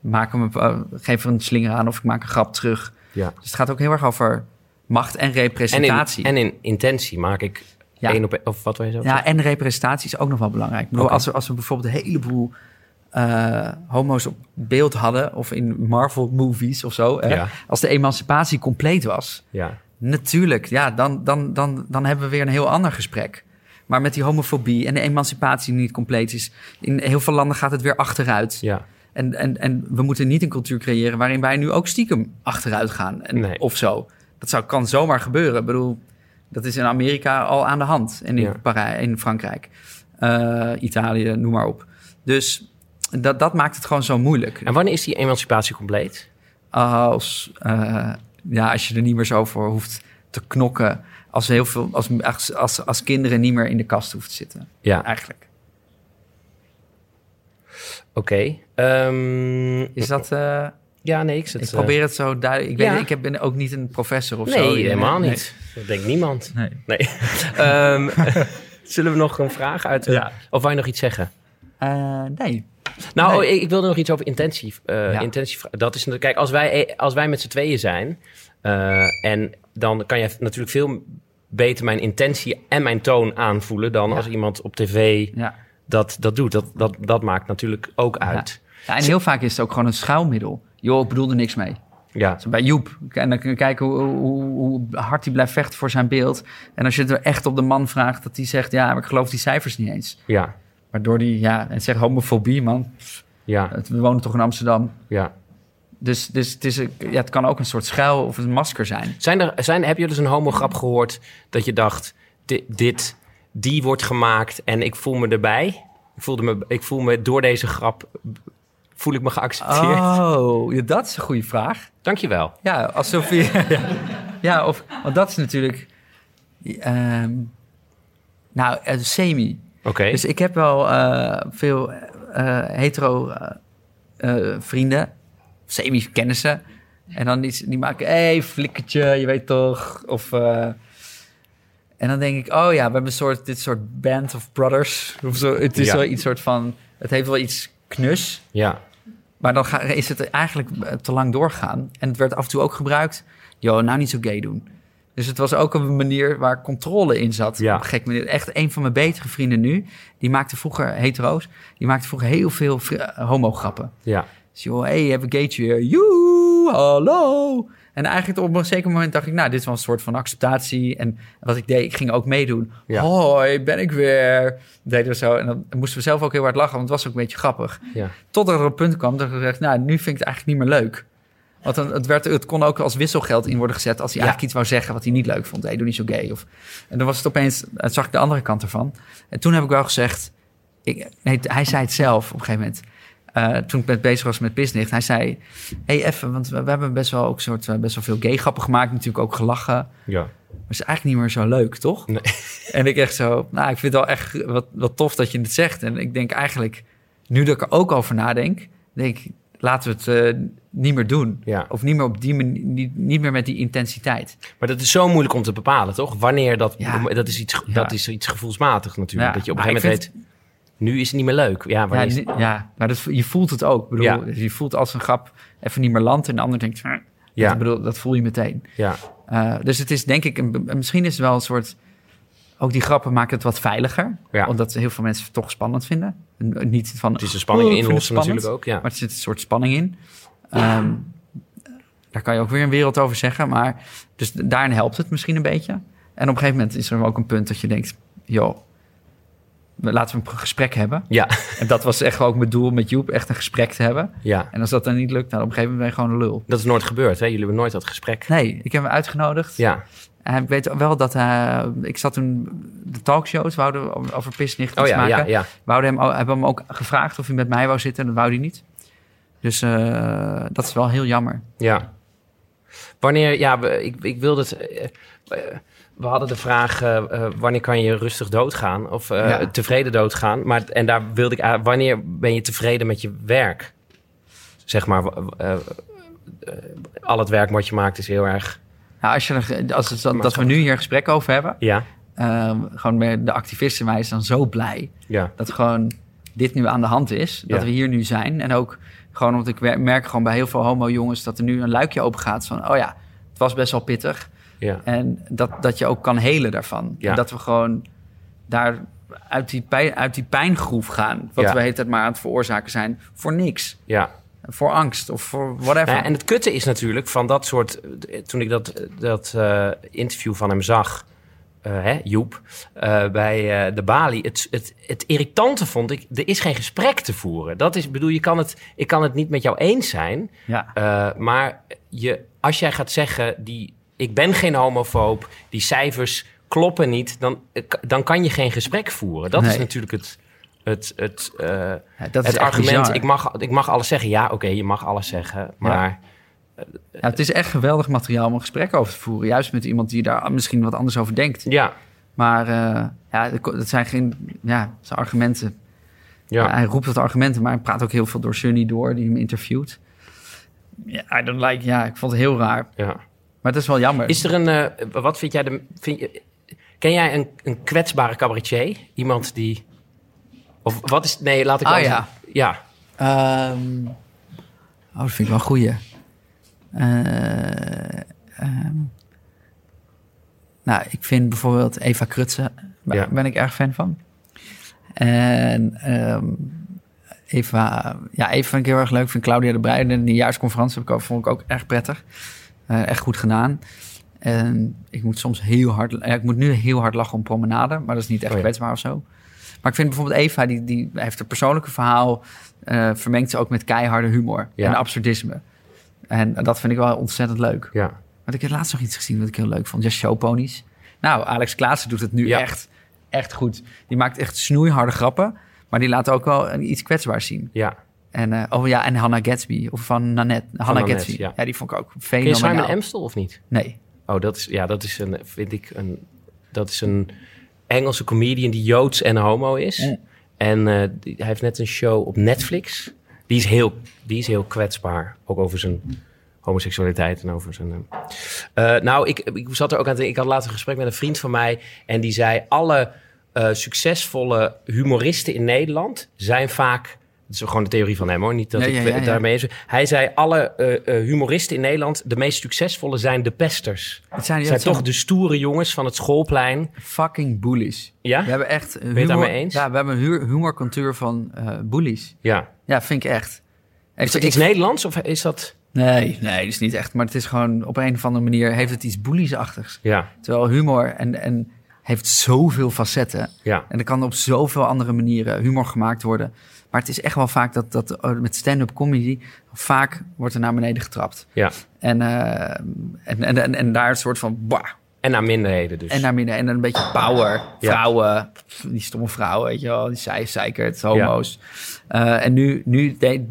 [SPEAKER 2] maak hem, een- eh, geef er een slinger aan of ik maak een grap terug.
[SPEAKER 1] ja.
[SPEAKER 2] Dus het gaat ook heel erg over macht en
[SPEAKER 1] En, in,
[SPEAKER 2] representatie.
[SPEAKER 1] en in intentie maak ik
[SPEAKER 2] Ja.
[SPEAKER 1] één op of wat wil je zo?
[SPEAKER 2] ja, en representatie is ook nog wel belangrijk. Ik bedoel,
[SPEAKER 1] Oké.
[SPEAKER 2] als, we, als we bijvoorbeeld een heleboel eh, homo's op beeld hadden... of in Marvel-movies of zo, hè,
[SPEAKER 1] Ja.
[SPEAKER 2] als de emancipatie compleet was...
[SPEAKER 1] ja.
[SPEAKER 2] Natuurlijk, ja, dan, dan, dan, dan hebben we weer een heel ander gesprek. Maar met die homofobie en de emancipatie die niet compleet is, in heel veel landen gaat het weer achteruit.
[SPEAKER 1] ja.
[SPEAKER 2] En, en, en we moeten niet een cultuur creëren waarin wij nu ook stiekem achteruit gaan. En,
[SPEAKER 1] Nee.
[SPEAKER 2] Of zo. Dat zou, kan zomaar gebeuren. Ik bedoel, dat is in Amerika al aan de hand. En in,
[SPEAKER 1] Ja.
[SPEAKER 2] Parij- in Frankrijk, eh, Italië, noem maar op. Dus dat, dat maakt het gewoon zo moeilijk.
[SPEAKER 1] En wanneer is die emancipatie compleet?
[SPEAKER 2] Als, eh, ja, als je er niet meer zo voor hoeft te knokken. Als, heel veel, als, als, als, als kinderen niet meer in de kast hoeven te zitten.
[SPEAKER 1] Ja,
[SPEAKER 2] Eigenlijk.
[SPEAKER 1] oké. Ehm,
[SPEAKER 2] Is dat, eh,
[SPEAKER 1] ja, nee, ik zit.
[SPEAKER 2] ik
[SPEAKER 1] eh,
[SPEAKER 2] probeer het zo duidelijk. Ik, weet,
[SPEAKER 1] ja.
[SPEAKER 2] ik heb- ben ook niet een professor of
[SPEAKER 1] Nee,
[SPEAKER 2] zo. die-
[SPEAKER 1] helemaal
[SPEAKER 2] nee.
[SPEAKER 1] niet. Dat denkt niemand.
[SPEAKER 2] Nee.
[SPEAKER 1] Nee. Ehm, zullen we nog een vraag uit? eh,
[SPEAKER 2] Ja.
[SPEAKER 1] Of wou je nog iets zeggen?
[SPEAKER 2] Eh, nee.
[SPEAKER 1] Nou,
[SPEAKER 2] Nee.
[SPEAKER 1] oh, ik, ik wilde nog iets over intentie. eh,
[SPEAKER 2] Ja.
[SPEAKER 1] intentie vra- dat is, natuurlijk- kijk, als wij, eh, als wij met z'n tweeën zijn... eh, en dan kan je natuurlijk veel beter mijn intentie en mijn toon aanvoelen... dan als iemand op tv
[SPEAKER 2] Ja.
[SPEAKER 1] dat, dat doet. Dat, dat, dat maakt natuurlijk ook uit.
[SPEAKER 2] Ja, en heel vaak is het ook gewoon een schuilmiddel. Joh, ik bedoel er niks mee.
[SPEAKER 1] Ja,
[SPEAKER 2] Bij Joep. En dan kun je kijken hoe, hoe, hoe hard hij blijft vechten voor zijn beeld. En als je het er echt op de man vraagt, dat hij zegt... ja, maar ik geloof die cijfers niet eens.
[SPEAKER 1] ja,
[SPEAKER 2] Waardoor die, ja, en zegt homofobie, man.
[SPEAKER 1] ja,
[SPEAKER 2] Het- We wonen toch in Amsterdam.
[SPEAKER 1] ja.
[SPEAKER 2] Dus, dus het, is, een- ja, het kan ook een soort schuil of een masker zijn.
[SPEAKER 1] Zijn er, zijn, heb je dus een homograp gehoord dat je dacht... Dit, dit, die wordt gemaakt en ik voel me erbij? Ik, voelde me, ik voel me door deze grap... voel ik me geaccepteerd?
[SPEAKER 2] Oh, ja, dat is een goede vraag.
[SPEAKER 1] Dankjewel.
[SPEAKER 2] Ja, alsof je... ja. ja, of, want dat is natuurlijk... ehm, nou, eh, semi.
[SPEAKER 1] Oké.
[SPEAKER 2] Dus ik heb wel eh, veel eh, hetero eh, eh, vrienden, semi-kennissen. En dan die, die maken, hé, hey, flikkertje, je weet toch. Of, eh, en dan denk ik, oh ja, we hebben een soort, dit soort band of brothers. Of zo. Het is
[SPEAKER 1] Ja.
[SPEAKER 2] wel iets soort van, het heeft wel iets knus.
[SPEAKER 1] Ja,
[SPEAKER 2] Maar dan ga, is het eigenlijk eh, te lang doorgaan. En het werd af en toe ook gebruikt. Yo, nou niet zo gay doen. Dus het was ook een manier waar controle in zat.
[SPEAKER 1] Ja.
[SPEAKER 2] Op een gekke manier. Echt een van mijn betere vrienden nu. Die maakte vroeger hetero's. Die maakte vroeger heel veel vri- eh, homo-grappen.
[SPEAKER 1] ja,
[SPEAKER 2] Dus joh, hey, hebben gaytje weer. Joe! Hallo, hallo. En eigenlijk op een zeker moment dacht ik, nou, dit is wel een soort van acceptatie. En wat ik deed, ik ging ook meedoen.
[SPEAKER 1] Ja.
[SPEAKER 2] Hoi, ben ik weer. Deden we zo. En dan moesten we zelf ook heel hard lachen, want het was ook een beetje grappig.
[SPEAKER 1] Ja.
[SPEAKER 2] Totdat er een punt kwam dat ik dacht, nou, nu vind ik het eigenlijk niet meer leuk. Want dan, het, werd, het kon ook als wisselgeld in worden gezet als hij
[SPEAKER 1] Ja.
[SPEAKER 2] eigenlijk iets wou zeggen wat hij niet leuk vond. Hé, doe niet zo gay. Of, en dan was het opeens, eh, zag ik de andere kant ervan. En toen heb ik wel gezegd, ik, nee, hij zei het zelf op een gegeven moment. Eh, toen ik met bezig was met Pisnicht, hij zei... Hé, hey, even, want we, we hebben best wel, ook soort, eh, best wel veel gay-grappen gemaakt. Natuurlijk ook gelachen.
[SPEAKER 1] Ja.
[SPEAKER 2] Maar het is eigenlijk niet meer zo leuk, toch?
[SPEAKER 1] Nee.
[SPEAKER 2] En ik echt zo, nou, ik vind het wel echt wat, wat tof dat je het zegt. En ik denk eigenlijk, nu dat ik er ook over nadenk, denk ik, laten we het eh, niet meer doen.
[SPEAKER 1] Ja.
[SPEAKER 2] Of niet meer op die manier, niet, niet meer met die intensiteit.
[SPEAKER 1] Maar dat is zo moeilijk om te bepalen, toch? Wanneer dat...
[SPEAKER 2] Ja.
[SPEAKER 1] Dat, is iets,
[SPEAKER 2] Ja.
[SPEAKER 1] dat is iets gevoelsmatig natuurlijk.
[SPEAKER 2] Nou Ja,
[SPEAKER 1] Dat je op een
[SPEAKER 2] maar
[SPEAKER 1] gegeven
[SPEAKER 2] ik
[SPEAKER 1] moment weet... Nu is het niet meer leuk. Ja,
[SPEAKER 2] Ja,
[SPEAKER 1] wanneer is-
[SPEAKER 2] ni- ja, maar dat, je voelt het ook. Ik Bedoel, dus
[SPEAKER 1] Ja.
[SPEAKER 2] Je voelt als een grap even niet meer landt en de ander denkt... "Hm."
[SPEAKER 1] Ja.
[SPEAKER 2] Dat, bedoel, dat voel je meteen.
[SPEAKER 1] ja.
[SPEAKER 2] Eh, dus het is denk ik, een, be- misschien is het wel een soort. Ook die grappen maken het wat veiliger.
[SPEAKER 1] Ja.
[SPEAKER 2] Omdat heel veel mensen het toch spannend vinden. En Niet van,
[SPEAKER 1] Het is een spanning
[SPEAKER 2] "Oh, ik
[SPEAKER 1] in
[SPEAKER 2] vind het
[SPEAKER 1] inlossen
[SPEAKER 2] spannend."
[SPEAKER 1] natuurlijk ook. Ja.
[SPEAKER 2] Maar er zit een soort spanning in. Ehm, daar kan je ook weer een wereld over zeggen. Maar dus d- daarin helpt het misschien een beetje. En op een gegeven moment is er ook een punt dat je denkt... joh, we- laten we een gesprek hebben.
[SPEAKER 1] Ja,
[SPEAKER 2] En dat was echt ook mijn doel met Joep, echt een gesprek te hebben.
[SPEAKER 1] ja.
[SPEAKER 2] En als dat dan niet lukt, dan op een gegeven moment ben je gewoon een lul.
[SPEAKER 1] Dat is nooit gebeurd, hè? Jullie hebben nooit dat gesprek.
[SPEAKER 2] Nee, ik heb hem uitgenodigd.
[SPEAKER 1] Ja,
[SPEAKER 2] En ik weet wel dat eh, ik zat toen de talkshows, wouden over- over pisnicht
[SPEAKER 1] oh
[SPEAKER 2] iets
[SPEAKER 1] ja,
[SPEAKER 2] maken.
[SPEAKER 1] ja, ja.
[SPEAKER 2] Wouden hem, o- hebben hem ook gevraagd of hij met mij wou zitten en dat wou hij niet. Dus eh, dat is wel heel jammer.
[SPEAKER 1] Ja. Wanneer, ja, we- ik, ik wilde het. eh, eh, we hadden de vraag: eh, eh, wanneer kan je rustig doodgaan? Of eh,
[SPEAKER 2] Ja.
[SPEAKER 1] tevreden doodgaan? Maar, en daar wilde ik aan- wanneer ben je tevreden met je werk? Zeg maar, w- w- eh, eh, al het werk wat je maakt is heel erg.
[SPEAKER 2] Nou, als je, er- als het, dat, dat we nu hier een gesprek over hebben,
[SPEAKER 1] Ja,
[SPEAKER 2] eh, gewoon met de activisten, mij is dan zo blij
[SPEAKER 1] ja,
[SPEAKER 2] dat gewoon dit nu aan de hand is. Dat
[SPEAKER 1] Ja.
[SPEAKER 2] we hier nu zijn. En ook gewoon omdat ik wer- merk gewoon bij heel veel homo-jongens dat er nu een luikje open gaat van, oh ja, het was best wel pittig.
[SPEAKER 1] ja.
[SPEAKER 2] En dat, dat je ook kan helen daarvan.
[SPEAKER 1] Ja.
[SPEAKER 2] En dat we gewoon daar uit die, pijn, uit die pijngroef gaan. Wat
[SPEAKER 1] Ja.
[SPEAKER 2] we de hele tijd maar aan het veroorzaken zijn. Voor niks.
[SPEAKER 1] ja.
[SPEAKER 2] Voor angst of voor whatever.
[SPEAKER 1] Nou ja, en het kutte is natuurlijk van dat soort. eh, Toen ik dat, dat eh, interview van hem zag, eh, hè, Joep, eh, bij eh, de Bali. Het, het, het irritante vond ik, er is geen gesprek te voeren. Dat is, bedoel, je kan het, ik kan het niet met jou eens zijn.
[SPEAKER 2] ja.
[SPEAKER 1] eh, maar je, als jij gaat zeggen, die, ik ben geen homofoob, die cijfers kloppen niet, dan, eh, k- dan kan je geen gesprek voeren. Dat is
[SPEAKER 2] Nee.
[SPEAKER 1] natuurlijk het. Het, het, eh,
[SPEAKER 2] Ja, dat is
[SPEAKER 1] het
[SPEAKER 2] echt
[SPEAKER 1] argument,
[SPEAKER 2] bizar.
[SPEAKER 1] ik mag, ik mag alles zeggen. Ja, oké, je mag alles zeggen. Maar
[SPEAKER 2] Ja, het is echt geweldig materiaal om een gesprek over te voeren. Juist met iemand die daar misschien wat anders over denkt.
[SPEAKER 1] Ja,
[SPEAKER 2] Maar eh, ja, het ko- het zijn geen ja, het zijn argumenten.
[SPEAKER 1] ja.
[SPEAKER 2] Hij roept wat argumenten, maar hij praat ook heel veel door Sunny door, die hem interviewt. Ja, I don't like, ja, ik vond het heel raar.
[SPEAKER 1] ja.
[SPEAKER 2] Maar het is wel jammer.
[SPEAKER 1] Is er een. eh, wat vind jij de. Vind je, ken jij een, een kwetsbare cabaretier? Iemand die. Of wat is. Nee, laat ik.
[SPEAKER 2] Ah,
[SPEAKER 1] anders-
[SPEAKER 2] ja.
[SPEAKER 1] ja.
[SPEAKER 2] Ehm, oh, dat vind ik wel een goeie. Eh, ehm, nou, ik vind bijvoorbeeld Eva Krutse, daar
[SPEAKER 1] Ja.
[SPEAKER 2] ben ik erg fan van. En ehm, Eva, ja, Eva vind ik heel erg leuk. Ik vind Claudia de Bruyne in de nieuwjaarsconferentie heb ik ook, vond ik ook erg prettig. Eh, echt goed gedaan. En ik moet soms heel hard... Ja, ik moet nu heel hard lachen om promenade, maar dat is niet echt
[SPEAKER 1] Oh ja.
[SPEAKER 2] kwetsbaar of zo. Maar ik vind bijvoorbeeld Eva, die, die heeft een persoonlijke verhaal... eh, vermengt ze ook met keiharde humor
[SPEAKER 1] Ja.
[SPEAKER 2] en absurdisme. En dat vind ik wel ontzettend leuk.
[SPEAKER 1] Ja.
[SPEAKER 2] Want ik heb laatst nog iets gezien wat ik heel leuk vond. Ja, showponies. Nou, Alex Klaassen doet het nu
[SPEAKER 1] Ja.
[SPEAKER 2] echt, echt goed. Die maakt echt snoeiharde grappen. Maar die laat ook wel een- iets kwetsbaars zien.
[SPEAKER 1] ja.
[SPEAKER 2] En, eh, oh ja, en Hannah Gatsby. Of van Nanette. Hannah
[SPEAKER 1] Nanette,
[SPEAKER 2] Gatsby.
[SPEAKER 1] ja.
[SPEAKER 2] Ja. die vond ik ook
[SPEAKER 1] Ken je
[SPEAKER 2] fenomenaal.
[SPEAKER 1] Simon Amstel of niet?
[SPEAKER 2] Nee.
[SPEAKER 1] Oh, dat is. Ja, dat is een. Vind ik een. Dat is een Engelse comedian die joods en homo is.
[SPEAKER 2] Mm.
[SPEAKER 1] En eh, die- hij heeft net een show op Netflix. Die is heel, die is heel kwetsbaar. Ook over zijn homoseksualiteit en over zijn. eh. Eh, nou, ik, ik zat er ook aan te denken. Ik had laatst een gesprek met een vriend van mij. En die zei: Alle eh, succesvolle humoristen in Nederland zijn vaak. Dat is gewoon de theorie van hem hoor. Niet dat
[SPEAKER 2] Ja,
[SPEAKER 1] ik
[SPEAKER 2] ja,
[SPEAKER 1] me-
[SPEAKER 2] ja, ja.
[SPEAKER 1] daarmee eens. Hij zei: Alle eh, eh, humoristen in Nederland, de meest succesvolle zijn de pesters.
[SPEAKER 2] Het zijn,
[SPEAKER 1] Het
[SPEAKER 2] ja,
[SPEAKER 1] zijn
[SPEAKER 2] het zijn
[SPEAKER 1] toch de stoere jongens van het schoolplein.
[SPEAKER 2] fucking bullies. We
[SPEAKER 1] Ja?
[SPEAKER 2] hebben echt humor.
[SPEAKER 1] daarmee eens?
[SPEAKER 2] Ja, we hebben een hu- humorcultuur van eh bullies.
[SPEAKER 1] Ja.
[SPEAKER 2] Ja, vind ik echt.
[SPEAKER 1] Is dat iets Nederlands of is dat...
[SPEAKER 2] Nee, nee, dat is niet echt. Maar het is gewoon op een of andere manier heeft het iets bulliesachtigs.
[SPEAKER 1] Ja,
[SPEAKER 2] Terwijl humor en, en heeft zoveel facetten.
[SPEAKER 1] ja.
[SPEAKER 2] En er kan op zoveel andere manieren humor gemaakt worden. Maar het is echt wel vaak dat, dat eh, met stand-up comedy... vaak wordt er naar beneden getrapt.
[SPEAKER 1] Ja.
[SPEAKER 2] En, eh, en, en, en, en daar een soort van... Bah,
[SPEAKER 1] En naar minderheden dus.
[SPEAKER 2] en naar binnen. En dan een beetje power. Vrouwen. pff, Die stomme vrouwen, weet je wel. Die zij, zeikert, homo's. Eh, en nu, nu de,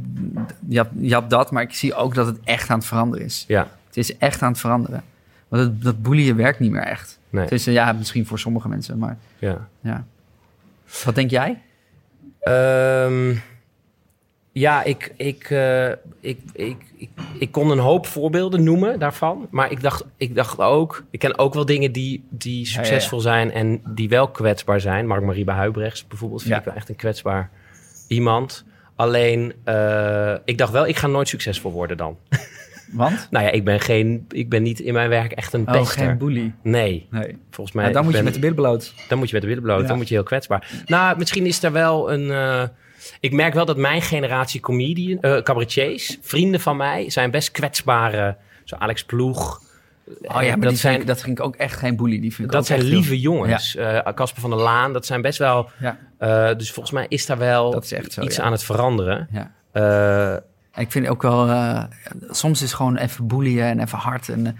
[SPEAKER 2] je, had, je had dat. Maar ik zie ook dat het echt aan het veranderen is.
[SPEAKER 1] Ja,
[SPEAKER 2] Het is echt aan het veranderen. Want dat, dat boeien werkt niet meer echt.
[SPEAKER 1] nee.
[SPEAKER 2] Het is, eh, ja, misschien voor sommige mensen. Maar
[SPEAKER 1] Ja.
[SPEAKER 2] ja. Wat denk jij?
[SPEAKER 1] Ehm, ja, ik, ik, eh, ik, ik, ik, ik kon een hoop voorbeelden noemen daarvan. Maar ik dacht, ik dacht ook... Ik ken ook wel dingen die, die
[SPEAKER 2] ja, ja.
[SPEAKER 1] succesvol zijn en die wel kwetsbaar zijn. Mark-Marie Huibrechts bijvoorbeeld vind
[SPEAKER 2] Ja.
[SPEAKER 1] ik wel echt een kwetsbaar iemand. Alleen, eh, ik dacht wel, ik ga nooit succesvol worden dan.
[SPEAKER 2] Want?
[SPEAKER 1] Nou ja, ik ben, geen, ik ben niet in mijn werk echt een
[SPEAKER 2] Oh,
[SPEAKER 1] pester.
[SPEAKER 2] geen boelie.
[SPEAKER 1] nee,
[SPEAKER 2] Nee.
[SPEAKER 1] volgens mij...
[SPEAKER 2] Maar dan
[SPEAKER 1] ik
[SPEAKER 2] moet
[SPEAKER 1] ben-
[SPEAKER 2] je met de billen bloot.
[SPEAKER 1] dan moet je met de billen bloot.
[SPEAKER 2] Ja.
[SPEAKER 1] Dan moet je heel kwetsbaar. Nou, misschien is er wel een... eh, ik merk wel dat mijn generatie comedian, eh, cabaretiers, vrienden van mij, zijn best kwetsbare. Zo Alex Ploeg. Eh,
[SPEAKER 2] Oh ja, maar
[SPEAKER 1] dat zijn,
[SPEAKER 2] dat ging ik ook echt geen boelie. Die vind ik
[SPEAKER 1] dat
[SPEAKER 2] ook
[SPEAKER 1] zijn
[SPEAKER 2] echt
[SPEAKER 1] lieve jongens. Eh Casper van der Laan, dat zijn best wel...
[SPEAKER 2] heel- Ja,
[SPEAKER 1] eh, dus volgens mij is daar wel
[SPEAKER 2] dat is echt zo.
[SPEAKER 1] iets
[SPEAKER 2] ja.
[SPEAKER 1] aan het veranderen.
[SPEAKER 2] Ja.
[SPEAKER 1] Eh,
[SPEAKER 2] En Ik vind ook wel, eh, soms is gewoon even boeien en even hard. En eh,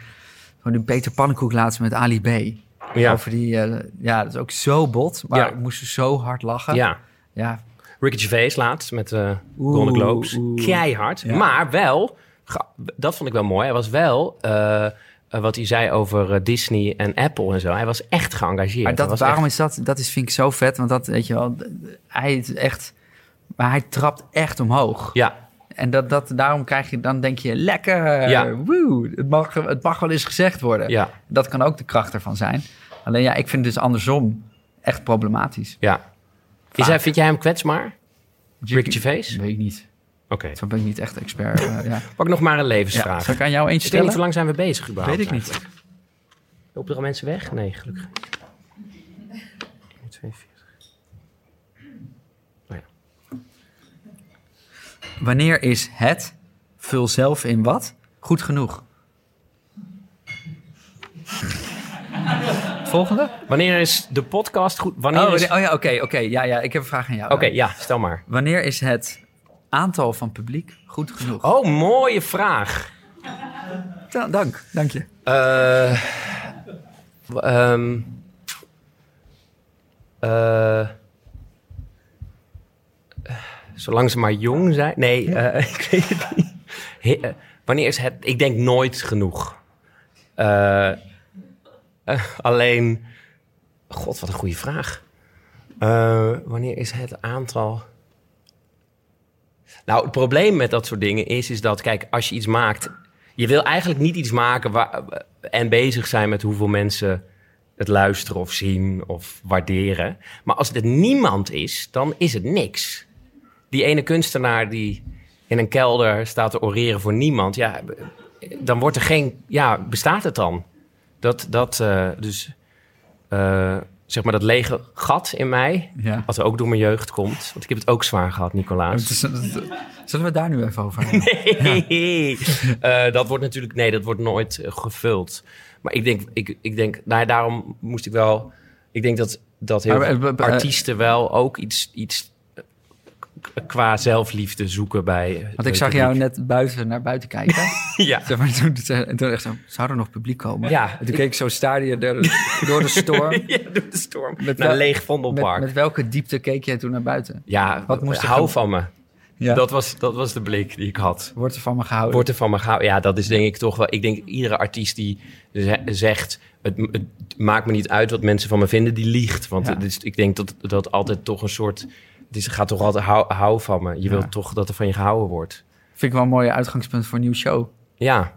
[SPEAKER 2] gewoon die Peter Pannenkoek laatst met Ali B.
[SPEAKER 1] ja.
[SPEAKER 2] Over die, eh, ja, dat is ook zo bot, maar
[SPEAKER 1] Ja.
[SPEAKER 2] ik moest zo hard lachen.
[SPEAKER 1] ja.
[SPEAKER 2] ja.
[SPEAKER 1] Ricky Gervais laatst met eh
[SPEAKER 2] Oeh,
[SPEAKER 1] Golden Globes.
[SPEAKER 2] oeh.
[SPEAKER 1] Keihard. Maar wel, ge- dat vond ik wel mooi. Hij was wel, eh, eh, wat hij zei over eh, Disney en Apple en zo. Hij was echt geëngageerd.
[SPEAKER 2] Maar
[SPEAKER 1] Hij
[SPEAKER 2] dat,
[SPEAKER 1] was
[SPEAKER 2] waarom
[SPEAKER 1] echt-
[SPEAKER 2] is dat? Dat is, vind ik zo vet, want dat, weet je wel, d- hij is echt, maar hij trapt echt omhoog.
[SPEAKER 1] Ja,
[SPEAKER 2] En dat, dat, daarom krijg je, dan denk je, lekker,
[SPEAKER 1] Ja.
[SPEAKER 2] woe, het mag, het mag wel eens gezegd worden.
[SPEAKER 1] ja,
[SPEAKER 2] Dat kan ook de kracht ervan zijn. Alleen ja, ik vind het dus andersom echt problematisch.
[SPEAKER 1] ja. Is hij, vind jij hem kwetsbaar? Ricky Gervais?
[SPEAKER 2] Weet ik niet.
[SPEAKER 1] Oké.
[SPEAKER 2] Zo ben ik niet echt expert. eh, ja.
[SPEAKER 1] Pak nog maar een
[SPEAKER 2] Ja,
[SPEAKER 1] levensvraag.
[SPEAKER 2] zal ik aan jou eentje
[SPEAKER 1] ik weet niet, hoe
[SPEAKER 2] stellen?
[SPEAKER 1] lang zijn we bezig überhaupt?
[SPEAKER 2] Weet ik niet.
[SPEAKER 1] eigenlijk? Lopen er al mensen weg? Nee, gelukkig niet. 42.
[SPEAKER 2] Wanneer is het, vul zelf in wat, goed genoeg? Volgende?
[SPEAKER 1] Wanneer is de podcast goed? Wanneer
[SPEAKER 2] Oh,
[SPEAKER 1] is...
[SPEAKER 2] nee,
[SPEAKER 1] Oké,
[SPEAKER 2] oh ja, oké. oké. ja, ja, ik heb een vraag aan jou. Eh,
[SPEAKER 1] ja, stel maar.
[SPEAKER 2] Wanneer is het aantal van publiek goed genoeg?
[SPEAKER 1] Oh, mooie vraag.
[SPEAKER 2] Da- Oh, dank, dank je.
[SPEAKER 1] Eh, w- ehm, eh, zolang ze maar jong zijn. Nee, eh, ik weet het niet. He- eh, wanneer is het? Ik denk nooit genoeg. Eh, eh, alleen. God, wat een goede vraag. Eh, wanneer is het aantal. Nou, het probleem met dat soort dingen is, is dat, kijk, als je iets maakt. Je wil eigenlijk niet iets maken waar, eh, en bezig zijn met hoeveel mensen het luisteren of zien of waarderen. Maar als het niemand is, dan is het niks. Die ene kunstenaar die in een kelder staat te oreren voor niemand, ja, dan wordt er geen. Ja, bestaat het dan? Dat, dat eh, dus. eh, zeg maar dat lege gat in mij.
[SPEAKER 2] Ja.
[SPEAKER 1] Wat ook door mijn jeugd komt. Want ik heb het ook zwaar gehad, Nicolaas.
[SPEAKER 2] Zullen we het daar nu even over hebben?
[SPEAKER 1] Nee. Eh, dat wordt natuurlijk, nee, dat wordt nooit eh, gevuld. Maar ik denk, ik, ik denk nou, ja, daarom moest ik wel. Ik denk dat, dat heel
[SPEAKER 2] Maar, eh,
[SPEAKER 1] veel
[SPEAKER 2] eh, eh,
[SPEAKER 1] artiesten wel ook iets, iets eh, k- qua zelfliefde zoeken bij. eh,
[SPEAKER 2] Want ik
[SPEAKER 1] het
[SPEAKER 2] zag jou
[SPEAKER 1] publiek.
[SPEAKER 2] net buiten naar buiten kijken.
[SPEAKER 1] Ja.
[SPEAKER 2] Zeg maar, toen, en toen echt zo, zou er nog publiek komen?
[SPEAKER 1] Ja.
[SPEAKER 2] En toen keek ik zo stadia door de storm.
[SPEAKER 1] ja, door de storm.
[SPEAKER 2] Met
[SPEAKER 1] naar
[SPEAKER 2] wel-
[SPEAKER 1] leeg
[SPEAKER 2] Met,
[SPEAKER 1] Vondelpark.
[SPEAKER 2] met welke diepte keek jij toen naar buiten?
[SPEAKER 1] ja, eh,
[SPEAKER 2] wat moest er
[SPEAKER 1] hou
[SPEAKER 2] gaan-
[SPEAKER 1] van me.
[SPEAKER 2] Ja.
[SPEAKER 1] Dat, was, dat was de blik die ik had.
[SPEAKER 2] Wordt er van me gehouden.
[SPEAKER 1] Wordt er van me gehouden? Ja, dat is denk ik toch wel. Ik denk iedere artiest die ze- zegt: het, het maakt me niet uit wat mensen van me vinden, die liegt. Want
[SPEAKER 2] Ja.
[SPEAKER 1] het is- ik denk dat dat altijd toch een soort. Het is, gaat toch altijd hou, hou van me. Je
[SPEAKER 2] Ja.
[SPEAKER 1] wilt toch dat er van je gehouden wordt.
[SPEAKER 2] Vind ik wel een mooi uitgangspunt voor een nieuw show.
[SPEAKER 1] Ja.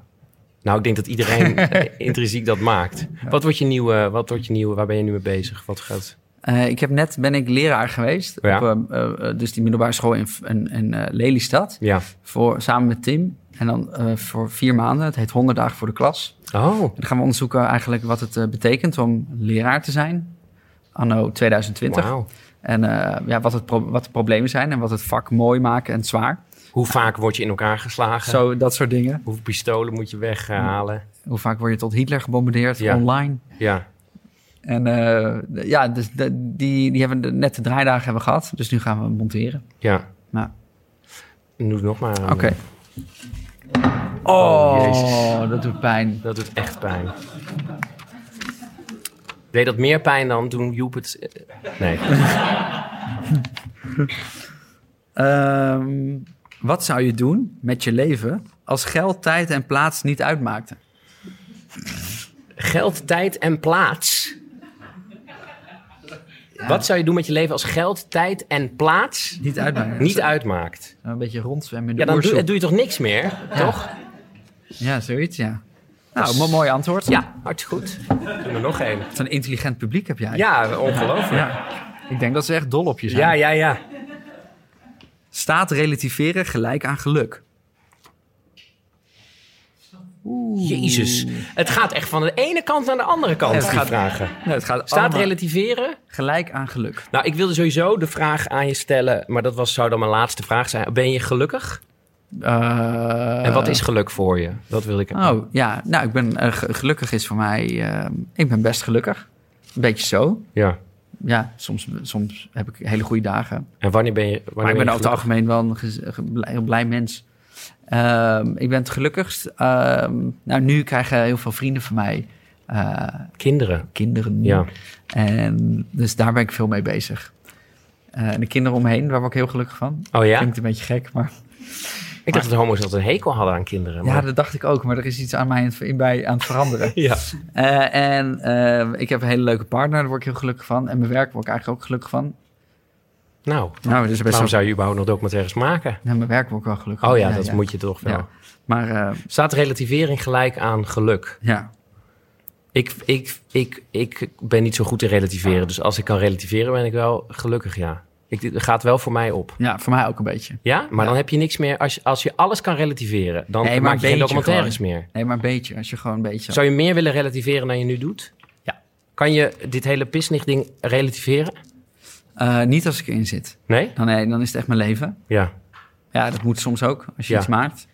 [SPEAKER 1] Nou, ik denk dat iedereen eh, intrinsiek dat maakt. Wat wordt je nieuwe? Wat wordt je nieuwe? Waar ben je nu mee bezig? Wat gaat?
[SPEAKER 2] Eh, ik heb net, ben ik leraar geweest.
[SPEAKER 1] Ja.
[SPEAKER 2] Op, eh, eh, eh, dus die middelbare school in, in, in, eh, Lelystad.
[SPEAKER 1] Ja.
[SPEAKER 2] Voor, samen met Tim. En dan eh, voor vier maanden. Het heet 100 dagen voor de klas.
[SPEAKER 1] Oh.
[SPEAKER 2] En dan gaan we onderzoeken eigenlijk wat het eh, betekent om leraar te zijn. Anno 2020.
[SPEAKER 1] Wauw.
[SPEAKER 2] En eh, ja, wat, het pro- wat de problemen zijn en wat het vak mooi maken en zwaar.
[SPEAKER 1] Hoe vaak word je in elkaar geslagen?
[SPEAKER 2] Zo, dat soort dingen.
[SPEAKER 1] Hoeveel pistolen moet je weghalen?
[SPEAKER 2] Hoe vaak word je tot Hitler gebombardeerd
[SPEAKER 1] Ja.
[SPEAKER 2] online?
[SPEAKER 1] Ja,
[SPEAKER 2] En eh, d- ja, dus de- die, die hebben de, net de draaidagen hebben we gehad. Dus nu gaan we hem monteren.
[SPEAKER 1] ja.
[SPEAKER 2] Nou,
[SPEAKER 1] Doe het nog maar.
[SPEAKER 2] oké.
[SPEAKER 1] Oh,
[SPEAKER 2] Oh, dat doet pijn.
[SPEAKER 1] Dat doet echt pijn. Deed dat meer pijn dan toen Joep het... eh, Nee.
[SPEAKER 2] Ehm, wat zou je doen met je leven als geld, tijd en plaats niet uitmaakten?
[SPEAKER 1] Geld, tijd en plaats. Wat zou je doen met je leven als geld, tijd en plaats
[SPEAKER 2] Niet uitmaakten.
[SPEAKER 1] niet uitmaakt?
[SPEAKER 2] Een beetje rondzwemmen in de
[SPEAKER 1] Ja, dan doe,
[SPEAKER 2] oersoep.
[SPEAKER 1] doe je toch niks meer, toch?
[SPEAKER 2] Ja, zoiets, ja. Nou, mo- mooi antwoord.
[SPEAKER 1] Ja, hartstikke goed. Doen er nog één.
[SPEAKER 2] Wat een intelligent publiek heb jij.
[SPEAKER 1] Ja, ongelooflijk.
[SPEAKER 2] Ja. Ik denk dat ze echt dol op je zijn.
[SPEAKER 1] Ja, ja, ja.
[SPEAKER 2] Staat relativeren gelijk aan geluk?
[SPEAKER 1] Jezus. Het gaat echt van de ene kant naar de andere kant,
[SPEAKER 2] Ja, het
[SPEAKER 1] die
[SPEAKER 2] gaat-
[SPEAKER 1] vragen.
[SPEAKER 2] Nee, het gaat
[SPEAKER 1] Staat
[SPEAKER 2] allemaal
[SPEAKER 1] relativeren?
[SPEAKER 2] gelijk aan geluk.
[SPEAKER 1] Nou, ik wilde sowieso de vraag aan je stellen, maar dat was, zou dan mijn laatste vraag zijn. Ben je gelukkig?
[SPEAKER 2] Eh,
[SPEAKER 1] en wat is geluk voor je? Dat wil ik.
[SPEAKER 2] Oh, ja. Nou, ik ben... eh, ge- gelukkig is voor mij... eh, ik ben best gelukkig. Een beetje zo.
[SPEAKER 1] Ja.
[SPEAKER 2] Ja, soms, soms heb ik hele goede dagen.
[SPEAKER 1] En wanneer ben je. Wanneer
[SPEAKER 2] Maar ik ben
[SPEAKER 1] je
[SPEAKER 2] over het
[SPEAKER 1] gelukkig?
[SPEAKER 2] algemeen wel een gez- ge- blij- heel blij mens. Ehm, ik ben het gelukkigst. ehm, nou, nu krijgen heel veel vrienden van mij eh,
[SPEAKER 1] Kinderen.
[SPEAKER 2] kinderen.
[SPEAKER 1] Ja.
[SPEAKER 2] En dus daar ben ik veel mee bezig. Eh, en de kinderen omheen, daar word ik heel gelukkig van.
[SPEAKER 1] Oh ja?
[SPEAKER 2] Klinkt een beetje gek, maar
[SPEAKER 1] Ik dacht dat homo's altijd een hekel hadden aan kinderen.
[SPEAKER 2] ja,
[SPEAKER 1] maar-
[SPEAKER 2] dat dacht ik ook. Maar er is iets aan mij aan het, ver- bij, aan het veranderen.
[SPEAKER 1] ja.
[SPEAKER 2] Eh, en ehm, ik heb een hele leuke partner, daar word ik heel gelukkig van. En mijn werk word ik eigenlijk ook gelukkig van.
[SPEAKER 1] Nou,
[SPEAKER 2] Nou, dat is best
[SPEAKER 1] waarom
[SPEAKER 2] wel...
[SPEAKER 1] zou je überhaupt nog documentaires maken?
[SPEAKER 2] Nou, mijn werk word ik wel gelukkig
[SPEAKER 1] Oh
[SPEAKER 2] van.
[SPEAKER 1] ja, dat moet je toch wel.
[SPEAKER 2] Ja. Maar eh,
[SPEAKER 1] Staat relativering gelijk aan geluk?
[SPEAKER 2] ja,
[SPEAKER 1] Ik, ik, ik, ik ben niet zo goed in relativeren. Dus als ik kan relativeren, ben ik wel gelukkig, ja. Ik, het gaat wel voor mij op.
[SPEAKER 2] ja, voor mij ook een beetje.
[SPEAKER 1] Ja, maar
[SPEAKER 2] Ja.
[SPEAKER 1] dan heb je niks meer. Als je, als je alles kan relativeren, dan
[SPEAKER 2] Nee, maar
[SPEAKER 1] maak
[SPEAKER 2] een
[SPEAKER 1] je geen
[SPEAKER 2] beetje
[SPEAKER 1] documentaires meer.
[SPEAKER 2] Nee, maar een beetje. Als je gewoon een beetje...
[SPEAKER 1] Zou je meer willen relativeren dan je nu doet?
[SPEAKER 2] Ja.
[SPEAKER 1] Kan je dit hele pisnicht-ding relativeren?
[SPEAKER 2] Eh, niet als ik erin zit.
[SPEAKER 1] Nee?
[SPEAKER 2] Dan, nee, dan is het echt mijn leven.
[SPEAKER 1] Ja.
[SPEAKER 2] Ja, dat moet soms ook, als je
[SPEAKER 1] Ja.
[SPEAKER 2] iets maakt.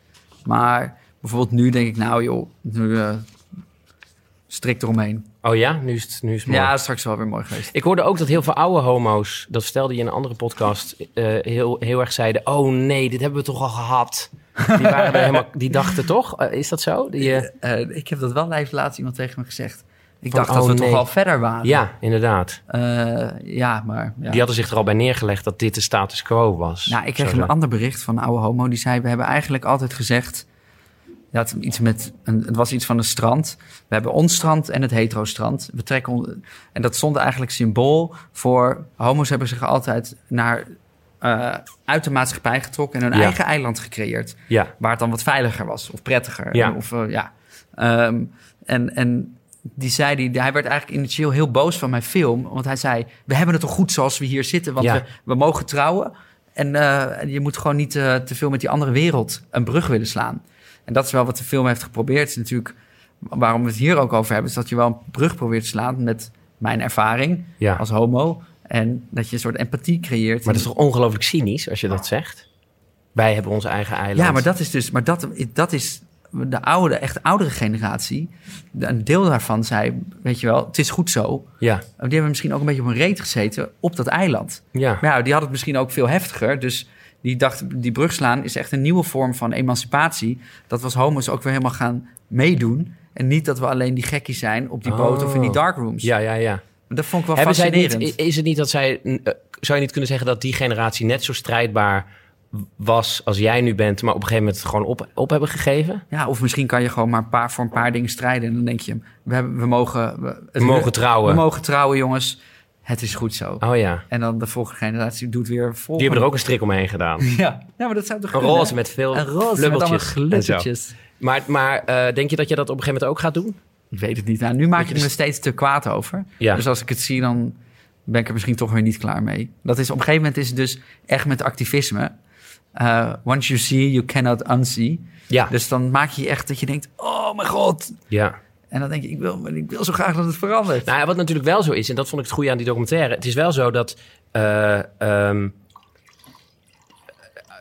[SPEAKER 2] Maar bijvoorbeeld nu denk ik, nou joh, nu eh, strikt eromheen.
[SPEAKER 1] Oh ja, nu is het, nu is het mooi.
[SPEAKER 2] Ja, straks wel weer mooi geweest.
[SPEAKER 1] Ik hoorde ook dat heel veel oude homo's, dat vertelde je in een andere podcast, eh, heel, heel erg zeiden: Oh nee, dit hebben we toch al gehad. Die, waren er helemaal, die dachten toch? Eh, is dat zo? Die, eh,
[SPEAKER 2] Eh, ik heb dat wel even laatst iemand tegen me gezegd. Ik
[SPEAKER 1] Van,
[SPEAKER 2] dacht dat
[SPEAKER 1] oh,
[SPEAKER 2] we
[SPEAKER 1] nee.
[SPEAKER 2] toch al verder waren.
[SPEAKER 1] ja, inderdaad.
[SPEAKER 2] Eh, ja maar... Ja.
[SPEAKER 1] Die hadden zich er al bij neergelegd dat dit de status quo was.
[SPEAKER 2] Nou, ik kreeg
[SPEAKER 1] Zo
[SPEAKER 2] een
[SPEAKER 1] dan.
[SPEAKER 2] ander bericht van een oude homo. Die zei, we hebben eigenlijk altijd gezegd... Ja, het, iets met een, het was iets van een strand. We hebben ons strand en het hetero strand. We trekken on- en dat stond eigenlijk symbool voor... Homo's hebben zich altijd naar, eh, uit de maatschappij getrokken... en hun
[SPEAKER 1] Ja.
[SPEAKER 2] eigen eiland gecreëerd.
[SPEAKER 1] Ja,
[SPEAKER 2] Waar het dan wat veiliger was of prettiger.
[SPEAKER 1] Ja.
[SPEAKER 2] Of, eh, ja. Ehm, en, en die zei, die, hij werd eigenlijk initieel heel boos van mijn film. Want hij zei, we hebben het toch goed zoals we hier zitten. Want
[SPEAKER 1] Ja.
[SPEAKER 2] we, we mogen trouwen. En eh, je moet gewoon niet eh, te veel met die andere wereld een brug willen slaan. En dat is wel wat de film heeft geprobeerd. Is natuurlijk, waarom we het hier ook over hebben, is dat je wel een brug probeert te slaan met mijn ervaring
[SPEAKER 1] ja.
[SPEAKER 2] als homo. En dat je een soort empathie creëert.
[SPEAKER 1] Maar dat is toch ongelooflijk cynisch als je dat zegt? Wij hebben onze eigen eiland.
[SPEAKER 2] Ja, maar dat is dus, maar dat, dat is de oude, echt oudere generatie. De- Een deel daarvan zei, weet je wel, het is goed zo.
[SPEAKER 1] Ja,
[SPEAKER 2] Die hebben misschien ook een beetje op een reet gezeten op dat eiland.
[SPEAKER 1] ja.
[SPEAKER 2] Maar ja, die hadden het misschien ook veel heftiger. Dus die dacht, die brug slaan is echt een nieuwe vorm van emancipatie. Dat was homo's ook weer helemaal gaan meedoen. En niet dat we alleen die gekkies zijn op die boot of in die
[SPEAKER 1] Oh.
[SPEAKER 2] darkrooms.
[SPEAKER 1] ja, ja, ja.
[SPEAKER 2] Dat vond ik wel
[SPEAKER 1] Hebben zij
[SPEAKER 2] fascinerend.
[SPEAKER 1] niet, is het niet dat zij. eh, Zou je niet kunnen zeggen dat die generatie net zo strijdbaar was als jij nu bent, maar op een gegeven moment het gewoon op, op hebben gegeven?
[SPEAKER 2] Ja, of misschien kan je gewoon maar een paar, voor een paar dingen strijden. En dan denk je, we, hebben, we mogen... We, het-
[SPEAKER 1] We mogen trouwen.
[SPEAKER 2] We mogen trouwen, jongens. Het is goed zo.
[SPEAKER 1] Oh ja.
[SPEAKER 2] En dan de volgende generatie doet weer vol.
[SPEAKER 1] Die hebben er ook een strik omheen gedaan.
[SPEAKER 2] Ja, ja maar dat zou toch
[SPEAKER 1] Een
[SPEAKER 2] kunnen?
[SPEAKER 1] roze met veel
[SPEAKER 2] Een roze met allemaal
[SPEAKER 1] flubbeltjes en zo.
[SPEAKER 2] glittertjes.
[SPEAKER 1] Maar, maar eh, denk je dat je dat op een gegeven moment ook gaat doen?
[SPEAKER 2] Ik weet het niet. Nou, nu maak
[SPEAKER 1] je
[SPEAKER 2] je me
[SPEAKER 1] dus-
[SPEAKER 2] steeds te kwaad over.
[SPEAKER 1] Ja.
[SPEAKER 2] Dus als ik het zie, dan ben ik er misschien toch weer niet klaar mee. Dat is, op een gegeven moment is het dus echt met activisme. Eh, once you see, you cannot unsee.
[SPEAKER 1] Ja.
[SPEAKER 2] Dus dan maak je echt dat je denkt, oh mijn god.
[SPEAKER 1] ja.
[SPEAKER 2] En dan denk je, ik wil, ik wil zo graag dat het verandert.
[SPEAKER 1] Nou, ja, wat natuurlijk wel zo is, en dat vond ik het goede aan die documentaire. Het is wel zo dat eh, ehm,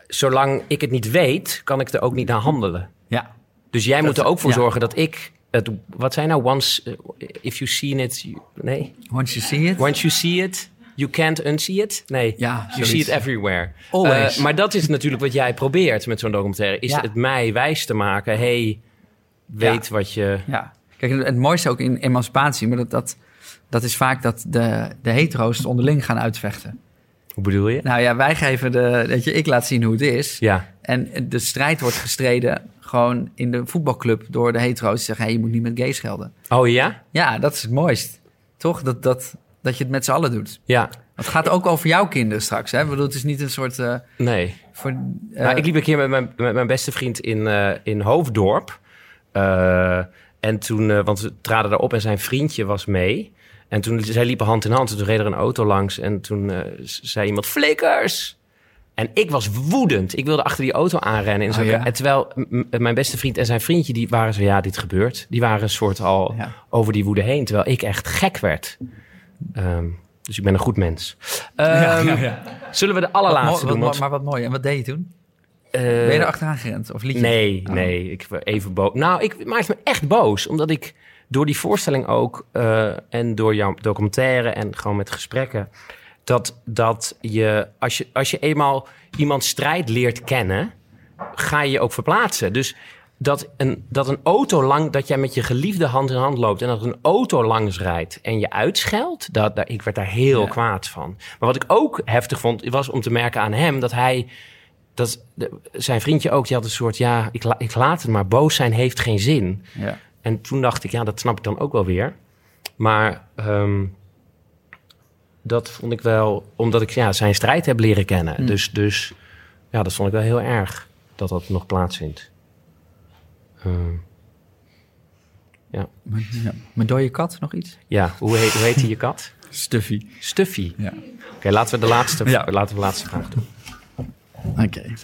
[SPEAKER 1] zolang ik het niet weet, kan ik er ook niet naar handelen.
[SPEAKER 2] Ja.
[SPEAKER 1] Dus jij moet er ook voor
[SPEAKER 2] ja.
[SPEAKER 1] zorgen dat ik. Het, wat zijn nou once. eh, if you seen it. you- nee.
[SPEAKER 2] Once you see it.
[SPEAKER 1] Once you see it. You can't unsee it? Nee,
[SPEAKER 2] Ja,
[SPEAKER 1] you
[SPEAKER 2] zoiets.
[SPEAKER 1] see it everywhere.
[SPEAKER 2] Always.
[SPEAKER 1] Eh, maar dat is natuurlijk wat jij probeert met zo'n documentaire. Is
[SPEAKER 2] Ja.
[SPEAKER 1] het mij wijs te maken. hey, weet wat je...
[SPEAKER 2] Ja. Kijk, en het mooiste ook in emancipatie, maar dat, dat, dat is vaak dat de, de hetero's het onderling gaan uitvechten.
[SPEAKER 1] Hoe bedoel je?
[SPEAKER 2] Nou ja, wij geven de, weet je, ik laat zien hoe het is.
[SPEAKER 1] Ja,
[SPEAKER 2] En de strijd wordt gestreden gewoon in de voetbalclub door de hetero's die zeggen, hey, je moet niet met gays schelden.
[SPEAKER 1] oh ja?
[SPEAKER 2] Ja, dat is het mooist. Toch? Dat, dat, dat je het met z'n allen doet.
[SPEAKER 1] Ja,
[SPEAKER 2] Het gaat ook over jouw kinderen straks. Hè? Ik bedoel, het is niet een soort. eh,
[SPEAKER 1] nee.
[SPEAKER 2] voor, eh,
[SPEAKER 1] nou, ik liep een keer met mijn, met mijn beste vriend in, eh, in Hoofddorp. Eh, en toen, eh, want we traden daar op en zijn vriendje was mee. En toen, zij liepen hand in hand. En toen reed er een auto langs. En toen eh, s- zei iemand, flikkers! En ik was woedend. Ik wilde achter die auto aanrennen. En, zo.
[SPEAKER 2] Oh, ja.
[SPEAKER 1] en terwijl m- m- mijn beste vriend en zijn vriendje, die waren zo, ja, dit gebeurt. Die waren een soort al
[SPEAKER 2] Ja.
[SPEAKER 1] over die woede heen. Terwijl ik echt gek werd. Ehm, dus ik ben een goed mens. Ehm, Zullen we de
[SPEAKER 2] Ehm, wat
[SPEAKER 1] allerlaatste
[SPEAKER 2] mooi- wat
[SPEAKER 1] doen?
[SPEAKER 2] mooi-
[SPEAKER 1] want,
[SPEAKER 2] maar wat mooi. En wat deed je toen?
[SPEAKER 1] eh,
[SPEAKER 2] Ben je er achteraan gerend? Of liet je
[SPEAKER 1] Nee,
[SPEAKER 2] Oh.
[SPEAKER 1] nee. Ik was even boos. Nou, ik het maakte me echt boos. Omdat ik door die voorstelling ook... eh, en door jouw documentaire en gewoon met gesprekken... dat, dat je, als je... Als je eenmaal iemand strijd leert kennen... ga je je ook verplaatsen. Dus dat een, dat een auto lang... dat jij met je geliefde hand in hand loopt... en dat een auto langs rijdt en je uitscheldt... Dat, daar, ik werd daar heel
[SPEAKER 2] Ja.
[SPEAKER 1] kwaad van. Maar wat ik ook heftig vond... was om te merken aan hem dat hij dat, de- zijn vriendje ook, die had een soort, ja, ik, la- ik laat het maar, boos zijn heeft geen zin.
[SPEAKER 2] Ja.
[SPEAKER 1] En toen dacht ik, ja, dat snap ik dan ook wel weer. Maar ehm, dat vond ik wel, omdat ik ja, zijn strijd heb leren kennen.
[SPEAKER 2] Mm.
[SPEAKER 1] Dus, dus ja, dat vond ik wel heel erg, dat dat nog plaatsvindt. Ehm,
[SPEAKER 2] Maar, ja. Mijn dode kat nog iets?
[SPEAKER 1] ja, hoe heet, hoe heette je kat?
[SPEAKER 2] Stuffy.
[SPEAKER 1] Stuffy.
[SPEAKER 2] Ja.
[SPEAKER 1] Oké, laten we de laatste,
[SPEAKER 2] Ja.
[SPEAKER 1] laten we de laatste vraag doen.
[SPEAKER 2] Oké. Even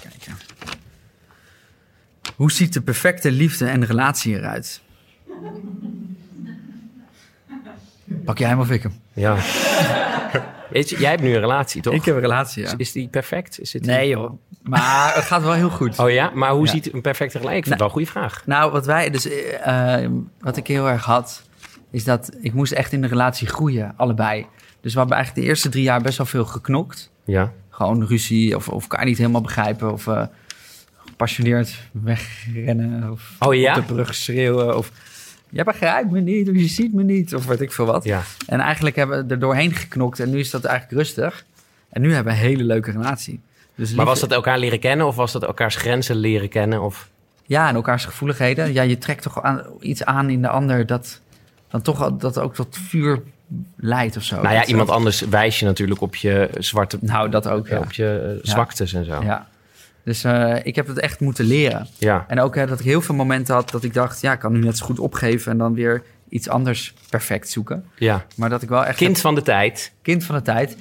[SPEAKER 2] kijken. Hoe ziet de perfecte liefde en relatie eruit? Pak jij hem of ik hem?
[SPEAKER 1] Ja. Weet je, jij hebt nu een relatie, toch?
[SPEAKER 2] Ik heb een relatie,
[SPEAKER 1] Is-
[SPEAKER 2] ja.
[SPEAKER 1] Is die perfect? Is het
[SPEAKER 2] Nee joh. Maar het gaat wel heel goed.
[SPEAKER 1] Oh ja, maar hoe
[SPEAKER 2] Ja.
[SPEAKER 1] ziet een perfecte relatie? Ik vind het wel een goede vraag.
[SPEAKER 2] Nou, wat wij dus, eh, eh, wat ik heel erg had, is dat ik moest echt in de relatie groeien, allebei. Dus we hebben eigenlijk de eerste drie jaar best wel veel geknokt.
[SPEAKER 1] Ja.
[SPEAKER 2] Gewoon ruzie of, of elkaar niet helemaal begrijpen of eh, gepassioneerd wegrennen of
[SPEAKER 1] Oh ja?
[SPEAKER 2] op de brug schreeuwen of jij begrijpt me niet of je ziet me niet of weet ik veel wat.
[SPEAKER 1] Ja.
[SPEAKER 2] En eigenlijk hebben we er doorheen geknokt en nu is dat eigenlijk rustig. En nu hebben we een hele leuke relatie. Dus
[SPEAKER 1] Maar was
[SPEAKER 2] liefde-
[SPEAKER 1] dat elkaar leren kennen of was dat elkaars grenzen leren kennen? Of...
[SPEAKER 2] Oh, Ja, en elkaars gevoeligheden. Ja, je trekt toch aan, iets aan in de ander dat dan toch al- dat ook tot vuur leidt of zo.
[SPEAKER 1] nou ja,
[SPEAKER 2] Dat-
[SPEAKER 1] iemand anders wijst je natuurlijk op je zwarte,
[SPEAKER 2] Nou, dat ook, ja.
[SPEAKER 1] op je eh,
[SPEAKER 2] Ja.
[SPEAKER 1] zwaktes en zo. Ja.
[SPEAKER 2] Ja. Dus eh, ik heb het echt moeten leren. En ook hè, dat ik heel veel momenten had dat ik dacht... ja, ik kan nu net zo goed opgeven en dan weer iets anders perfect zoeken.
[SPEAKER 1] ja.
[SPEAKER 2] Maar dat ik wel echt...
[SPEAKER 1] Kind van de tijd.
[SPEAKER 2] heb- kind van de tijd.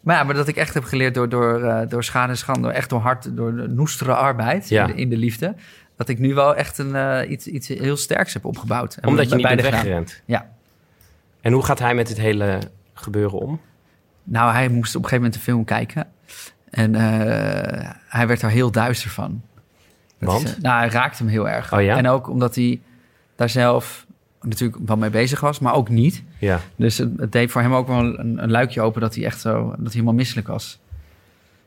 [SPEAKER 2] Maar ja, maar dat ik echt heb geleerd door, door, eh, door schade en schande... echt door hard, door noestere arbeid
[SPEAKER 1] Ja.
[SPEAKER 2] in, de, in de liefde... dat ik nu wel echt een, eh, iets, iets heel sterks heb opgebouwd. En
[SPEAKER 1] Omdat je niet
[SPEAKER 2] beide
[SPEAKER 1] bent
[SPEAKER 2] gedaan.
[SPEAKER 1] weggerend.
[SPEAKER 2] Ja,
[SPEAKER 1] En hoe gaat hij met dit hele gebeuren om?
[SPEAKER 2] Nou, hij moest op een gegeven moment een film kijken. En eh, hij werd daar heel duister van. Dat
[SPEAKER 1] Want?
[SPEAKER 2] is, eh, nou, hij raakte hem heel erg.
[SPEAKER 1] Oh ja?
[SPEAKER 2] En ook omdat hij daar zelf natuurlijk wel mee bezig was, maar ook niet.
[SPEAKER 1] Ja.
[SPEAKER 2] Dus het, het deed voor hem ook wel een, een luikje open dat hij echt zo, dat hij helemaal misselijk was.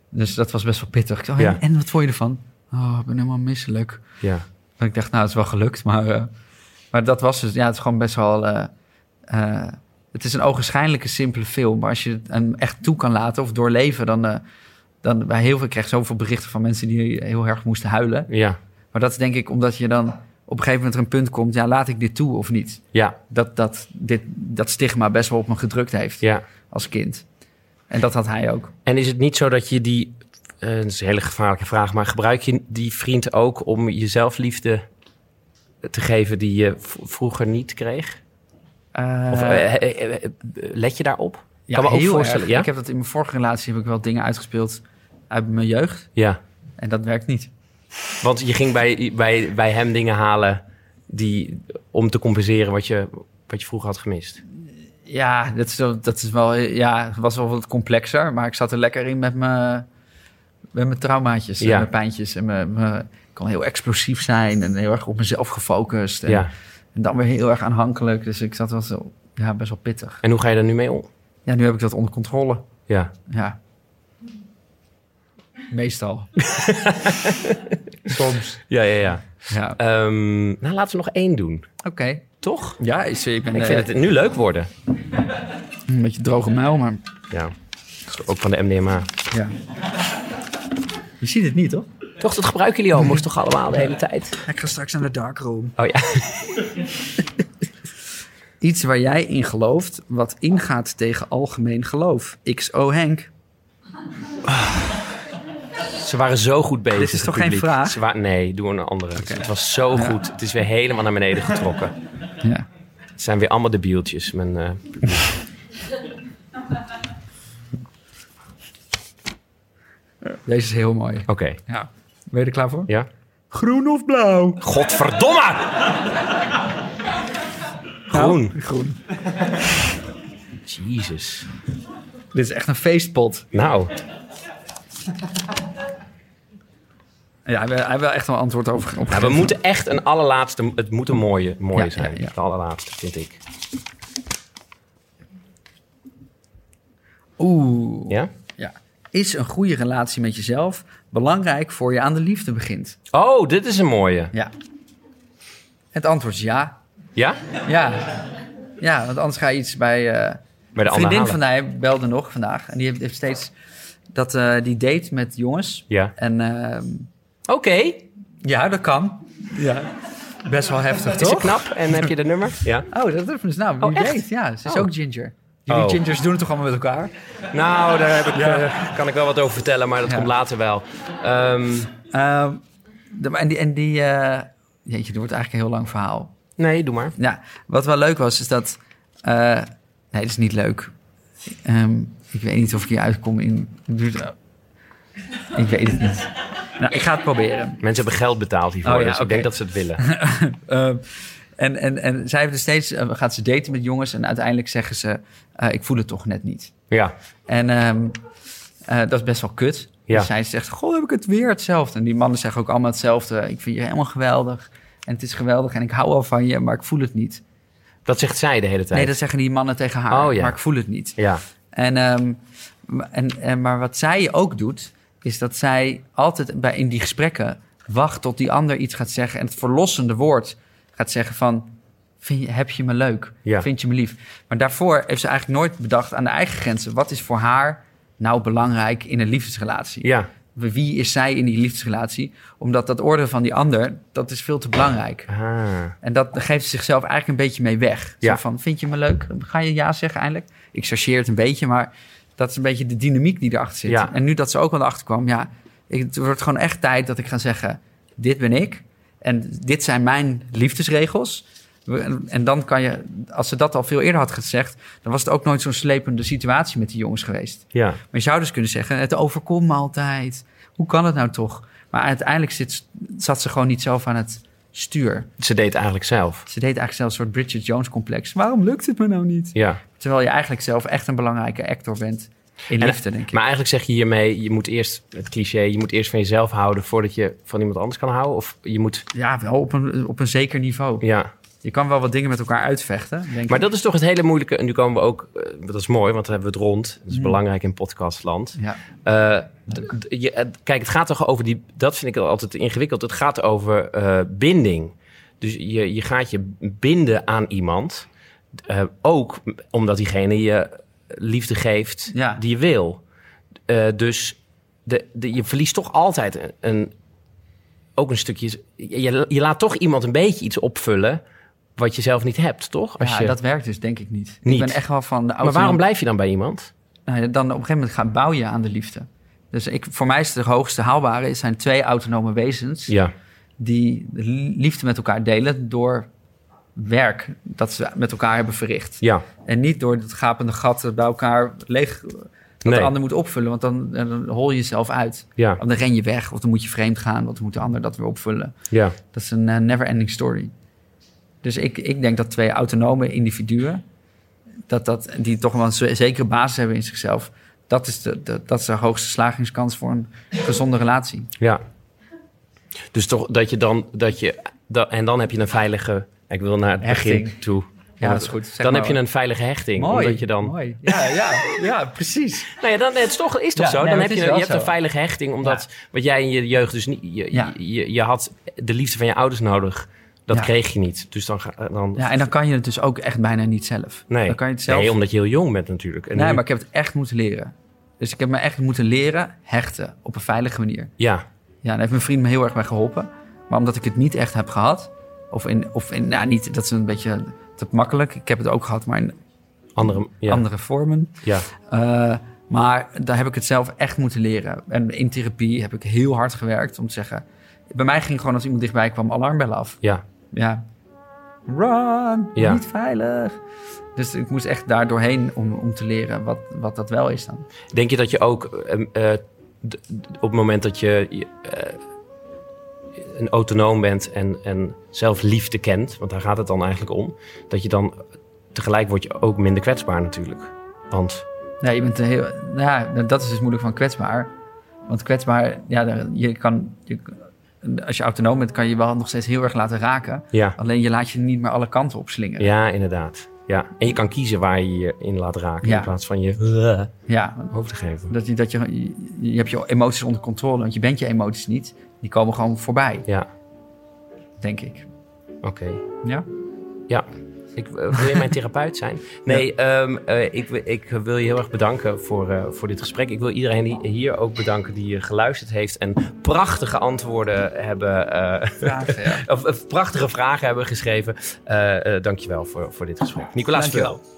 [SPEAKER 2] Dus dat was best wel pittig. Ik dacht,
[SPEAKER 1] Ja.
[SPEAKER 2] en, en wat vond je ervan? Oh, ik ben helemaal misselijk.
[SPEAKER 1] ja.
[SPEAKER 2] En ik dacht, nou, het is wel gelukt, maar, eh, maar dat was dus, ja, het is gewoon best wel. eh, eh, het is een ogenschijnlijke simpele film, maar als je het hem echt toe kan laten of doorleven, dan. eh, dan bij heel veel, ik kreeg zoveel berichten van mensen die heel erg moesten huilen.
[SPEAKER 1] Ja.
[SPEAKER 2] Maar dat is denk ik omdat je dan op een gegeven moment er een punt komt, ja, laat ik dit toe of niet?
[SPEAKER 1] Ja.
[SPEAKER 2] Dat, dat, dit, dat stigma best wel op me gedrukt heeft
[SPEAKER 1] Ja.
[SPEAKER 2] als kind. En dat had hij ook.
[SPEAKER 1] En is het niet zo dat je die... eh, dat is een hele gevaarlijke vraag, maar gebruik je die vriend ook om jezelf liefde te geven die je v- vroeger niet kreeg?
[SPEAKER 2] Eh,
[SPEAKER 1] Of, eh, eh, eh, eh, let je daarop? kan me ook
[SPEAKER 2] heel
[SPEAKER 1] voorstellen,
[SPEAKER 2] erg.
[SPEAKER 1] ja?
[SPEAKER 2] Ik heb dat in mijn vorige relatie heb ik wel dingen uitgespeeld uit mijn jeugd.
[SPEAKER 1] Ja.
[SPEAKER 2] En dat werkt niet.
[SPEAKER 1] Want je ging bij, bij, bij hem dingen halen die, om te compenseren wat je, wat je vroeger had gemist.
[SPEAKER 2] Ja, eh, dat is, wel- dat is wel, ja, het was wel wat complexer. Maar ik zat er lekker in met mijn, met mijn traumaatjes en
[SPEAKER 1] Ja.
[SPEAKER 2] mijn pijntjes. En mijn, mijn- ik kan heel explosief zijn en heel erg op mezelf gefocust. En,
[SPEAKER 1] Ja.
[SPEAKER 2] en dan weer heel erg aanhankelijk. Dus ik zat wel zo, ja, best wel pittig.
[SPEAKER 1] En hoe ga je daar nu mee om?
[SPEAKER 2] Ja, nu heb ik dat onder controle.
[SPEAKER 1] Ja.
[SPEAKER 2] Ja. Meestal. Soms.
[SPEAKER 1] Ja, ja, ja.
[SPEAKER 2] Ja.
[SPEAKER 1] Ehm, nou, laten we nog één doen.
[SPEAKER 2] Oké.
[SPEAKER 1] Toch?
[SPEAKER 2] Ja, ik ik ben eh,
[SPEAKER 1] Ik vind het nu leuk worden.
[SPEAKER 2] een beetje droge muil, maar
[SPEAKER 1] Ja. Ook van de MDMA.
[SPEAKER 2] ja. Je ziet het niet, toch?
[SPEAKER 1] Toch, dat gebruiken jullie homo's toch allemaal de hele tijd?
[SPEAKER 2] Ik ga straks naar de darkroom.
[SPEAKER 1] Oh ja.
[SPEAKER 2] Iets waar jij in gelooft, wat ingaat tegen algemeen geloof. XO Henk.
[SPEAKER 1] Ze waren zo goed bezig.
[SPEAKER 2] Dit is toch
[SPEAKER 1] het publiek.
[SPEAKER 2] geen vraag?
[SPEAKER 1] Ze wa- nee, doe een andere. Het was zo goed. Het is weer helemaal naar beneden getrokken.
[SPEAKER 2] Ja.
[SPEAKER 1] Het zijn weer allemaal debieltjes. Mijn, eh, publiek.
[SPEAKER 2] Deze is heel mooi.
[SPEAKER 1] Oké.
[SPEAKER 2] Ja. Ben je er klaar voor?
[SPEAKER 1] Ja?
[SPEAKER 2] Groen of blauw?
[SPEAKER 1] Godverdomme! Nou? Groen.
[SPEAKER 2] Groen.
[SPEAKER 1] Jezus.
[SPEAKER 2] Dit is echt een feestpot.
[SPEAKER 1] Nou,
[SPEAKER 2] Ja, hij wil, hij wil echt wel antwoord over. Op
[SPEAKER 1] nou, we moeten echt een allerlaatste... Het moet een mooie, mooie
[SPEAKER 2] Ja,
[SPEAKER 1] zijn.
[SPEAKER 2] ja, ja.
[SPEAKER 1] De allerlaatste, vind ik.
[SPEAKER 2] Oeh.
[SPEAKER 1] Ja?
[SPEAKER 2] Ja. Is een goede relatie met jezelf belangrijk voor je aan de liefde begint?
[SPEAKER 1] Oh, dit is een mooie.
[SPEAKER 2] Ja. Het antwoord is ja.
[SPEAKER 1] Ja?
[SPEAKER 2] Ja. Ja, want anders ga je iets bij... eh
[SPEAKER 1] Bij de
[SPEAKER 2] een vriendin
[SPEAKER 1] andere
[SPEAKER 2] van mij belde nog vandaag. En die heeft, heeft steeds dat, eh, die date met jongens.
[SPEAKER 1] Ja.
[SPEAKER 2] En ehm,
[SPEAKER 1] Oké.
[SPEAKER 2] ja, dat kan. Ja. Best wel heftig,
[SPEAKER 1] Is het
[SPEAKER 2] toch?
[SPEAKER 1] knap? En heb je de nummer? Ja.
[SPEAKER 2] Oh, dat is nou, wie
[SPEAKER 1] Oh, echt?
[SPEAKER 2] weet. Ja, ze is
[SPEAKER 1] Oh.
[SPEAKER 2] ook ginger. Jullie
[SPEAKER 1] Oh.
[SPEAKER 2] gingers doen het toch allemaal met elkaar?
[SPEAKER 1] Nou, daar heb ik, eh, kan ik wel wat over vertellen, maar dat
[SPEAKER 2] Ja.
[SPEAKER 1] komt later wel. Ehm,
[SPEAKER 2] Ehm, de- en die... En die eh, jeetje, dit wordt eigenlijk een heel lang verhaal.
[SPEAKER 1] nee, doe maar.
[SPEAKER 2] Ja, wat wel leuk was, is dat... eh, nee, dat is niet leuk. Ehm, ik weet niet of ik hier uitkom in... het duurt- Ik weet het niet. Nou, ik ga het proberen.
[SPEAKER 1] Mensen hebben geld betaald hiervoor,
[SPEAKER 2] Oh ja,
[SPEAKER 1] dus ik
[SPEAKER 2] oké.
[SPEAKER 1] denk dat ze het willen.
[SPEAKER 2] Ehm, en, en, en zij heeft dus steeds, eh, gaat ze daten met jongens en uiteindelijk zeggen ze, eh, ik voel het toch net niet.
[SPEAKER 1] Ja,
[SPEAKER 2] En ehm, eh, dat is best wel kut.
[SPEAKER 1] Ja.
[SPEAKER 2] Dus zij zegt, goh, heb ik het weer hetzelfde. En die mannen zeggen ook allemaal hetzelfde. Ik vind je helemaal geweldig. En het is geweldig en ik hou al van je, maar ik voel het niet.
[SPEAKER 1] dat zegt zij de hele tijd.
[SPEAKER 2] Nee, dat zeggen die mannen tegen haar,
[SPEAKER 1] Oh, ja.
[SPEAKER 2] maar ik voel het niet.
[SPEAKER 1] Ja,
[SPEAKER 2] En, ehm, m- en, en, maar wat zij ook doet, is dat zij altijd bij, in die gesprekken wacht tot die ander iets gaat zeggen. En het verlossende woord gaat zeggen van, vind je, heb je me leuk?
[SPEAKER 1] Ja.
[SPEAKER 2] Vind je me lief? Maar daarvoor heeft ze eigenlijk nooit bedacht aan de eigen grenzen. Wat is voor haar nou belangrijk in een liefdesrelatie?
[SPEAKER 1] ja.
[SPEAKER 2] Wie is zij in die liefdesrelatie? Omdat dat oordeel van die ander, dat is veel te belangrijk.
[SPEAKER 1] Ah.
[SPEAKER 2] En dat geeft ze zichzelf eigenlijk een beetje mee weg.
[SPEAKER 1] Ja.
[SPEAKER 2] Zo van, vind je me leuk? Ga je ja zeggen eindelijk? Ik chargeer het een beetje, maar dat is een beetje de dynamiek die erachter zit.
[SPEAKER 1] Ja.
[SPEAKER 2] En nu dat ze ook wel erachter kwam, ja, ik- het wordt gewoon echt tijd dat ik ga zeggen, dit ben ik. En dit zijn mijn liefdesregels. We- En dan kan je, als ze dat al veel eerder had gezegd, dan was het ook nooit zo'n slepende situatie met die jongens geweest.
[SPEAKER 1] ja.
[SPEAKER 2] Maar je zou dus kunnen zeggen, het overkomt me altijd. Hoe kan het nou toch? Maar uiteindelijk zit, zat ze gewoon niet zelf aan het stuur.
[SPEAKER 1] Ze deed het eigenlijk zelf.
[SPEAKER 2] Ze deed eigenlijk zelfs een soort Bridget Jones complex. Waarom lukt het me nou niet?
[SPEAKER 1] Ja.
[SPEAKER 2] Terwijl je eigenlijk zelf echt een belangrijke actor bent in
[SPEAKER 1] En-
[SPEAKER 2] liefde, denk ik.
[SPEAKER 1] Maar eigenlijk zeg je hiermee, je moet eerst, het cliché, je moet eerst van jezelf houden voordat je van iemand anders kan houden. Of je moet,
[SPEAKER 2] Ja, wel op een, op een zeker niveau.
[SPEAKER 1] ja.
[SPEAKER 2] Je kan wel wat dingen met elkaar uitvechten, denk ik.
[SPEAKER 1] Maar dat is toch het hele moeilijke. En nu komen we ook, eh, dat is mooi, want dan hebben we het rond. Dat is belangrijk in podcastland.
[SPEAKER 2] Ja.
[SPEAKER 1] Eh, d- d- je- eh, kijk, het gaat toch over die. Dat vind ik altijd ingewikkeld. Het gaat over eh, binding. Dus je, je gaat je binden aan iemand. eh, ook omdat diegene je liefde geeft
[SPEAKER 2] Ja.
[SPEAKER 1] die je wil. Eh, dus de, de, je verliest toch altijd een, een- ook een stukje. Je, je laat toch iemand een beetje iets opvullen. wat je zelf niet hebt, toch? Als
[SPEAKER 2] ja,
[SPEAKER 1] je,
[SPEAKER 2] dat werkt dus denk ik niet.
[SPEAKER 1] Niet.
[SPEAKER 2] Ik ben echt wel van de
[SPEAKER 1] maar
[SPEAKER 2] auto.
[SPEAKER 1] waarom blijf je dan bij iemand?
[SPEAKER 2] Nou ja, dan op een gegeven moment gaan bouw je aan de liefde. Dus ik, voor mij is de hoogste haalbare... is zijn twee autonome wezens...
[SPEAKER 1] Ja.
[SPEAKER 2] die de liefde met elkaar delen... door werk dat ze met elkaar hebben verricht.
[SPEAKER 1] Ja.
[SPEAKER 2] En niet door het gapende gat dat bij elkaar leeg. Dat
[SPEAKER 1] Nee.
[SPEAKER 2] de ander moet opvullen, want dan, dan hol je jezelf uit.
[SPEAKER 1] Ja.
[SPEAKER 2] Of dan ren je weg, of dan moet je vreemd gaan, want dan moet de ander dat weer opvullen.
[SPEAKER 1] Ja.
[SPEAKER 2] Dat is een never-ending story. Dus ik, ik denk dat twee autonome individuen, dat, dat, die toch wel een z- zekere basis hebben in zichzelf, Dat is de, de- dat is de hoogste slagingskans voor een gezonde relatie.
[SPEAKER 1] Ja. Dus toch dat je dan dat je da- en dan heb je een veilige. Ik wil naar het begin
[SPEAKER 2] Hechting.
[SPEAKER 1] toe.
[SPEAKER 2] Ja, dat is goed. Zeg
[SPEAKER 1] dan
[SPEAKER 2] maar.
[SPEAKER 1] heb je een veilige hechting.
[SPEAKER 2] Mooi.
[SPEAKER 1] Omdat je dan.
[SPEAKER 2] Mooi. Ja, ja, ja, precies.
[SPEAKER 1] Nou ja, dan, het is toch, is toch
[SPEAKER 2] Ja,
[SPEAKER 1] zo?
[SPEAKER 2] nee,
[SPEAKER 1] dan
[SPEAKER 2] maar
[SPEAKER 1] heb
[SPEAKER 2] het
[SPEAKER 1] je,
[SPEAKER 2] is
[SPEAKER 1] een- je
[SPEAKER 2] wel
[SPEAKER 1] hebt
[SPEAKER 2] zo.
[SPEAKER 1] een veilige hechting, omdat wat jij in je jeugd dus niet. Je,
[SPEAKER 2] Ja.
[SPEAKER 1] je, je had de liefde van je ouders nodig. Dat
[SPEAKER 2] Ja.
[SPEAKER 1] kreeg je niet. Dus dan. ga- dan
[SPEAKER 2] Ja, en dan kan je het dus ook echt bijna niet zelf.
[SPEAKER 1] nee.
[SPEAKER 2] Dan kan je het zelf.
[SPEAKER 1] nee, omdat je heel jong bent natuurlijk. En
[SPEAKER 2] nee,
[SPEAKER 1] nu-
[SPEAKER 2] maar ik heb het echt moeten leren. Dus ik heb me echt moeten leren hechten op een veilige manier.
[SPEAKER 1] Ja,
[SPEAKER 2] Ja, daar heeft mijn vriend me heel erg bij geholpen. Maar omdat ik het niet echt heb gehad, of in, of in nou niet, dat is een beetje te makkelijk. Ik heb het ook gehad, maar in
[SPEAKER 1] andere. Ja,
[SPEAKER 2] andere vormen.
[SPEAKER 1] ja.
[SPEAKER 2] Eh, maar daar heb ik het zelf echt moeten leren. En in therapie heb ik heel hard gewerkt om te zeggen. Bij mij ging gewoon als iemand dichtbij kwam alarmbellen af.
[SPEAKER 1] ja.
[SPEAKER 2] Ja. Run,
[SPEAKER 1] Ja.
[SPEAKER 2] niet veilig. Dus ik moest echt daar doorheen om, om te leren wat, wat dat wel is dan.
[SPEAKER 1] Denk je dat je ook ehm, eh, d- d- op het moment dat je je, eh, een autonoom bent en, en zelf liefde kent, want daar gaat het dan eigenlijk om, dat je dan tegelijk word je ook minder kwetsbaar natuurlijk. Want
[SPEAKER 2] Ja, je bent een heel, nou ja, dat is dus moeilijk van kwetsbaar. Want kwetsbaar, ja, daar- je kan, je, als je autonoom bent, kan je wel nog steeds heel erg laten raken.
[SPEAKER 1] ja,
[SPEAKER 2] Alleen je laat je niet meer alle kanten opslingeren.
[SPEAKER 1] ja inderdaad. Ja. En je kan kiezen waar je je in laat raken
[SPEAKER 2] Ja.
[SPEAKER 1] in plaats van je
[SPEAKER 2] ja
[SPEAKER 1] over te geven.
[SPEAKER 2] Dat je, dat je, je hebt je emoties onder controle, want je bent je emoties niet. Die komen gewoon voorbij,
[SPEAKER 1] Ja,
[SPEAKER 2] denk ik.
[SPEAKER 1] oké.
[SPEAKER 2] Ja?
[SPEAKER 1] Ja. Ik, eh, wil je mijn therapeut zijn? Nee, ehm, eh, ik, wi- ik wil je heel erg bedanken voor, eh, voor dit gesprek. Ik wil iedereen die- hier ook bedanken die eh, geluisterd heeft en prachtige antwoorden hebben. eh,
[SPEAKER 2] Vragen, ja.
[SPEAKER 1] of, eh, prachtige vragen hebben geschreven. Eh eh dankjewel voor, voor dit gesprek. Nicolaas,
[SPEAKER 2] Dankjewel.
[SPEAKER 1] vertel.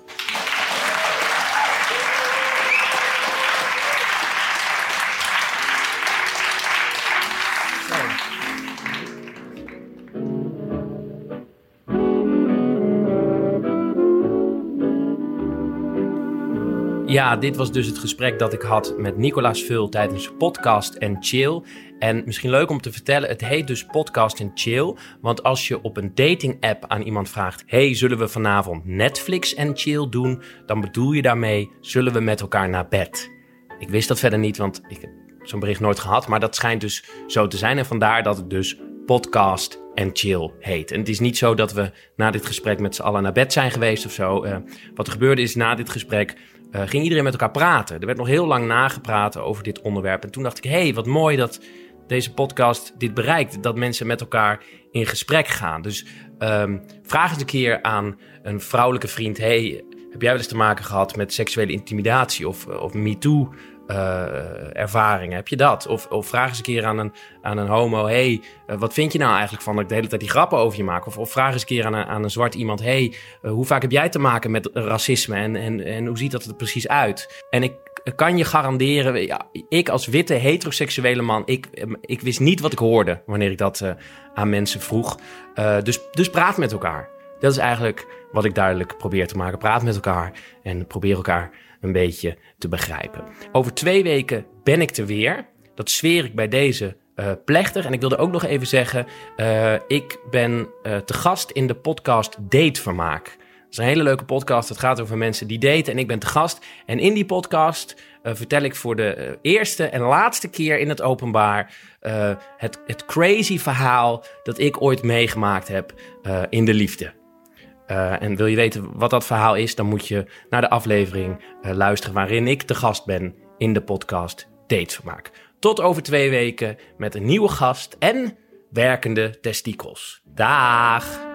[SPEAKER 1] Ja, dit was dus het gesprek dat ik had met Nicolaas Vul tijdens Podcast en Chill. En misschien leuk om te vertellen, het heet dus Podcast en Chill. Want als je op een dating app aan iemand vraagt: Hey, zullen we vanavond Netflix en chill doen? Dan bedoel je daarmee: zullen we met elkaar naar bed? Ik wist dat verder niet, want ik heb zo'n bericht nooit gehad. Maar dat schijnt dus zo te zijn. En vandaar dat het dus podcast en chill heet. En het is niet zo dat we na dit gesprek met z'n allen naar bed zijn geweest of zo. Eh, wat er gebeurde is, na dit gesprek eh, ging iedereen met elkaar praten. Er werd nog heel lang nagepraat over dit onderwerp. En toen dacht ik, hé, hey, wat mooi dat deze podcast dit bereikt. Dat mensen met elkaar in gesprek gaan. Dus ehm, vraag eens een keer aan een vrouwelijke vriend... hey, heb jij wel eens te maken gehad met seksuele intimidatie of, of MeToo? eh, ervaringen, heb je dat? Of, of vraag eens een keer aan een, aan een homo... hey, eh, wat vind je nou eigenlijk van dat ik de hele tijd die grappen over je maak? Of, of vraag eens een keer aan een, aan een zwart iemand... hey, eh, hoe vaak heb jij te maken met racisme en, en, en hoe ziet dat er precies uit? En ik kan je garanderen, ja, ik als witte heteroseksuele man, ik, ehm, ik wist niet wat ik hoorde wanneer ik dat eh, aan mensen vroeg. Eh, dus, dus praat met elkaar. Dat is eigenlijk wat ik duidelijk probeer te maken. Praat met elkaar en probeer elkaar een beetje te begrijpen. Over twee weken ben ik er weer. Dat zweer ik bij deze eh, plechtig. En ik wilde ook nog even zeggen, eh, ik ben eh, te gast in de podcast Datevermaak. Dat is een hele leuke podcast. Het gaat over mensen die daten en ik ben te gast. En in die podcast eh, vertel ik voor de eh, eerste en laatste keer in het openbaar eh, het, het crazy verhaal dat ik ooit meegemaakt heb eh, in de liefde. Eh, en wil je weten wat dat verhaal is, dan moet je naar de aflevering eh, luisteren waarin ik te gast ben in de podcast Datevermaak. Tot over twee weken met een nieuwe gast en werkende testikels. Daag!